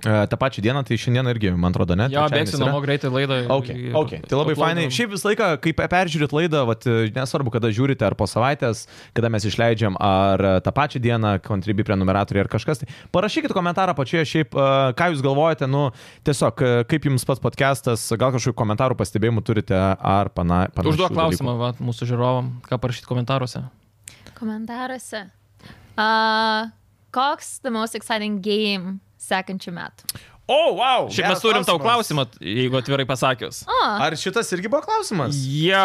Speaker 1: tą pačią dieną, tai šiandien irgi, man atrodo, ne?
Speaker 2: Jo,
Speaker 1: Trečiadienis
Speaker 2: bėgsiu
Speaker 1: yra.
Speaker 2: namo greitai laidą.
Speaker 1: Okay, okay. Tai labai fainai. Šiaip visą laiką, kai peržiūrit laidą, vat, e, nesvarbu, kada žiūrite, ar po savaitės, kada mes išleidžiam, ar e, tą pačią dieną, kontribį prenumeratoriai ar kažkas, tai parašykit komentarą pačioje, šiaip, e, ką jūs galvojate, nu, tiesiog, e, kaip jums pats podcastas, gal kažkokių komentarų pastebėjimų turite, ar pana, panašiai.
Speaker 2: Užduok klausimą va, mūsų žiūrovam, ką parašyti komentaruose.
Speaker 3: Komentaruose. Uh, koks the most exciting game sekančių metų?
Speaker 1: O, oh, wow!
Speaker 2: Šiaip mes
Speaker 1: geras
Speaker 2: turim tau
Speaker 1: klausimas.
Speaker 2: klausimą, jeigu atvirai pasakius.
Speaker 3: O,
Speaker 1: Ar šitas irgi buvo klausimas?
Speaker 2: Jo.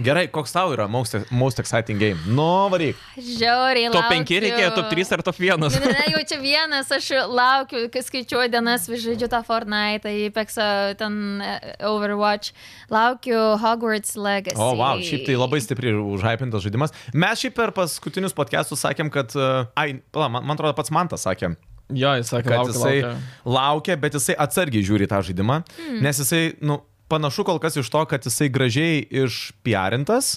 Speaker 1: Gerai, koks tau yra most, most exciting game? Nu, varyk.
Speaker 3: žiauriai.
Speaker 2: Top 5
Speaker 3: laukiu.
Speaker 2: reikėjo, top 3 ar top
Speaker 3: Ne,
Speaker 2: 1.
Speaker 3: ne, ne, jau čia vienas, aš laukiu, kai skaičiuoju dienas, vis žaidžiu tą Fortnite, Apexą, ten e, Overwatch, laukiu Hogwarts Legacy.
Speaker 1: O, wow, šiaip tai labai stipriai užhypintas žaidimas. Mes šiaip per paskutinius podcastus sakėm, kad... e, Ai, pala, man, man atrodo, pats man tas sakė,
Speaker 2: Jo, jis sakė,
Speaker 1: kad
Speaker 2: laukia,
Speaker 1: jisai
Speaker 2: jisai... laukia.
Speaker 1: laukia, bet jisai atsargiai žiūri į tą žaidimą, hmm. nes jisai, nu, panašu kol kas iš to, kad jisai gražiai išpiarintas,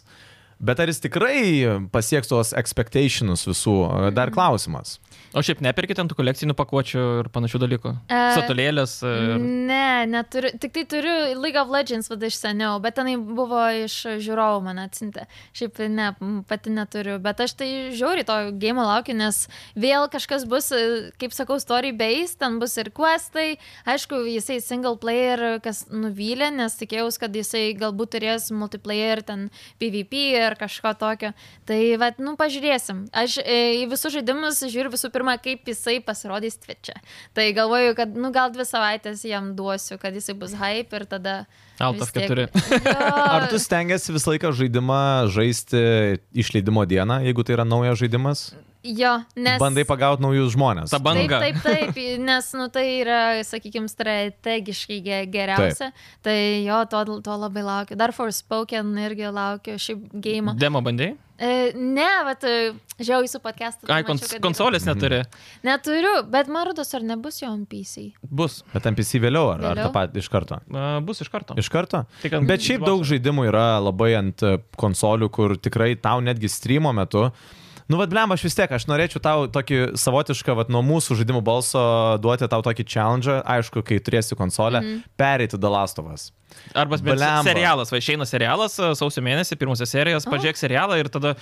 Speaker 1: bet ar jis tikrai pasieks tos expectations visų, e, dar klausimas.
Speaker 2: O šiaip neperkite ant tų kolekcinių pakuočių ir panašių dalykų. E...
Speaker 3: E,
Speaker 2: Satulėlės. Ir...
Speaker 3: Ne, neturiu. Tik tai turiu League of Legends vadą iš seniau, bet tenai buvo iš žiūrovų man atsinti. Šiaip ne, m, pati neturiu, bet aš tai žiūriu to game laukiu, nes vėl kažkas bus, e, kaip sakau, story base, ten bus ir questai. Aišku, jisai single player, kas nuvylė, nes tikėjausi, kad jisai galbūt turės multiplayer, ten PvP ir ar kažko tokio. Tai, va, nu, pažiūrėsim. Aš e, į visus žaidimus žiūriu visų pirma, kaip jisai pasirodys Twitch'e. Tai galvoju, kad, nu, gal dvi savaitės jam duosiu, kad jisai bus hype ir tada...
Speaker 2: Alt
Speaker 3: vis tiek-
Speaker 2: F4.
Speaker 3: Jo.
Speaker 1: [LAUGHS] Ar tu stengiasi visą laiką žaidimą žaisti išleidimo dieną, jeigu tai yra naujas žaidimas?
Speaker 3: Jo, nes...
Speaker 1: Bandai pagauti naujus žmonės.
Speaker 2: Ta banga.
Speaker 3: Taip, taip, taip, nes nu, tai yra, sakykime, strategiškai ge- geriausia. Taip. Tai jo, to, to labai laukiu. Dar Forspoken irgi laukiu šiaip game.
Speaker 2: Demo bandėjai?
Speaker 3: E, ne, bet žiaugiu su podcastu. tai
Speaker 2: Ai,
Speaker 3: mačiau,
Speaker 2: kons
Speaker 3: kad yra.
Speaker 2: konsolės neturi.
Speaker 1: Mhm.
Speaker 3: Neturiu, bet man rodos, ar nebus jo NPC.
Speaker 2: Bus.
Speaker 1: Bet MPC vėliau ar, ar tą
Speaker 3: Vėliau?
Speaker 1: patį iš karto?
Speaker 2: A, Bus iš karto.
Speaker 1: Iš karto?
Speaker 2: Tik ant
Speaker 1: Bet šiaip
Speaker 2: Xbox'o.
Speaker 1: daug žaidimų yra labai ant e, konsolių, kur tikrai tau netgi streamo metu. Nu, vad, blem, aš vis tiek, aš norėčiau tau tokį savotišką, vad, nuo mūsų žaidimų balso duoti tau tokį challenge, aišku, kai turėsi konsolę,
Speaker 3: Mhm.
Speaker 1: mm -hmm. pereiti Dalastovas.
Speaker 2: Arba bent
Speaker 1: Blemba.
Speaker 2: serialas, va išeina serialas a, sausio mėnesį, pirmosios serijos, pažiūrėk serialą ir tada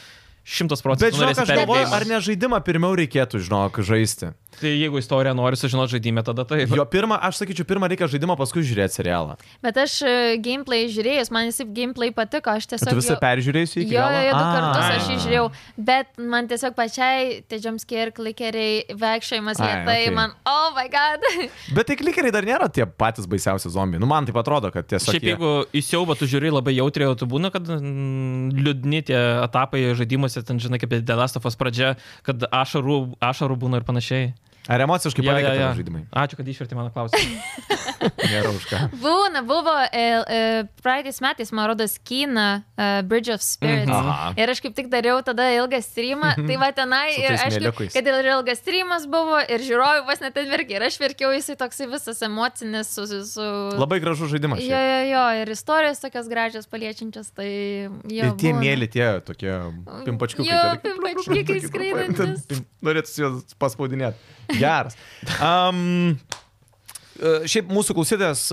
Speaker 2: šimtas
Speaker 1: Bet,
Speaker 2: procentų
Speaker 1: žinok,
Speaker 2: norėsi
Speaker 1: aš galvoju, ar
Speaker 2: perėti.
Speaker 1: ne žaidimą pirmiau reikėtų, žinok, žaisti.
Speaker 2: Tai jeigu istoriją nori sužinoti žaidime, tada taip.
Speaker 1: Jo pirmą, aš sakyčiau, pirmą reikia žaidimą, paskui žiūrėti serialą.
Speaker 3: Bet aš e, gameplay žiūrėjus, man jis gameplay patiko, aš
Speaker 1: Bet tu
Speaker 3: tiesiog...
Speaker 1: visą
Speaker 3: jo-
Speaker 1: peržiūrėsi iki
Speaker 3: Jo,
Speaker 1: galo.
Speaker 3: jo, jo, du kartus
Speaker 1: Ai.
Speaker 3: aš jį žiūrėjau, bet man tiesiog pačiai, tie jumpscare, klikeriai, vekšėjimas
Speaker 1: Ai,
Speaker 3: lietai,
Speaker 1: okei.
Speaker 3: man, oh my god. [LAUGHS]
Speaker 1: Bet tai klikeriai dar nėra tie patys baisiausi zombiai. Nu, man tai atrodo, kad tiesiog...
Speaker 2: Šiaip
Speaker 1: jie-
Speaker 2: jeigu įsiaubą tu žiūri labai jautriai, o tu būna, kad mm, liūdni tie etapai žaidimuose, ten žinai, kaip Delastofas pradžia, kad ašarų, ašarų būna ir panašiai.
Speaker 1: Ar emociškai
Speaker 2: Jo,
Speaker 1: paveikia
Speaker 2: jo,
Speaker 1: ja, ja.
Speaker 2: jo.
Speaker 1: žaidimai?
Speaker 2: Ačiū, kad išverti mano klausimą.
Speaker 1: Nėra už ką.
Speaker 3: Būna, buvo e, e, praeitais metais, man rodos, Kina e, Bridge of Spirits.
Speaker 2: Mhm.
Speaker 1: Aha.
Speaker 3: Ir aš kaip tik dariau tada ilgą streamą, tai va tenai
Speaker 1: Su
Speaker 3: ir
Speaker 1: tais
Speaker 3: aišku,
Speaker 1: mieliukais.
Speaker 3: kad ir ilgas streamas buvo ir žiūrovai vos net atverkė. Ir aš verkiau, jisai toksai visas emocinis, su... su, su...
Speaker 1: Labai gražus žaidimas.
Speaker 3: Jo,
Speaker 1: šiaip.
Speaker 3: jo, jo, ir istorijos tokias gražias paliečiančias, tai jo.
Speaker 1: Ir tie
Speaker 3: būna.
Speaker 1: mėly, tie tokie pimpačkiukai.
Speaker 3: Jo,
Speaker 1: tie tokie-
Speaker 3: pimpačkiukai skraidantis.
Speaker 1: Ten Norėtųsi juos paspaudinėti. Geras. Um, šiaip mūsų klausytės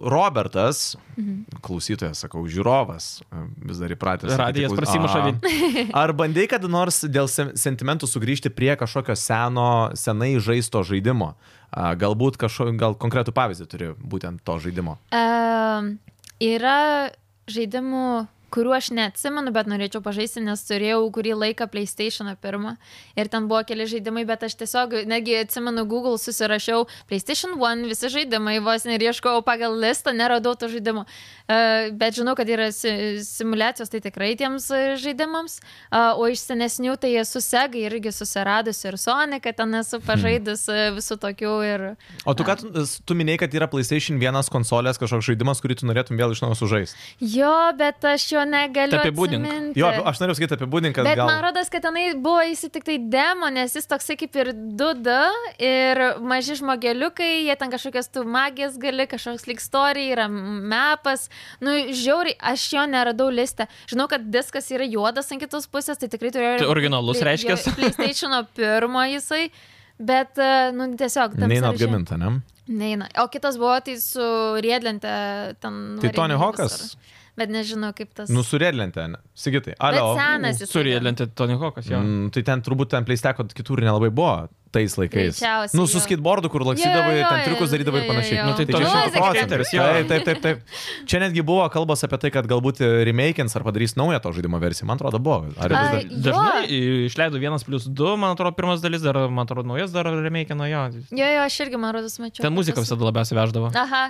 Speaker 1: Robertas,
Speaker 3: Mhm.
Speaker 1: klausytojas, sakau, žiūrovas, e, vis dar įpratęs. sakyti
Speaker 2: Radijas
Speaker 1: klaus-
Speaker 2: prasimuša
Speaker 3: [LAUGHS]
Speaker 1: A. Ar bandai kada nors dėl sen- sentimentų sugrįžti prie kažkokio seno, senai žaisto žaidimo? A, Galbūt kažko, gal konkretų pavyzdį turi būtent to žaidimo.
Speaker 3: Em, yra žaidimų, kuriuo aš neatsimenu, bet norėčiau pažaisti, nes turėjau kurį laiką PlayStation pirmą. Ir ten buvo keli žaidimai, bet aš tiesiog, negi atsimenu, Google susirašiau PlayStation 1, visi žaidimai, vos ir ieškojau pagal listą, neradau tų žaidimų. E, Bet žinau, kad yra si- simulacijos, tai tikrai tiems e, žaidimams. E, O iš senesnių tai esu segai irgi susiradusi ir Sonicą, ten esu pažaidus e, visų tokių ir...
Speaker 1: O tu, kad, tu minėjai, kad yra PlayStation 1 konsolės kažkoks žaidimas, kurį tu norėtum vėl iš naujo sužaisti.
Speaker 3: Jo, bet aš jo negaliu.
Speaker 2: Tai apibūdink.
Speaker 3: atsiminti.
Speaker 1: Jo, aš norėjau sakyti apibūdinti, kad
Speaker 3: Bet
Speaker 1: gal...
Speaker 3: man rodos, kad tenai buvo jis tik tai demo, nes jis toksai kaip ir 2D ir maži žmogeliukai, jie ten kažkokias tu magijas gali, kažkoks lyg istorija, yra mapas. Nu, žiauriai, aš jo neradau listę. Žinau, kad diskas yra juodas ant kitos pusės, tai tikrai turėjau...
Speaker 2: Tai originalus
Speaker 3: Play- jo,
Speaker 2: reiškias.
Speaker 3: PlayStation pirmo jisai, bet, e, nu, tiesiog... tam
Speaker 1: Neina
Speaker 3: sąraše-
Speaker 1: apgaminta, ne?
Speaker 3: Neina. O kitas buvo tai su riedlente ten...
Speaker 1: Tai Tony
Speaker 3: varinėju
Speaker 1: Hawkas,
Speaker 3: visur. Bet nežinau, kaip tas...
Speaker 1: nu surėdlentė, sigitai.
Speaker 3: Bet
Speaker 1: Alio.
Speaker 3: senas jis.
Speaker 2: Surėdinti Mm. Tony Hawkas, jo.
Speaker 1: Mm, tai ten turbūt ten pleisteko kitur ir nelabai buvo tais laikais.
Speaker 3: Greičiausiai,
Speaker 1: nu, su
Speaker 3: jo.
Speaker 1: skitbordu, kur laksydavai,
Speaker 3: Jo, jo,
Speaker 1: ten
Speaker 3: jo,
Speaker 1: triukus darydavai ir
Speaker 3: jo, jo,
Speaker 1: panašiai.
Speaker 3: jo.
Speaker 1: Nu,
Speaker 2: Nu, tai
Speaker 1: tai čia
Speaker 2: toliau
Speaker 1: šimtas
Speaker 3: Isaac
Speaker 1: procentų.
Speaker 2: Reuters, jo.
Speaker 1: Taip, taip, taip, taip. Čia netgi buvo kalbos apie tai, kad galbūt remakeins ar padarys naują to žaidimo versiją. Man atrodo, buvo. Ar
Speaker 3: Ai,
Speaker 1: vis dar...
Speaker 3: Jo.
Speaker 2: Dažnai i- išleido 1 plus 2, man atrodo, pirmas dalis, dar, man atrodo, naujas, dar remake nuo jo.
Speaker 3: Jo, jo, aš irgi, man rodos, mačiau.
Speaker 2: Ten muzika visada labiausiai veždavo.
Speaker 3: Aha,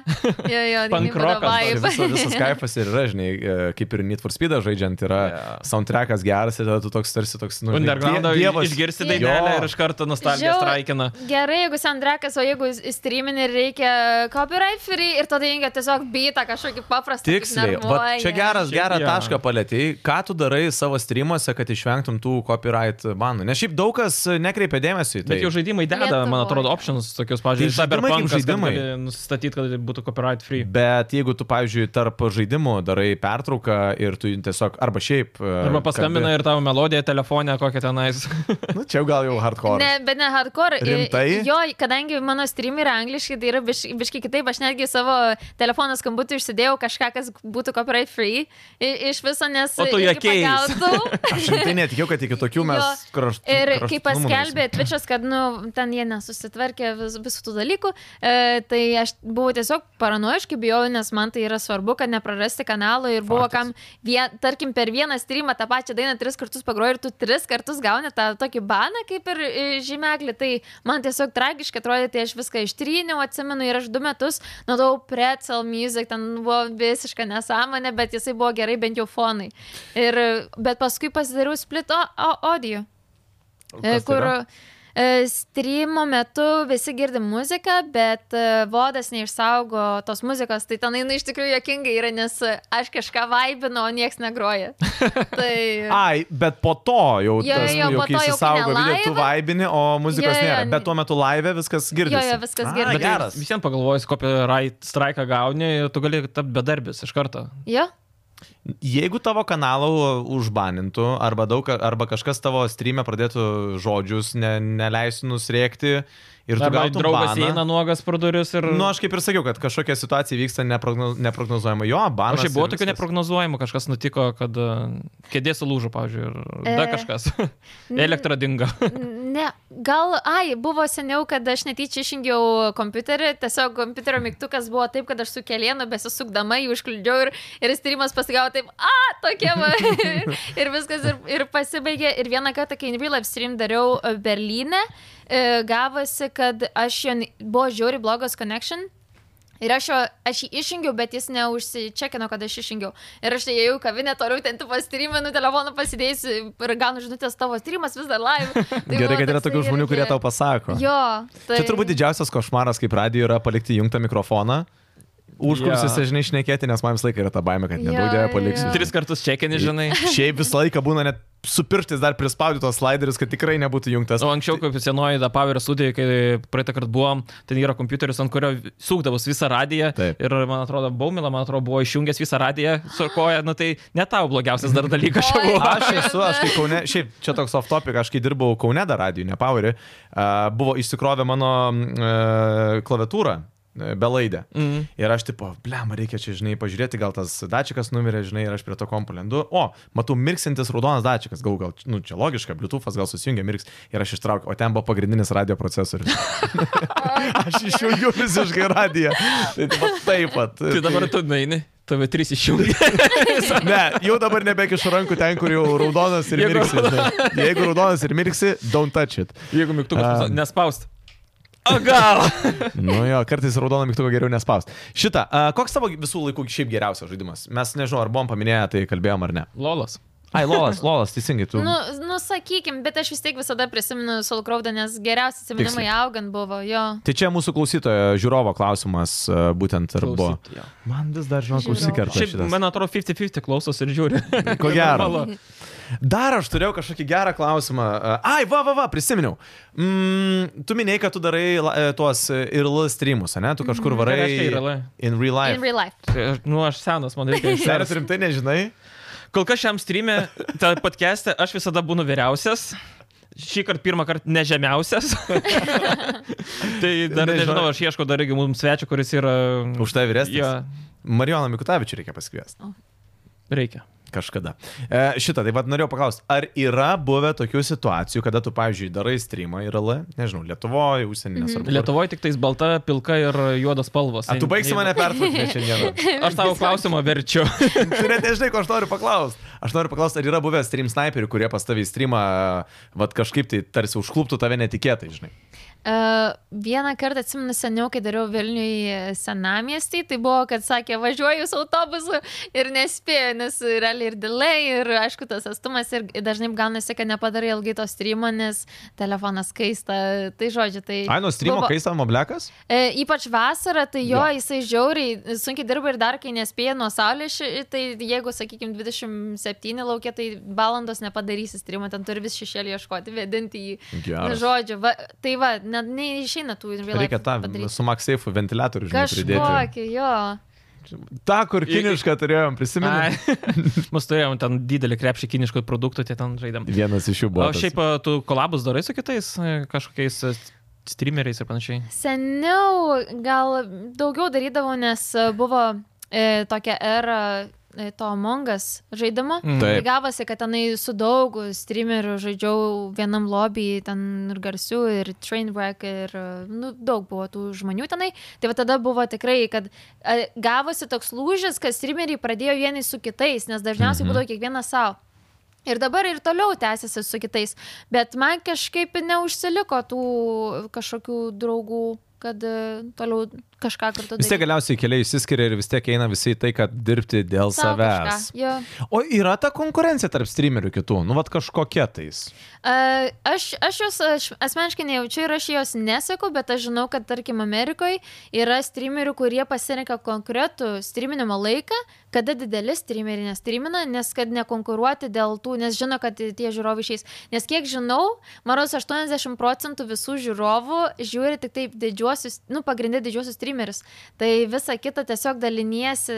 Speaker 3: jo,
Speaker 1: [LAUGHS]
Speaker 3: jo,
Speaker 2: Punk rockas
Speaker 1: Tai
Speaker 3: dainai būdavo
Speaker 1: visa,
Speaker 3: vibe.
Speaker 1: visas kaifas ir yra, žinai, e, kaip ir Need for Speed žaidžiant, yra yeah.
Speaker 2: Jo.
Speaker 1: soundtrackas geras ir tada tu toks tarsi toks, nu, žinai,
Speaker 2: Undergroundą
Speaker 1: die- dievas.
Speaker 2: išgirsti
Speaker 3: Jo.
Speaker 2: dainelę ir iš karto nostalgiją
Speaker 3: Žiau-
Speaker 2: straikina.
Speaker 3: [LAUGHS] Gerai, jeigu Sandrakas, o jeigu streaminį reikia copyright free ir tada jungia tiesiog bytą kažkokį paprastą. kaip
Speaker 1: Tiksliai, va,
Speaker 3: narmoja.
Speaker 1: čia geras,
Speaker 2: Šiaip
Speaker 1: gerą
Speaker 2: jo.
Speaker 1: tašką palėtėjai, ką tu darai savo streamuose, kad išvengtum tų copyright banų. Nes šiaip daug kas nekreipia dėmesio į tai.
Speaker 2: Bet jau žaidimai deda,
Speaker 3: Lietuvoj.
Speaker 2: man atrodo, options tokius,
Speaker 1: Tai
Speaker 2: pavyzdžiui,
Speaker 1: žaidimai kaip
Speaker 2: Cyberpunk
Speaker 1: žaidimai.
Speaker 2: žaidimai. Nustatyti, kad būtų copyright free.
Speaker 1: Bet jeigu tu, pavyzdžiui, tarp žaidimų darai pertrauką ir tu tiesiog, arba šiaip... e, tai-
Speaker 2: Arba paskambina ir tavo melodiją telefone, kokią tenais.
Speaker 1: Na, Nu, čia jau gal jau hardcore.
Speaker 3: Ne, bet ne hardcore. I-
Speaker 1: Rimtai?
Speaker 3: Jo, kadangi mano streamai yra angliškai, tai yra biš, biški kitaip, aš netgi savo telefono skambutį išsidėjau kažką, kas būtų copyright free i- iš viso, nes...
Speaker 2: O tu
Speaker 3: irgi
Speaker 2: juokeis.
Speaker 1: [LAUGHS]
Speaker 3: pagautau.
Speaker 1: Aš tai netikėjau, kad iki tokių mes
Speaker 3: Jo.
Speaker 1: kraštų.
Speaker 3: Ir kai paskelbė Twitch'as, kad nu, ten jie nesusitvarkė vis, visų tų dalykų, e, tai aš buvau tiesiog paranoiškai bijau, nes man tai yra svarbu, kad neprarasti kanalo ir buvo
Speaker 2: Faktas.
Speaker 3: kam, vien, tarkim, per vieną streamą tą pačią dainą tris kartus pagroji ir tu tris kartus gauni tą tokį baną kaip ir e, žymeklį, tai man tiesiog tragiškai atrodė, tai aš viską ištryniau, atsimenu ir aš du metus naudojau pretzel music, ten buvo visiška nesąmonė, bet jisai buvo gerai bent jau fonai. Ir, e, bet paskui pasidariau split o, o, audio. E, kur e, streamo metu visi girdi muziką, bet e, vodas neišsaugo tos muzikos, tai tenai nu, iš tikrųjų jokingai yra, nes e, aš kažką vaibinu, o nieks negroja. tai...
Speaker 1: Ai, bet po to jau,
Speaker 3: Jo,
Speaker 1: tas,
Speaker 3: jo,
Speaker 1: jau
Speaker 3: po
Speaker 1: kai
Speaker 3: to jau
Speaker 1: įsisaugo
Speaker 3: kai ne
Speaker 1: video, tu
Speaker 3: live.
Speaker 1: vaibini, o muzikos
Speaker 3: Jo, jo,
Speaker 1: nėra.
Speaker 3: jo.
Speaker 1: Bet tuo metu live viskas girdisi.
Speaker 3: Jo, jo, viskas
Speaker 1: A,
Speaker 3: girdisi.
Speaker 2: Bet tai [LAUGHS]
Speaker 1: Geras.
Speaker 2: visiems pagalvojus, copyright straiką gauni ir tu gali tapti bedarbis iš karto.
Speaker 3: Jo,
Speaker 1: Jeigu tavo kanalą užbanintų arba, daug, arba kažkas tavo streamę pradėtų žodžius, ne, neleistų nusrėkti ir tu
Speaker 2: Arba
Speaker 1: gautum
Speaker 2: draugas
Speaker 1: baną.
Speaker 2: eina nuogas pro duris ir...
Speaker 1: Nu, aš kaip ir sakiau, kad kažkokia situacija vyksta neprogno- neprognozuojama. Jo,
Speaker 2: O
Speaker 1: banas.
Speaker 2: šiaip buvo
Speaker 1: ir
Speaker 2: tokių
Speaker 1: viskas.
Speaker 2: neprognozuojamų, kažkas nutiko, kad e, kėdė sulūžo, pavyzdžiui, ir dar
Speaker 3: E.
Speaker 2: kažkas. [LAUGHS] Elektra dingo.
Speaker 3: ne, gal, ai, buvo seniau, kad aš netyčia išjungiau kompiuterį, tiesiog kompiuterio mygtukas buvo taip, kad aš su kelienu besisukdama jį užkliudžiau ir, ir streamas pasigavo taip, a, tokia
Speaker 1: [LAUGHS]
Speaker 3: va. ir viskas ir, ir pasibaigė. Ir vieną kartą, kai Invi Live stream dariau e, Berlyne, e, gavosi, kad aš jo, ne- buvo žiauri blogas connection. Ir aš, jo, aš jį išjungiau, bet jis neužsičekino, kad aš išjungiau. Ir aš tai ėjau į kavinę, toliau ten tu pastriminu, telefoną pasidėjusi ir gaunu žinutės tavo streamas vis dar
Speaker 1: [LAUGHS]
Speaker 3: live. Tai
Speaker 1: Gerai,
Speaker 3: buvo
Speaker 1: kad yra
Speaker 3: toksai
Speaker 1: tokių žmonių,
Speaker 3: irgi-
Speaker 1: kurie tau pasako.
Speaker 3: Jo. Tai...
Speaker 1: Čia turbūt didžiausias košmaras, kaip radio yra palikti jungtą mikrofoną. Užkulsis,
Speaker 2: Jo.
Speaker 1: yeah. žinai, išnekėti, nes man visą laiką yra ta baime, kad
Speaker 3: Jo,
Speaker 1: nedaugdė
Speaker 3: jo,
Speaker 1: paliksiu.
Speaker 3: jo.
Speaker 2: [LAUGHS] Tris kartus čekinį, žinai.
Speaker 1: Šiaip visą laiką būna net su pirštais dar prispaudytos slaideris, kad tikrai nebūtų jungtas.
Speaker 2: O anksčiau, kaip senoji da Power studija, kai praeitą kartą buvom, ten yra kompiuteris, ant kurio sukdavus visą radiją.
Speaker 1: Taip.
Speaker 2: Ir man atrodo, Baumila, man atrodo, buvo išjungęs visą radiją, surkoja, nu tai ne tau blogiausias dar dalykas čia
Speaker 3: Oi.
Speaker 2: buvo.
Speaker 1: Aš esu, aš kai Kaune, šiaip čia toks off topic, aš kai dirbau Kaune dar radijų, ne Powerį, a, buvo išsikrovę mano a, klaviatūrą e, belaidę. [LAUGHS]
Speaker 2: Mm.
Speaker 1: Ir aš tipo, blem, reikia čia, žinai, pažiūrėti, gal tas dačikas numirė, žinai, ir aš prie to kompulendu. O, matau, mirksintis raudonas dačikas, gal, gal, nu, čia logiška, Bluetooth'as gal susijungia, mirks. Ir aš ištraukiau, o ten buvo pagrindinis radio procesorius. aš išjungiu visiškai radiją. Tai va taip
Speaker 2: [LAUGHS]
Speaker 1: pat.
Speaker 2: Tai dabar tu naini, tave trys
Speaker 1: [LAUGHS]
Speaker 2: išjungia.
Speaker 1: Ne, jau dabar nebekišu rankų ten, kur jau raudonas ir
Speaker 2: Jeigu
Speaker 1: mirksi. žinai. Jeigu raudonas ir mirksi, don't touch it.
Speaker 2: Jeigu mygtukas
Speaker 1: Am.
Speaker 2: nespaust. O gal?
Speaker 1: Nu jo, kartais raudoną mygtuką geriau nespaust. Šitą, a, koks tavo visų laikų šiaip geriausias žaidimas? Mes nežinau, ar buvom paminėję, tai kalbėjom ar ne.
Speaker 2: [LAUGHS] Lolas.
Speaker 1: Ai, Lolas, Lolas, teisingai, tu.
Speaker 3: Nu, nu, sakykim, bet aš vis tiek visada prisimenu Solkraudą, nes geriausi atsiminimai
Speaker 1: Tiksliai.
Speaker 3: augant buvo jo.
Speaker 1: Tai čia mūsų klausytojo žiūrovo klausimas e, būtent ir buvo.
Speaker 2: Klausyt, jo.
Speaker 1: Man vis dar žinok
Speaker 3: Žiūrovo.
Speaker 1: užsikerta
Speaker 2: Šiaip,
Speaker 1: šitas.
Speaker 2: man atrodo, 50-50 klausos ir žiūri.
Speaker 1: [LAUGHS] Ko gero.
Speaker 2: Normalu.
Speaker 1: Dar aš turėjau kažkokį gerą klausimą. E, Ai, va, va, va, prisiminiau. Mm, tu minėjai, kad tu darai la- e, tuos e, IRL streamus, ne? Tu kažkur
Speaker 2: Mhm. Ką
Speaker 1: varai.
Speaker 2: reiškia IRL?
Speaker 1: In real life.
Speaker 3: In real life.
Speaker 2: Tai aš- Nu, aš senas, man reikia.
Speaker 1: Ar
Speaker 2: išsiverst.
Speaker 1: tu rimtai nežinai?
Speaker 2: Kol kas šiam streamė, tą podcast'ą aš visada būnu vyriausias. Šį kartą pirmą kartą
Speaker 1: [LAUGHS]
Speaker 2: nežemiausias. tai dar
Speaker 1: Nežinau.
Speaker 2: nežinau, aš ieškau dar irgi mums svečio, kuris yra...
Speaker 1: Už tai vyresnis.
Speaker 2: Jo,
Speaker 1: Marijoną Mikutavičių reikia pasikviesti.
Speaker 3: nu.
Speaker 2: reikia.
Speaker 1: Kažkada. E, šitą, taip pat norėjau paklausti, ar yra buvę tokių situacijų, kada tu, pavyzdžiui, darai streamą IRL, nežinau, Lietuvoje, užsienį, nesvarbu. kur.
Speaker 2: Lietuvoje tik tais balta, pilka ir juodas spalvos.
Speaker 1: A, tu baigsi mane pertraukti šiandieną.
Speaker 2: [LAUGHS] Aš tavo klausimą verčiu.
Speaker 1: Tu net nežinai, ko aš noriu paklausti. Aš noriu paklausti, ar yra buvę stream sniperių, kurie pas tavį streamą, vad kažkaip tai tarsi užkluptų tave netikėtai, žinai.
Speaker 3: Uh, vieną kartą atsimenu seniau, kai dariau Vilniui senamiestį, tai buvo, kad sakė, važiuoju su autobusu ir nespėjau, nes realiai ir delay, ir aišku, tas atstumas, ir dažnai gaunasi, kad nepadarai ilgai to streamo, nes telefonas kaista. Tai žodžiu, tai...
Speaker 1: Ai, nuo streamo
Speaker 3: buvo-
Speaker 1: kaista moblekas?
Speaker 3: E, ypač vasarą, tai
Speaker 1: Jo.
Speaker 3: jo, jo. jisai žiauriai sunkiai dirba ir dar kai nespėja nuo saulės, ši- tai jeigu, sakykime, 27 laukia, tai valandos nepadarysi streamą, ten turi vis šešėlį ieškoti, vedinti jį. Na,
Speaker 1: Gerai.
Speaker 3: Nu, Žodžiu, va, tai va, ne- neišeina tų in real life
Speaker 1: Reikia nu, tą
Speaker 3: padaryt.
Speaker 1: su MagSafe ventiliatorių, žinai, pridėti.
Speaker 3: Kažkokį, jo.
Speaker 1: Ta, kur kinišką turėjom, prisimenu.
Speaker 2: [LAUGHS] Mes turėjom ten didelį krepšį kiniškų produktų, tie ten žaidėm.
Speaker 1: Vienas iš jų
Speaker 2: O
Speaker 1: buvo.
Speaker 2: šiaip a, tu kolabus darai su kitais e, kažkokiais e, streameriais ir panašiai.
Speaker 3: Seniau gal daugiau darydavau, nes e, buvo e, tokia era e, to Mongas žaidimo.
Speaker 2: Mm.
Speaker 1: Taip.
Speaker 3: Tai gavosi, kad tenai su daug streamerių žaidžiau vienam lobby, ten ir garsių, ir trainwreck, ir e, nu, daug buvo tų žmonių tenai. Tai va tada buvo tikrai, kad e, gavosi toks lūžis, kad streameriai pradėjo vieni su kitais, nes dažniausiai
Speaker 1: Mhm.
Speaker 3: būdavo kiekvienas savo. Ir dabar ir toliau tęsiasi su kitais, bet man kažkaip neužsiliko tų kažkokių draugų, kad e, toliau kažką kartu
Speaker 1: Vis tiek galiausiai keliai išsiskiria ir vis tiek eina visi į tai, kad dirbti dėl
Speaker 3: Sau
Speaker 1: savęs.
Speaker 3: kažką, jo.
Speaker 1: O yra ta konkurencija tarp streamerių kitų, nu, vad kažkokie tais.
Speaker 3: A, Aš, aš jos aš asmeniškai nejaučiu ir aš jos neseku, bet aš žinau, kad tarkim Amerikoje yra streamerių, kurie pasirenka konkretų streaminimo laiką, kada dideli streameriai nestreamina, nes kad nekonkuruoti dėl tų, nes žino, kad tie žiūrovai išeis. Nes kiek žinau, Maros 80 procentų visų žiūrovų žiūri tik taip didžiuosius, nu, pagrindė didžiuosius streamerius. Tai visa kita tiesiog daliniesi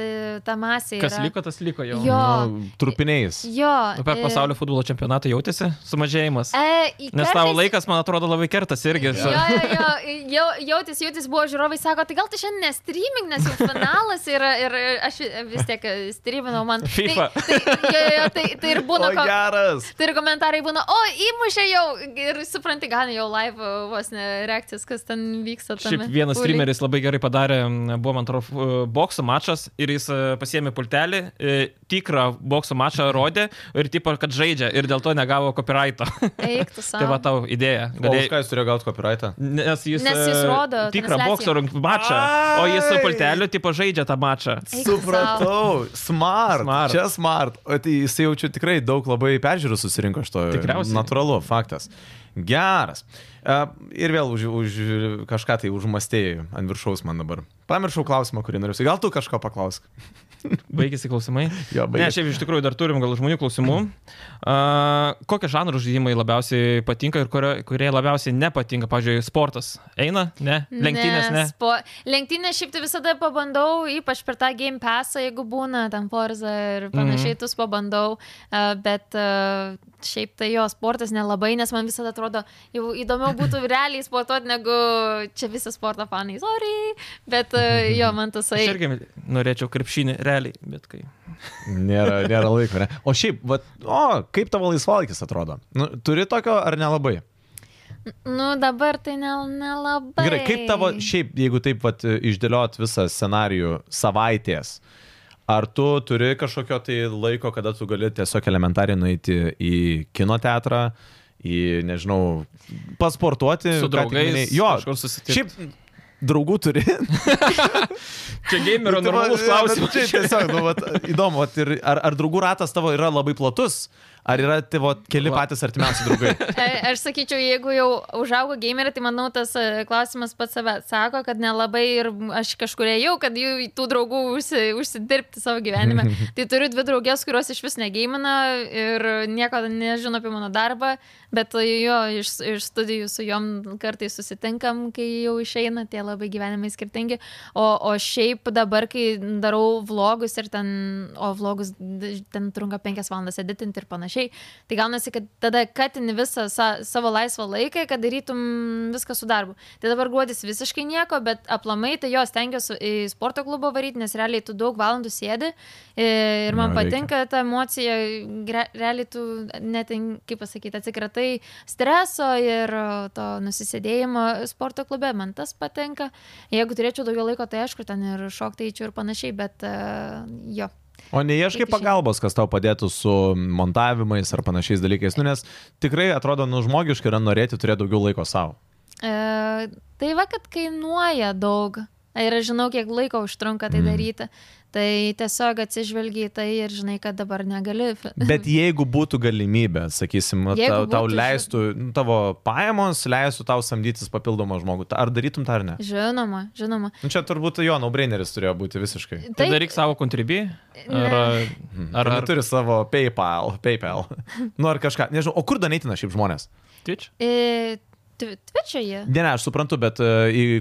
Speaker 3: tą masę.
Speaker 2: Kas
Speaker 3: Tai yra.
Speaker 2: liko, tas liko jau.
Speaker 3: Jo.
Speaker 1: Nu, trupiniais.
Speaker 3: Jo.
Speaker 2: Nu, Per
Speaker 3: ir-
Speaker 2: pasaulio futbolo čempionatą jautėsi sumažėjimas.
Speaker 3: E, į
Speaker 2: Nes tavo
Speaker 3: kartais-
Speaker 2: laikas, man atrodo, labai kertas irgi.
Speaker 3: Jo, jo, jo, jau, jautis, jautis buvo žiūrovai, sako, tai gal tu šiandien nestreaming, nes jau finalas yra ir ir aš vis tiek streaminau man.
Speaker 2: [LAUGHS] FIFA.
Speaker 3: Tai, tai, jo, jo, jo, tai, tai ir būna,
Speaker 1: O,
Speaker 3: ko,
Speaker 1: geras.
Speaker 3: tai ir komentarai būna, o įmušė jau ir supranti, gan jau live vos ne reakcijas, kas ten vyksta.
Speaker 2: Šiaip
Speaker 3: tame
Speaker 2: vienas
Speaker 3: pūly.
Speaker 2: streameris labai gerai padarė, m, buvo man atrodo f- e, bokso mačas ir jis e, pasiėmė pultelį, e, tikrą bokso mačą rodė ir tipo, kad žaidžia ir dėl to negavo copyrighto.
Speaker 3: Eik
Speaker 2: [LAUGHS]
Speaker 3: tu
Speaker 2: tai
Speaker 3: savo.
Speaker 2: va tau idėja.
Speaker 1: Gal
Speaker 2: Galėjai-
Speaker 1: už ką jis turėjo gauti copyrightą?
Speaker 2: Nes jis,
Speaker 3: Nes jis
Speaker 2: e,
Speaker 3: rodo
Speaker 2: tikrą
Speaker 3: transliaciją.
Speaker 2: bokso rung- mačą, o jis su
Speaker 1: Ai.
Speaker 2: pulteliu tipo žaidžia tą mačą.
Speaker 3: Eik tu sau.
Speaker 1: Supratau, smart. smart.
Speaker 2: Smart.
Speaker 1: Čia smart. O tai jis jaučiu tikrai daug labai peržiūrų susirinko iš to.
Speaker 2: Tikriausiai.
Speaker 1: Natūralu, faktas. Geras. E, Ir vėl už, už kažką tai užmastėjai ant viršaus man dabar. Pamiršau klausimą, kurį norėjau. Gal tu kažko paklausk?
Speaker 2: Baigėsi klausimai.
Speaker 1: Jo,
Speaker 2: Ne,
Speaker 1: baigėsi.
Speaker 2: šiaip iš tikrųjų dar turim gal žmonių klausimų. Uh, kokie žanrų žaidimai labiausiai patinka ir kurie, kurie labiausiai nepatinka? Pavyzdžiui, sportas. Eina? Ne. Lenktynės? Ne.
Speaker 3: Nes Po... Lenktynės šiaip tai visada pabandau, ypač per tą game pasą, jeigu būna ten Forza ir
Speaker 2: Mhm.
Speaker 3: panašiai, mm -hmm. tus pabandau, e, bet e, šiaip tai jo sportas nelabai, nes man visada atrodo, jau įdomiau
Speaker 2: [LAUGHS]
Speaker 3: būtų realiai sportuoti, negu čia visi sporto fanai, sorry, bet e, jo, man tas
Speaker 2: Aš
Speaker 3: eik.
Speaker 2: irgi norėčiau krepšinį, realiai, bet kai.
Speaker 1: Nėra, nėra laiko. Ne? O šiaip, va, o, kaip tavo laisvalaikis atrodo? Nu, turi tokio ar nelabai?
Speaker 3: Nu, dabar tai ne- nelabai.
Speaker 1: Gerai, kaip tavo, šiaip, jeigu taip vat, išdėliot visą scenarijų savaitės, ar tu turi kažkokio tai laiko, kada tu gali tiesiog elementariai nueiti į kino teatrą, į, nežinau, pasportuoti. ką
Speaker 2: Su
Speaker 1: tik
Speaker 2: draugais
Speaker 1: minėjai? Jo,
Speaker 2: kažkur susitikt.
Speaker 1: Šiaip, draugų
Speaker 2: [LAUGHS]
Speaker 1: turi. [LAUGHS]
Speaker 2: Čia
Speaker 1: Tai
Speaker 2: gamerio
Speaker 1: va, jo,
Speaker 2: normalus
Speaker 1: bet Čia
Speaker 2: klausimas.
Speaker 1: tiesiog, nu, vat, įdomu, vat, ir, ar, ar draugų ratas tavo yra labai platus, ar yra tavo keli
Speaker 2: Va.
Speaker 1: patys artimiausi draugai.
Speaker 3: A- Aš sakyčiau, jeigu jau užaugo gameriai, tai manau tas e, klausimas pats save atsako, kad nelabai ir aš kažkur ėjau, kad jų tų draugų užsi, užsidirbti savo gyvenime.
Speaker 1: [LAUGHS]
Speaker 3: tai turiu dvi draugės, kurios iš vis negamina ir nieko nežino apie mano darbą, bet e, jo, iš, iš studijų su juom kartais susitinkam, kai jau išeina, tie labai gyvenimai skirtingi. O, o šiaip dabar, kai darau vlogus ir ten, o vlogus d- ten trunka penkias valandas editinti ir panašiai, Tai gaunasi, kad tada katini visą sa savo laisvą laiką, kad darytum viską su darbu. Tai dabar guodis visiškai nieko, bet aplamai tai jos tengiuosi į sporto klubą varyti, nes realiai tu daug valandų sėdi e, ir
Speaker 1: Jo,
Speaker 3: man jo,
Speaker 1: reikia.
Speaker 3: patinka ta emocija, gre- realiai tu net, ten, kaip pasakyti, atsikratai streso ir e, to nusisėdėjimo sporto klube, man tas patinka. Jeigu turėčiau daugiau laiko, tai aišku, ten ir šoktai eičiau ir panašiai, bet uh, jo.
Speaker 1: O neieškai
Speaker 3: Iki šiol.
Speaker 1: pagalbos, kas tau padėtų su montavimais ar panašiais dalykais, nu, nes tikrai atrodo, nu, žmogiškai yra norėti turėti daugiau laiko savo.
Speaker 3: E, tai va, kad kainuoja daug. Ir aš žinau, kiek laiko užtrunka tai
Speaker 1: Mm.
Speaker 3: daryti. Tai tiesiog atsižvelgiai tai ir žinai, kad dabar negali.
Speaker 1: Bet jeigu būtų galimybė, sakysim,
Speaker 3: Mhm. Jeigu
Speaker 1: tau, tau
Speaker 3: būtų,
Speaker 1: leistų, nu, tavo pajamos leistų tau samdytis papildomą žmogų, Ta- ar darytum tą ar ne?
Speaker 3: Žinoma, žinoma.
Speaker 1: Nu, čia turbūt jo, naubraineris turėjo būti visiškai.
Speaker 2: Tai daryk savo kontribį. Ar, ar,
Speaker 1: Ar, ar
Speaker 2: ar
Speaker 1: turi savo PayPal, PayPal. Nu, ar kažką, nežinau, o kur Danaitina šiaip žmonės?
Speaker 2: Twitch?
Speaker 3: E, Twi- Twitch'e jie.
Speaker 1: Ne, ne, aš suprantu, bet e,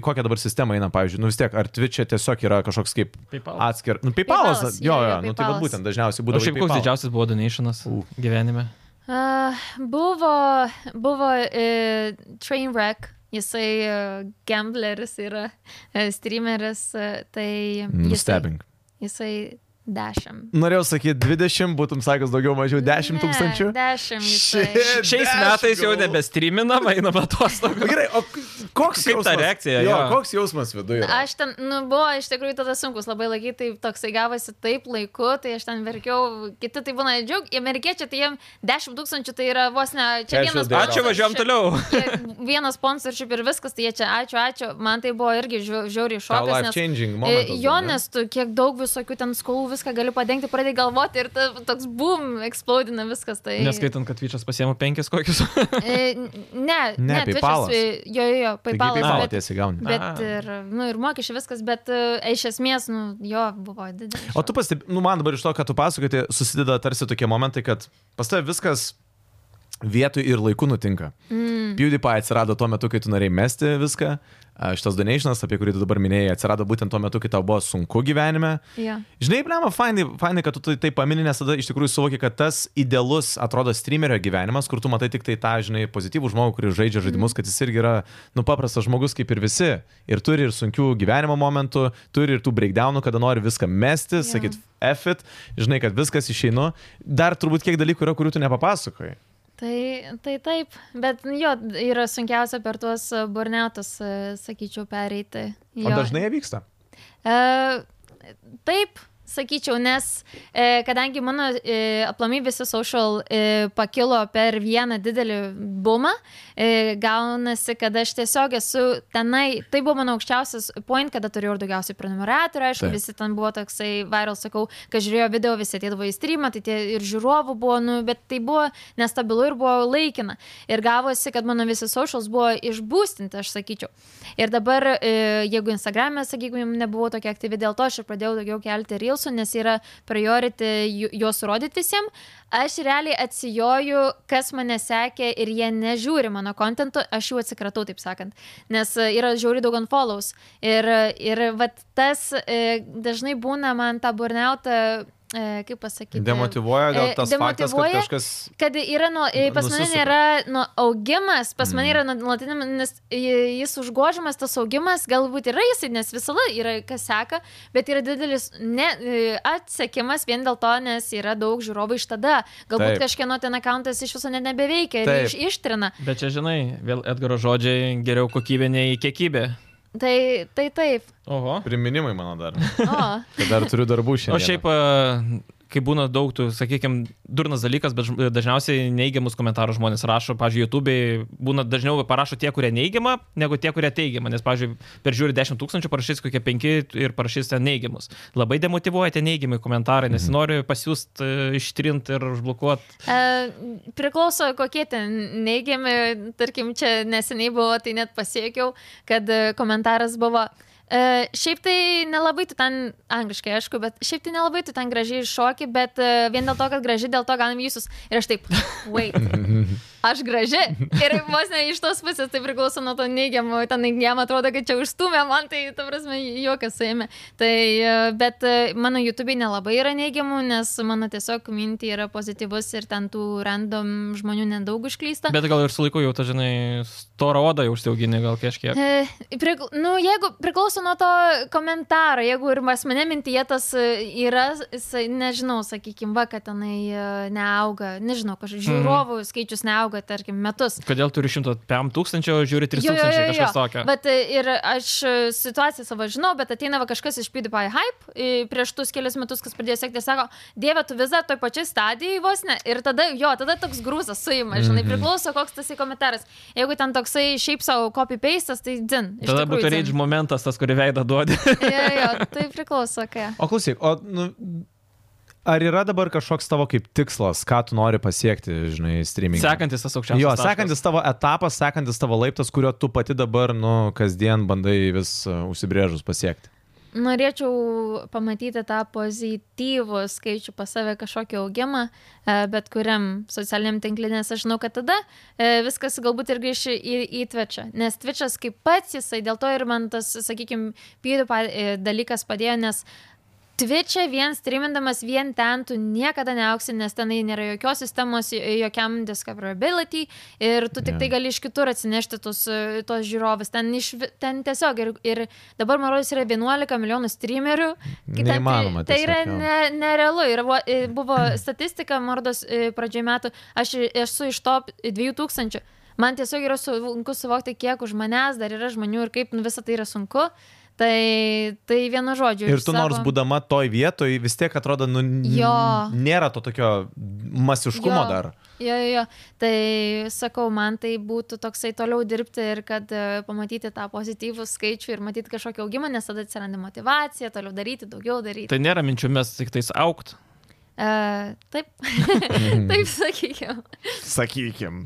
Speaker 1: į kokią dabar sistemą eina, pavyzdžiui, nu vis tiek, ar Twitch'e tiesiog yra kažkoks kaip
Speaker 2: PayPal.
Speaker 1: atskiras. Nu, PayPal'as,
Speaker 3: PayPal'as,
Speaker 1: jo,
Speaker 3: jo,
Speaker 1: jo,
Speaker 3: jo,
Speaker 1: nu tai va
Speaker 3: PayPal'as.
Speaker 1: būtent dažniausiai
Speaker 2: O
Speaker 1: būdavo.
Speaker 2: šiaip koks didžiausias buvo donationas
Speaker 1: U.
Speaker 2: gyvenime?
Speaker 3: Uh, buvo buvo uh, Trainwreck, jisai uh, gambleris yra, uh, streameris, uh, tai jisai-
Speaker 1: Nustebink.
Speaker 3: jisai 10.
Speaker 1: Norėjau sakyti 20, būtum sakęs daugiau mažiau 10 tūkstančių.
Speaker 3: 10 jisai.
Speaker 1: Shit.
Speaker 2: Šiais
Speaker 1: Dešimt
Speaker 2: metais jau
Speaker 1: galvų.
Speaker 2: nebestreaminam, einam atostogų. [LAUGHS]
Speaker 1: Na Gerai, o k- koks
Speaker 2: Kaip ta
Speaker 1: jausmas?
Speaker 2: reakcija,
Speaker 1: Jo,
Speaker 2: jo.
Speaker 1: koks jausmas viduje?
Speaker 3: Aš ten, nu, buvo iš tikrųjų tada sunkus labai laikyti, tai toksai gavosi taip laiku, tai aš ten verkiau, kiti tai būna džiaug, amerikiečiai, tai jiem 10 tūkstančių tai yra vos ne, čia
Speaker 1: Cash
Speaker 3: vienas.
Speaker 1: jau dėjo.
Speaker 2: Ačiū, važiuojam toliau.
Speaker 3: Jie- Vienas sponsorship ir viskas, tai jie čia, ačiū, ačiū, man tai buvo irgi žiau- žiauriai
Speaker 1: Tau
Speaker 3: šokas,
Speaker 1: life
Speaker 3: nes
Speaker 1: changing
Speaker 3: E,
Speaker 1: momentas.
Speaker 3: Jo,
Speaker 1: buvo, ne?
Speaker 3: nes tu kiek daug visokių ten skolų viską gali padengti, pradėjai galvoti ir ta, toks boom, eksplodina viskas. Tai...
Speaker 2: Neskaitant, kad Vyčas pasiemo penkis kokius.
Speaker 3: E, n- Ne,
Speaker 1: Ne,
Speaker 3: ne,
Speaker 1: PayPalas.
Speaker 3: Twitch'as, e, Jo, jo, jo,
Speaker 1: Taigi
Speaker 3: PayPal.
Speaker 1: PayPal'ą
Speaker 3: Bet,
Speaker 1: tiesiai gauni.
Speaker 2: Ah.
Speaker 3: bet ir, nu, ir mokesčiai viskas, bet e, iš esmės, nu, jo, buvo didelis.
Speaker 1: O tu pastebėjai, nu man dabar iš to, ką tu pasakojai, tai susideda tarsi tokie momentai, kad pas tavę viskas vietoj ir laiku nutinka. Mm. PewDiePie atsirado tuo metu, kai tu norėjai mesti viską. A, Šitas donationas, apie kurį tu dabar minėjai, atsirado būtent tuo metu, kai tau buvo sunku gyvenime.
Speaker 3: Jo.
Speaker 1: Žinai, blema, fainai, fainai, kad tu tai- tai pamini, nes tada iš tikrųjų suvoki, kad tas idealus atrodo streamerio gyvenimas, kur tu matai tik tai tą, žinai, pozityvų žmogų, kuris
Speaker 3: Mhm.
Speaker 1: žaidžia žaidimus, kad jis irgi yra, nu, paprastas žmogus kaip ir visi. Ir turi ir sunkių gyvenimo momentų, turi ir tų breakdownų, kada nori viską mesti, yeah.
Speaker 3: Jo.
Speaker 1: sakyt, effit, žinai, kad viskas išeinu. Dar turbūt kiek dalykų yra, kurių tu nepapasakoji.
Speaker 3: Tai, tai taip, bet nu, jo, yra sunkiausia per tuos burneutus, sakyčiau, pereiti.
Speaker 1: O
Speaker 3: Jo.
Speaker 1: dažnai jie vyksta.
Speaker 3: E, Taip, sakyčiau, nes e, kadangi mano e, aplamai visi social e, pakilo per vieną didelį bumą, e, gaunasi, kad aš tiesiog esu tenai, tai buvo mano aukščiausias point, kada turėjau ir daugiausiai prenumeratorių, aišku,
Speaker 1: Taip.
Speaker 3: Taip. visi ten buvo toksai viral, sakau, kad žiūrėjo video, visi ateidavo į streamą, tai tie ir žiūrovų buvo, nu, bet tai buvo nestabilu ir buvo laikina. Ir gavosi, kad mano visi socials buvo išbūstinti, aš sakyčiau. Ir dabar, e, jeigu Instagram'e, sakykime, nebuvau tokia aktyvi, dėl to aš ir pradėjau daugiau kelti reelsų, nes yra priority ju- juos rodyti visiems. Aš realiai atsijoju, kas mane sekė ir jie nežiūri mano kontentų, aš jų atsikratau, taip sakant. Nes e, yra žiauri daug unfollows. Ir, e, ir vat tas e, dažnai būna man tą burneutą, e, kaip pasakyti.
Speaker 1: Demotivuoja
Speaker 3: gal E, tas faktas, kad demotyvuoja.
Speaker 1: kažkas...
Speaker 3: Kad yra, nu, e, pas mane
Speaker 1: Nusisuka. Mm.
Speaker 3: nėra nu, augimas, pas mane yra nuolatinis, nes i- jis užgožiamas, tas augimas galbūt yra jisai, nes visada yra kas seka, bet yra didelis ne, e, atsekimas vien dėl to, nes yra daug žiūrovų iš tada. Galbūt
Speaker 1: Taip.
Speaker 3: Taip. kažkieno ten akantas iš viso net nebeveikia ir
Speaker 1: Taip.
Speaker 3: iš, ištrina.
Speaker 2: [LAUGHS] Bet čia, žinai, vėl Edgaro žodžiai geriau kokybė nei kiekybė.
Speaker 3: Tai, tai
Speaker 1: [LAUGHS]
Speaker 3: taip.
Speaker 2: Oho.
Speaker 1: Priminimai mano dar.
Speaker 3: O.
Speaker 1: [LAUGHS] Kad dar turiu darbų
Speaker 2: O šiaip, a, kai būna daug, tų, sakykime, durnas dalykas, bet žm- dažniausiai neigiamus komentarus žmonės rašo, pavyzdžiui, YouTube'ai būna dažniau parašo tie, kurie neigiamą, negu tie, kurie teigiamą, nes, pavyzdžiui, per žiūri 10 tūkstančių parašys kokie 5 ir parašys ten neigiamus. Labai demotivuoja tie neigiami komentarai, nes
Speaker 1: Mhm.
Speaker 2: nori pasiūsti, ištrinti ir užblokuoti.
Speaker 3: E, priklauso kokie ten neigiami, tarkim, čia neseniai buvo, tai net pasiekiau, kad e, komentaras buvo. E, šiaip tai nelabai tu ten, angliškai aišku, bet šiaip tai nelabai tu ten gražiai šoki, bet e, vien dėl to, kad graži, dėl to galim jūsus. Ir aš taip, wait,
Speaker 1: [LAUGHS]
Speaker 3: aš graži. Ir vos ne iš tos pusės tai priklauso nuo to neigiamo, ten neigiam atrodo, kad čia užstumė, man tai, ta prasme, juokas suėmė. Tai, e, bet e, mano YouTube nelabai yra neigiamų, nes mano tiesiog minti yra pozityvus ir ten tų random žmonių nedaug užklysta.
Speaker 2: Bet gal ir su laiku jau, ta, žinai, storą odą jau užsiaugini gal kažkiek.
Speaker 3: E, prikl... Nu, jeigu priklauso nuo to komentaro, jeigu ir pas mane mintyje tas e, yra, jisai, nežinau, sakykime, va, kad tenai e, neauga, nežinau, kažkoks žiūrovų skaičius neauga, tarkim, metus.
Speaker 2: Kodėl turi 105 tūkstančių, o žiūri 3
Speaker 3: Jo, jo, jo,
Speaker 2: tūkstančiai,
Speaker 3: jo.
Speaker 2: kažkas tokio.
Speaker 3: Bet e, ir aš e, situaciją savo žinau, bet ateina va kažkas iš PewDiePie hype e, prieš tuos kelius metus, kas pradėjo sekti, ir sako, dieve, tu vis dar toj pačiai stadijai vos ne. Ir tada, jo, tada toks grūzas suima,
Speaker 2: Mhm.
Speaker 3: žinai, priklauso, koks tas į komentaras. Jeigu ten toksai šiaip savo copy pastas, tai din. iš
Speaker 2: Tada
Speaker 3: tikrųjų
Speaker 2: būtų
Speaker 3: dzin.
Speaker 2: reidž momentas, tas, kurį veidą duodi. [LAUGHS]
Speaker 3: jo, jo, tai priklauso, ką.
Speaker 1: O klausyk, o, nu, ar yra dabar kažkoks tavo kaip tikslas, ką tu nori pasiekti, žinai, streaming?
Speaker 2: Sekantis tas aukščiausias.
Speaker 1: Jo,
Speaker 2: taškas.
Speaker 1: sekantis tavo etapas, sekantis tavo laiptas, kurio tu pati dabar, nu, kasdien bandai vis uh, e, užsibrėžus pasiekti.
Speaker 3: Norėčiau pamatyti tą pozityvų skaičių pas save kažkokį augimą, e, bet kuriam socialiniam tinklui, nes aš žinau, kad tada e, viskas galbūt ir grįš į, į Twitch'ą. Nes Twitch'as kaip pats jisai, dėl to ir man tas, sakykime, pyrių e, dalykas padėjo, nes Twitch'e vien streamindamas, vien ten tu niekada neauksi, nes tenai nėra jokios sistemos, j- jokiam discoverability ir tu tik
Speaker 1: Jo.
Speaker 3: tai gali iš kitur atsinešti tus, e, tos žiūrovus. Ten, iš, vi- ten tiesiog ir, ir dabar, man rodos, yra 11 milijonų streamerių. Kita- tai-
Speaker 1: Neįmanoma
Speaker 3: Tai yra
Speaker 1: tiesiog, jo.
Speaker 3: ne, nerealu. Ir buvo, e, buvo
Speaker 1: [CLEARS THROAT]
Speaker 3: statistika, mordos pradžioje metų, aš i- esu iš top 2000. Man tiesiog yra sunku suvokti, kiek už manęs dar yra žmonių ir kaip nu, visą tai yra sunku. Tai, tai vienu žodžiu.
Speaker 1: Ir
Speaker 3: iš
Speaker 1: tu nors
Speaker 3: savo-
Speaker 1: būdama toj vietoj, vis tiek atrodo, nu, n-
Speaker 3: Jo.
Speaker 1: nėra to tokio masiškumo
Speaker 3: Jo.
Speaker 1: dar.
Speaker 3: Jo, jo, jo, tai sakau, man tai būtų toksai toliau dirbti ir kad e, pamatyti tą pozityvų skaičių ir matyti kažkokį augimą, nes tada atsiranda motivacija, toliau daryti, daugiau daryti.
Speaker 2: Tai nėra minčių mes tik tais aukt.
Speaker 3: E, taip, taip sakykime.
Speaker 1: Sakykim.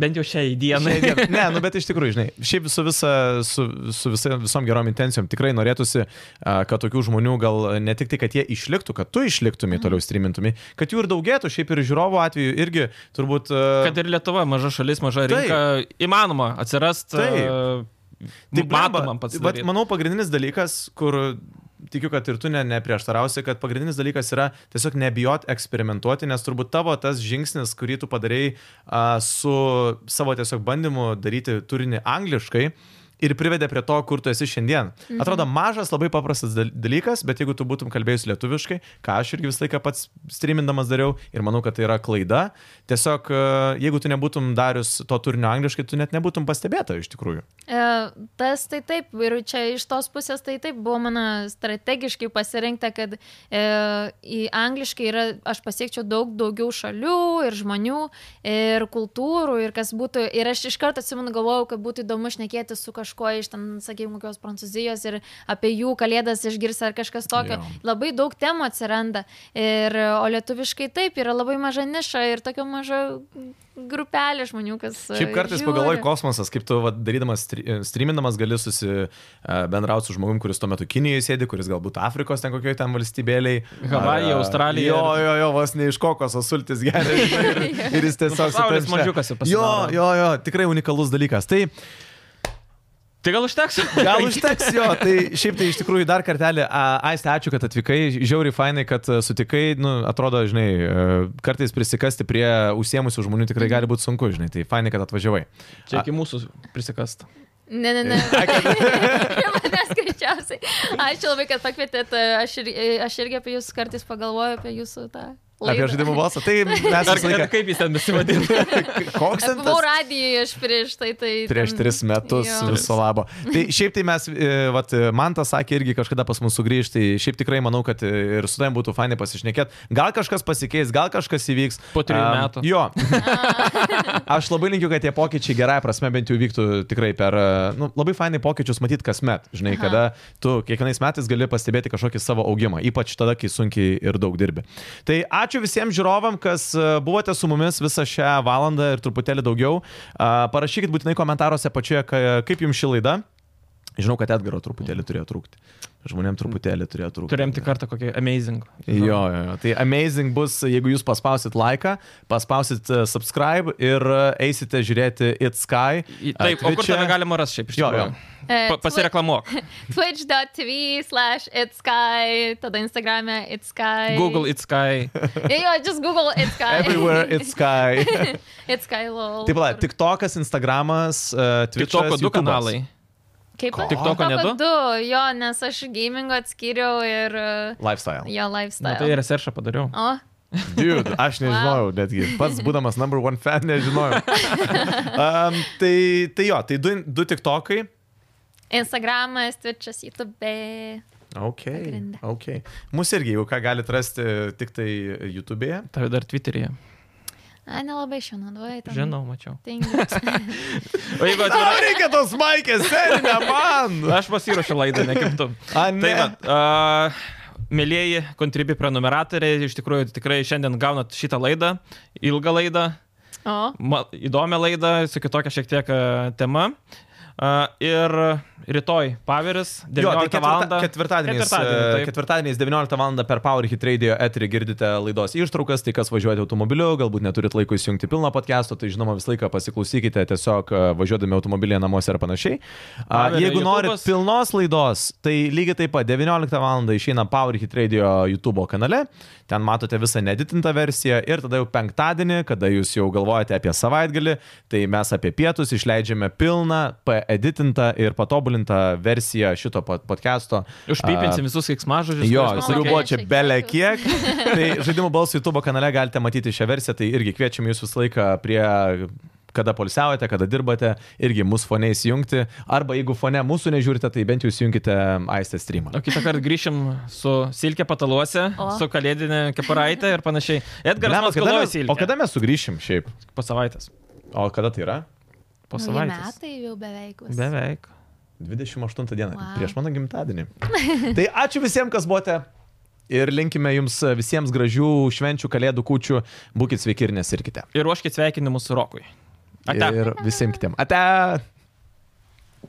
Speaker 2: Bent jau šiai dienai.
Speaker 1: Šiai dienai- Ne, nu bet iš tikrųjų, žinai, šiaip su, visa, su, su visa, visom gerom intencijom tikrai norėtųsi, a, kad tokių žmonių gal ne tik tai, kad jie išliktų, kad tu išliktumai toliau streamintumi, kad jų ir daugėtų, šiaip ir žiūrovų atveju irgi turbūt... a,
Speaker 2: Kad ir Lietuva, maža šalis, maža rinka, įmanoma atsirasti.
Speaker 1: Taip.
Speaker 2: Tai
Speaker 1: blemba,
Speaker 2: matomam pats.
Speaker 1: vat Manau, pagrindinis dalykas, kur tikiu, kad ir tu ne, neprieštarausi, kad pagrindinis dalykas yra tiesiog nebijot eksperimentuoti, nes turbūt tavo tas žingsnis, kurį tu padarėjai a, su savo tiesiog bandymu daryti turinį angliškai. Ir privedė prie to, kur tu esi šiandien. Atrodo, mažas, labai paprastas dal- dalykas, bet jeigu tu būtum kalbėjus lietuviškai, ką aš irgi visą laiką pats streamindamas dariau ir manau, kad tai yra klaida, tiesiog e, jeigu tu nebūtum darius to turinio angliškai, tu net nebūtum pastebėta iš tikrųjų.
Speaker 3: E, Tas tai taip, ir čia iš tos pusės tai taip buvo mano strategiškai pasirinkta, kad e, į angliškai yra, aš pasiekčiau daug daugiau šalių ir žmonių ir kultūrų ir kas būtų, ir aš iš karto atsimenu galvojau, kad būtų įdomu šnekėti su kažkuo iš ten, sakykime, kokios Prancūzijos ir apie jų kalėdas išgirsti ar kažkas tokio.
Speaker 1: Jo.
Speaker 3: Labai daug temų atsiranda, ir, o lietuviškai taip, yra labai maža niša ir tokia maža grupelė žmonių, kas... e,
Speaker 1: Šiaip kartais
Speaker 3: žiūri.
Speaker 1: pagalvoju kosmosas, kaip tu va, darydamas, stre- streamindamas gali susibendrauti su žmogum, kuris tuo metu Kinijoje sėdi, kuris galbūt Afrikos ten kokioje ten valstybėliai.
Speaker 2: Havajai,
Speaker 1: Ar- e,
Speaker 2: Australija.
Speaker 1: Jo, jo, jo, vos ne iš kokoso sultis
Speaker 2: [LAUGHS]
Speaker 1: gerai. Ir, ir jis tiesiog...
Speaker 2: Nu, pasaulis
Speaker 1: supranti,
Speaker 2: mažiukas jau
Speaker 1: Jo,
Speaker 2: pasidaro.
Speaker 1: jo, jo, tikrai unikalus dalykas. Tai
Speaker 2: Tai gal užteks? [LAUGHS]
Speaker 1: Gal užteks jo, tai šiaip tai iš tikrųjų dar kartelį, a, Aiste, ačiū, kad atvykai, žiauri fainai, kad a, sutikai, nu, atrodo, žinai, a, kartais prisikasti prie užsiemusių žmonių tikrai gali būti sunku, žinai, tai fainai, kad atvažiavai.
Speaker 2: Čia iki mūsų prisikast.
Speaker 3: Ne, ne, ne. Prie manęs greičiausiai. Ačiū labai, kad pakvietėt. Aš, ir, aš irgi apie jūs kartais pagalvoju, apie jūsų tą. Laidą.
Speaker 1: Apie žaidimų balsą, tai mes
Speaker 2: Ar
Speaker 1: visą laiką...
Speaker 2: kaip jis ten
Speaker 1: [LAUGHS]
Speaker 2: besivadina?
Speaker 1: Koks
Speaker 3: Aš
Speaker 1: ten
Speaker 3: buvau
Speaker 1: tas?
Speaker 3: radijoje aš prieš tai. tai
Speaker 1: Prieš
Speaker 3: ten-
Speaker 1: tris metus
Speaker 3: Jo.
Speaker 1: viso labo. Tai šiaip tai mes, e, vat, man tas sakė irgi kažkada pas mus sugrįžti, šiaip tikrai manau, kad e, ir su tavim būtų fainai pasišnekėti. Gal kažkas pasikeis, gal kažkas įvyks.
Speaker 2: Po trijų
Speaker 1: Am,
Speaker 2: metų.
Speaker 1: Jo. Aš labai linkiu, kad tie pokyčiai gerąją prasme bent jau vyktų tikrai per, e, nu, labai fainai pokyčius matyti kasmet, žinai,
Speaker 3: Aha.
Speaker 1: kada tu kiekvienais metais gali pastebėti kažkokį savo augimą, ypač tada, kai sunkiai ir daug dirbi. Tai ačiū visiems žiūrovam, kas e, buvote su mumis visą šią valandą ir truputėlį daugiau. A, Parašykit būtinai komentaruose pačioje, ka- kaip jums ši laida. Žinau, kad Edgaro truputėlį turėjo trūkti. Žmonėm truputėlį turėjo trūkti.
Speaker 2: Turėjom tik kartą kokį amazing.
Speaker 1: Jo, jo, jo, tai amazing bus, jeigu jūs paspausit laiką, paspausit e, subscribe ir e, eisite žiūrėti It's Sky.
Speaker 2: Į- Taip, o kur
Speaker 1: Twitch'e.
Speaker 2: tave galima rasti šiaip iš
Speaker 1: Jo, jo.
Speaker 2: tikrųjų?
Speaker 3: E,
Speaker 2: Pa- Pasireklamuok.
Speaker 3: Twitch.tv slash it's sky, tada Instagram'e it's sky.
Speaker 2: Google It's Sky.
Speaker 3: Jo, jo, just Google it's sky. [LAUGHS]
Speaker 1: Everywhere It's Sky. [LAUGHS]
Speaker 3: it's sky lol.
Speaker 1: Taip, la, TikTokas, Instagramas, e, Twitch'as,
Speaker 2: Tik toko du
Speaker 1: YouTube'as.
Speaker 2: kanalai.
Speaker 3: Kaip
Speaker 2: TikToko nedu?
Speaker 3: Du, jo, nes aš gamingo atskyriau ir e,
Speaker 1: Lifestyle.
Speaker 3: jo
Speaker 2: Na,
Speaker 3: lifestyle.
Speaker 2: tai researchą padariau.
Speaker 3: O,
Speaker 1: Dude,
Speaker 3: [LAUGHS]
Speaker 1: aš nežinojau netgi. Pats būdamas number one fan nežinojau. Um, tai, tai jo, tai du, du TikTokai.
Speaker 3: Instagramas, Twitch'as, YouTube.
Speaker 1: Ok.
Speaker 3: Pagrinde.
Speaker 1: okay. Mūsų irgi, jeigu ką galite rasti tik tai YouTube'e.
Speaker 2: Tave dar Twitter'yje.
Speaker 3: A, nelabai šią naudoju. ten
Speaker 2: Žinau, mačiau.
Speaker 3: tingiu.
Speaker 2: O jeigu
Speaker 1: Tau
Speaker 2: atvirai,
Speaker 1: reikia tos maikės, serinė
Speaker 3: [LAUGHS]
Speaker 1: man!
Speaker 2: aš pasiruošiu laidą, ne kaip tu.
Speaker 1: A, ne.
Speaker 2: Tai va, uh, mėlyjeji kontribi prenumeratoriai, iš tikrųjų tikrai šiandien gaunat šitą laidą, ilgą laidą,
Speaker 3: O,
Speaker 2: ma, įdomią laidą, su kitokia šiek tiek a, tema. A, Ir rytoj paviris, 19
Speaker 1: Jo, tai
Speaker 2: val.
Speaker 1: ketvirta, e, ketvirtadieniais,
Speaker 2: Ketvirtadienį,
Speaker 1: ketvirtadieniais,
Speaker 2: taip.
Speaker 1: ketvirtadieniais 19 val. per Power Hit Radio eterį girdite laidos ištraukas, tai kas važiuojate automobiliu, galbūt neturit laiko įsijungti pilno podcast'o, tai žinoma visą laiką pasiklausykite tiesiog e, važiuodami automobilėje namuose ir panašiai. A,
Speaker 2: Paveria
Speaker 1: Jeigu norit
Speaker 2: YouTube'as.
Speaker 1: pilnos laidos, tai lygiai taip pat 19 val. išeina Power Hit Radio YouTube kanale, ten matote visą neditintą versiją ir tada jau penktadienį, kada jūs jau galvojate apie savaitgalį, tai mes apie pietus išleidžiame pilną, paeditintą ir patobulintą versiją šito pod- podcast'o.
Speaker 2: Užpipinsim visus keiksmažodžius.
Speaker 1: Jo,
Speaker 2: kuriuos
Speaker 1: kurių
Speaker 2: pasakei.
Speaker 3: pasakei.
Speaker 1: buvo čia
Speaker 3: Šiek tiek.
Speaker 1: belė kiek.
Speaker 3: [LAUGHS]
Speaker 1: tai žaidimų balsų YouTube kanale galite matyti šią versiją, tai irgi kviečiam jūs visą laiką prie kada polsiaujate, kada dirbate, irgi mūsų fone įsijungti. Arba jeigu fone mūsų nežiūrite, tai bent jau įsijunkite aistę streamą.
Speaker 2: O kitą kartą grįšim su silkė pataluose,
Speaker 3: O.
Speaker 2: su kalėdinė kepuraitė ir panašiai. Edgaras,
Speaker 1: Lemas,
Speaker 2: mes
Speaker 1: kada,
Speaker 2: galvojame
Speaker 1: mes-
Speaker 2: silkė.
Speaker 1: o kada mes sugrįšim šiaip?
Speaker 2: Po savaitės.
Speaker 1: O kada tai yra?
Speaker 2: Po
Speaker 3: Nauji
Speaker 2: savaitės.
Speaker 3: metai jau beveik. bus.
Speaker 2: Beveik.
Speaker 1: 28 dieną, wow.
Speaker 3: Wow.
Speaker 1: prieš mano gimtadienį. tai ačiū visiems, kas buvote ir linkime jums visiems gražių švenčių, kalėdų, kūčių. Būkit sveiki ir nesirkite.
Speaker 2: Ir ruoškit sveikinimus Rokui. Ate.
Speaker 1: Ir visiems kitiems. Ate!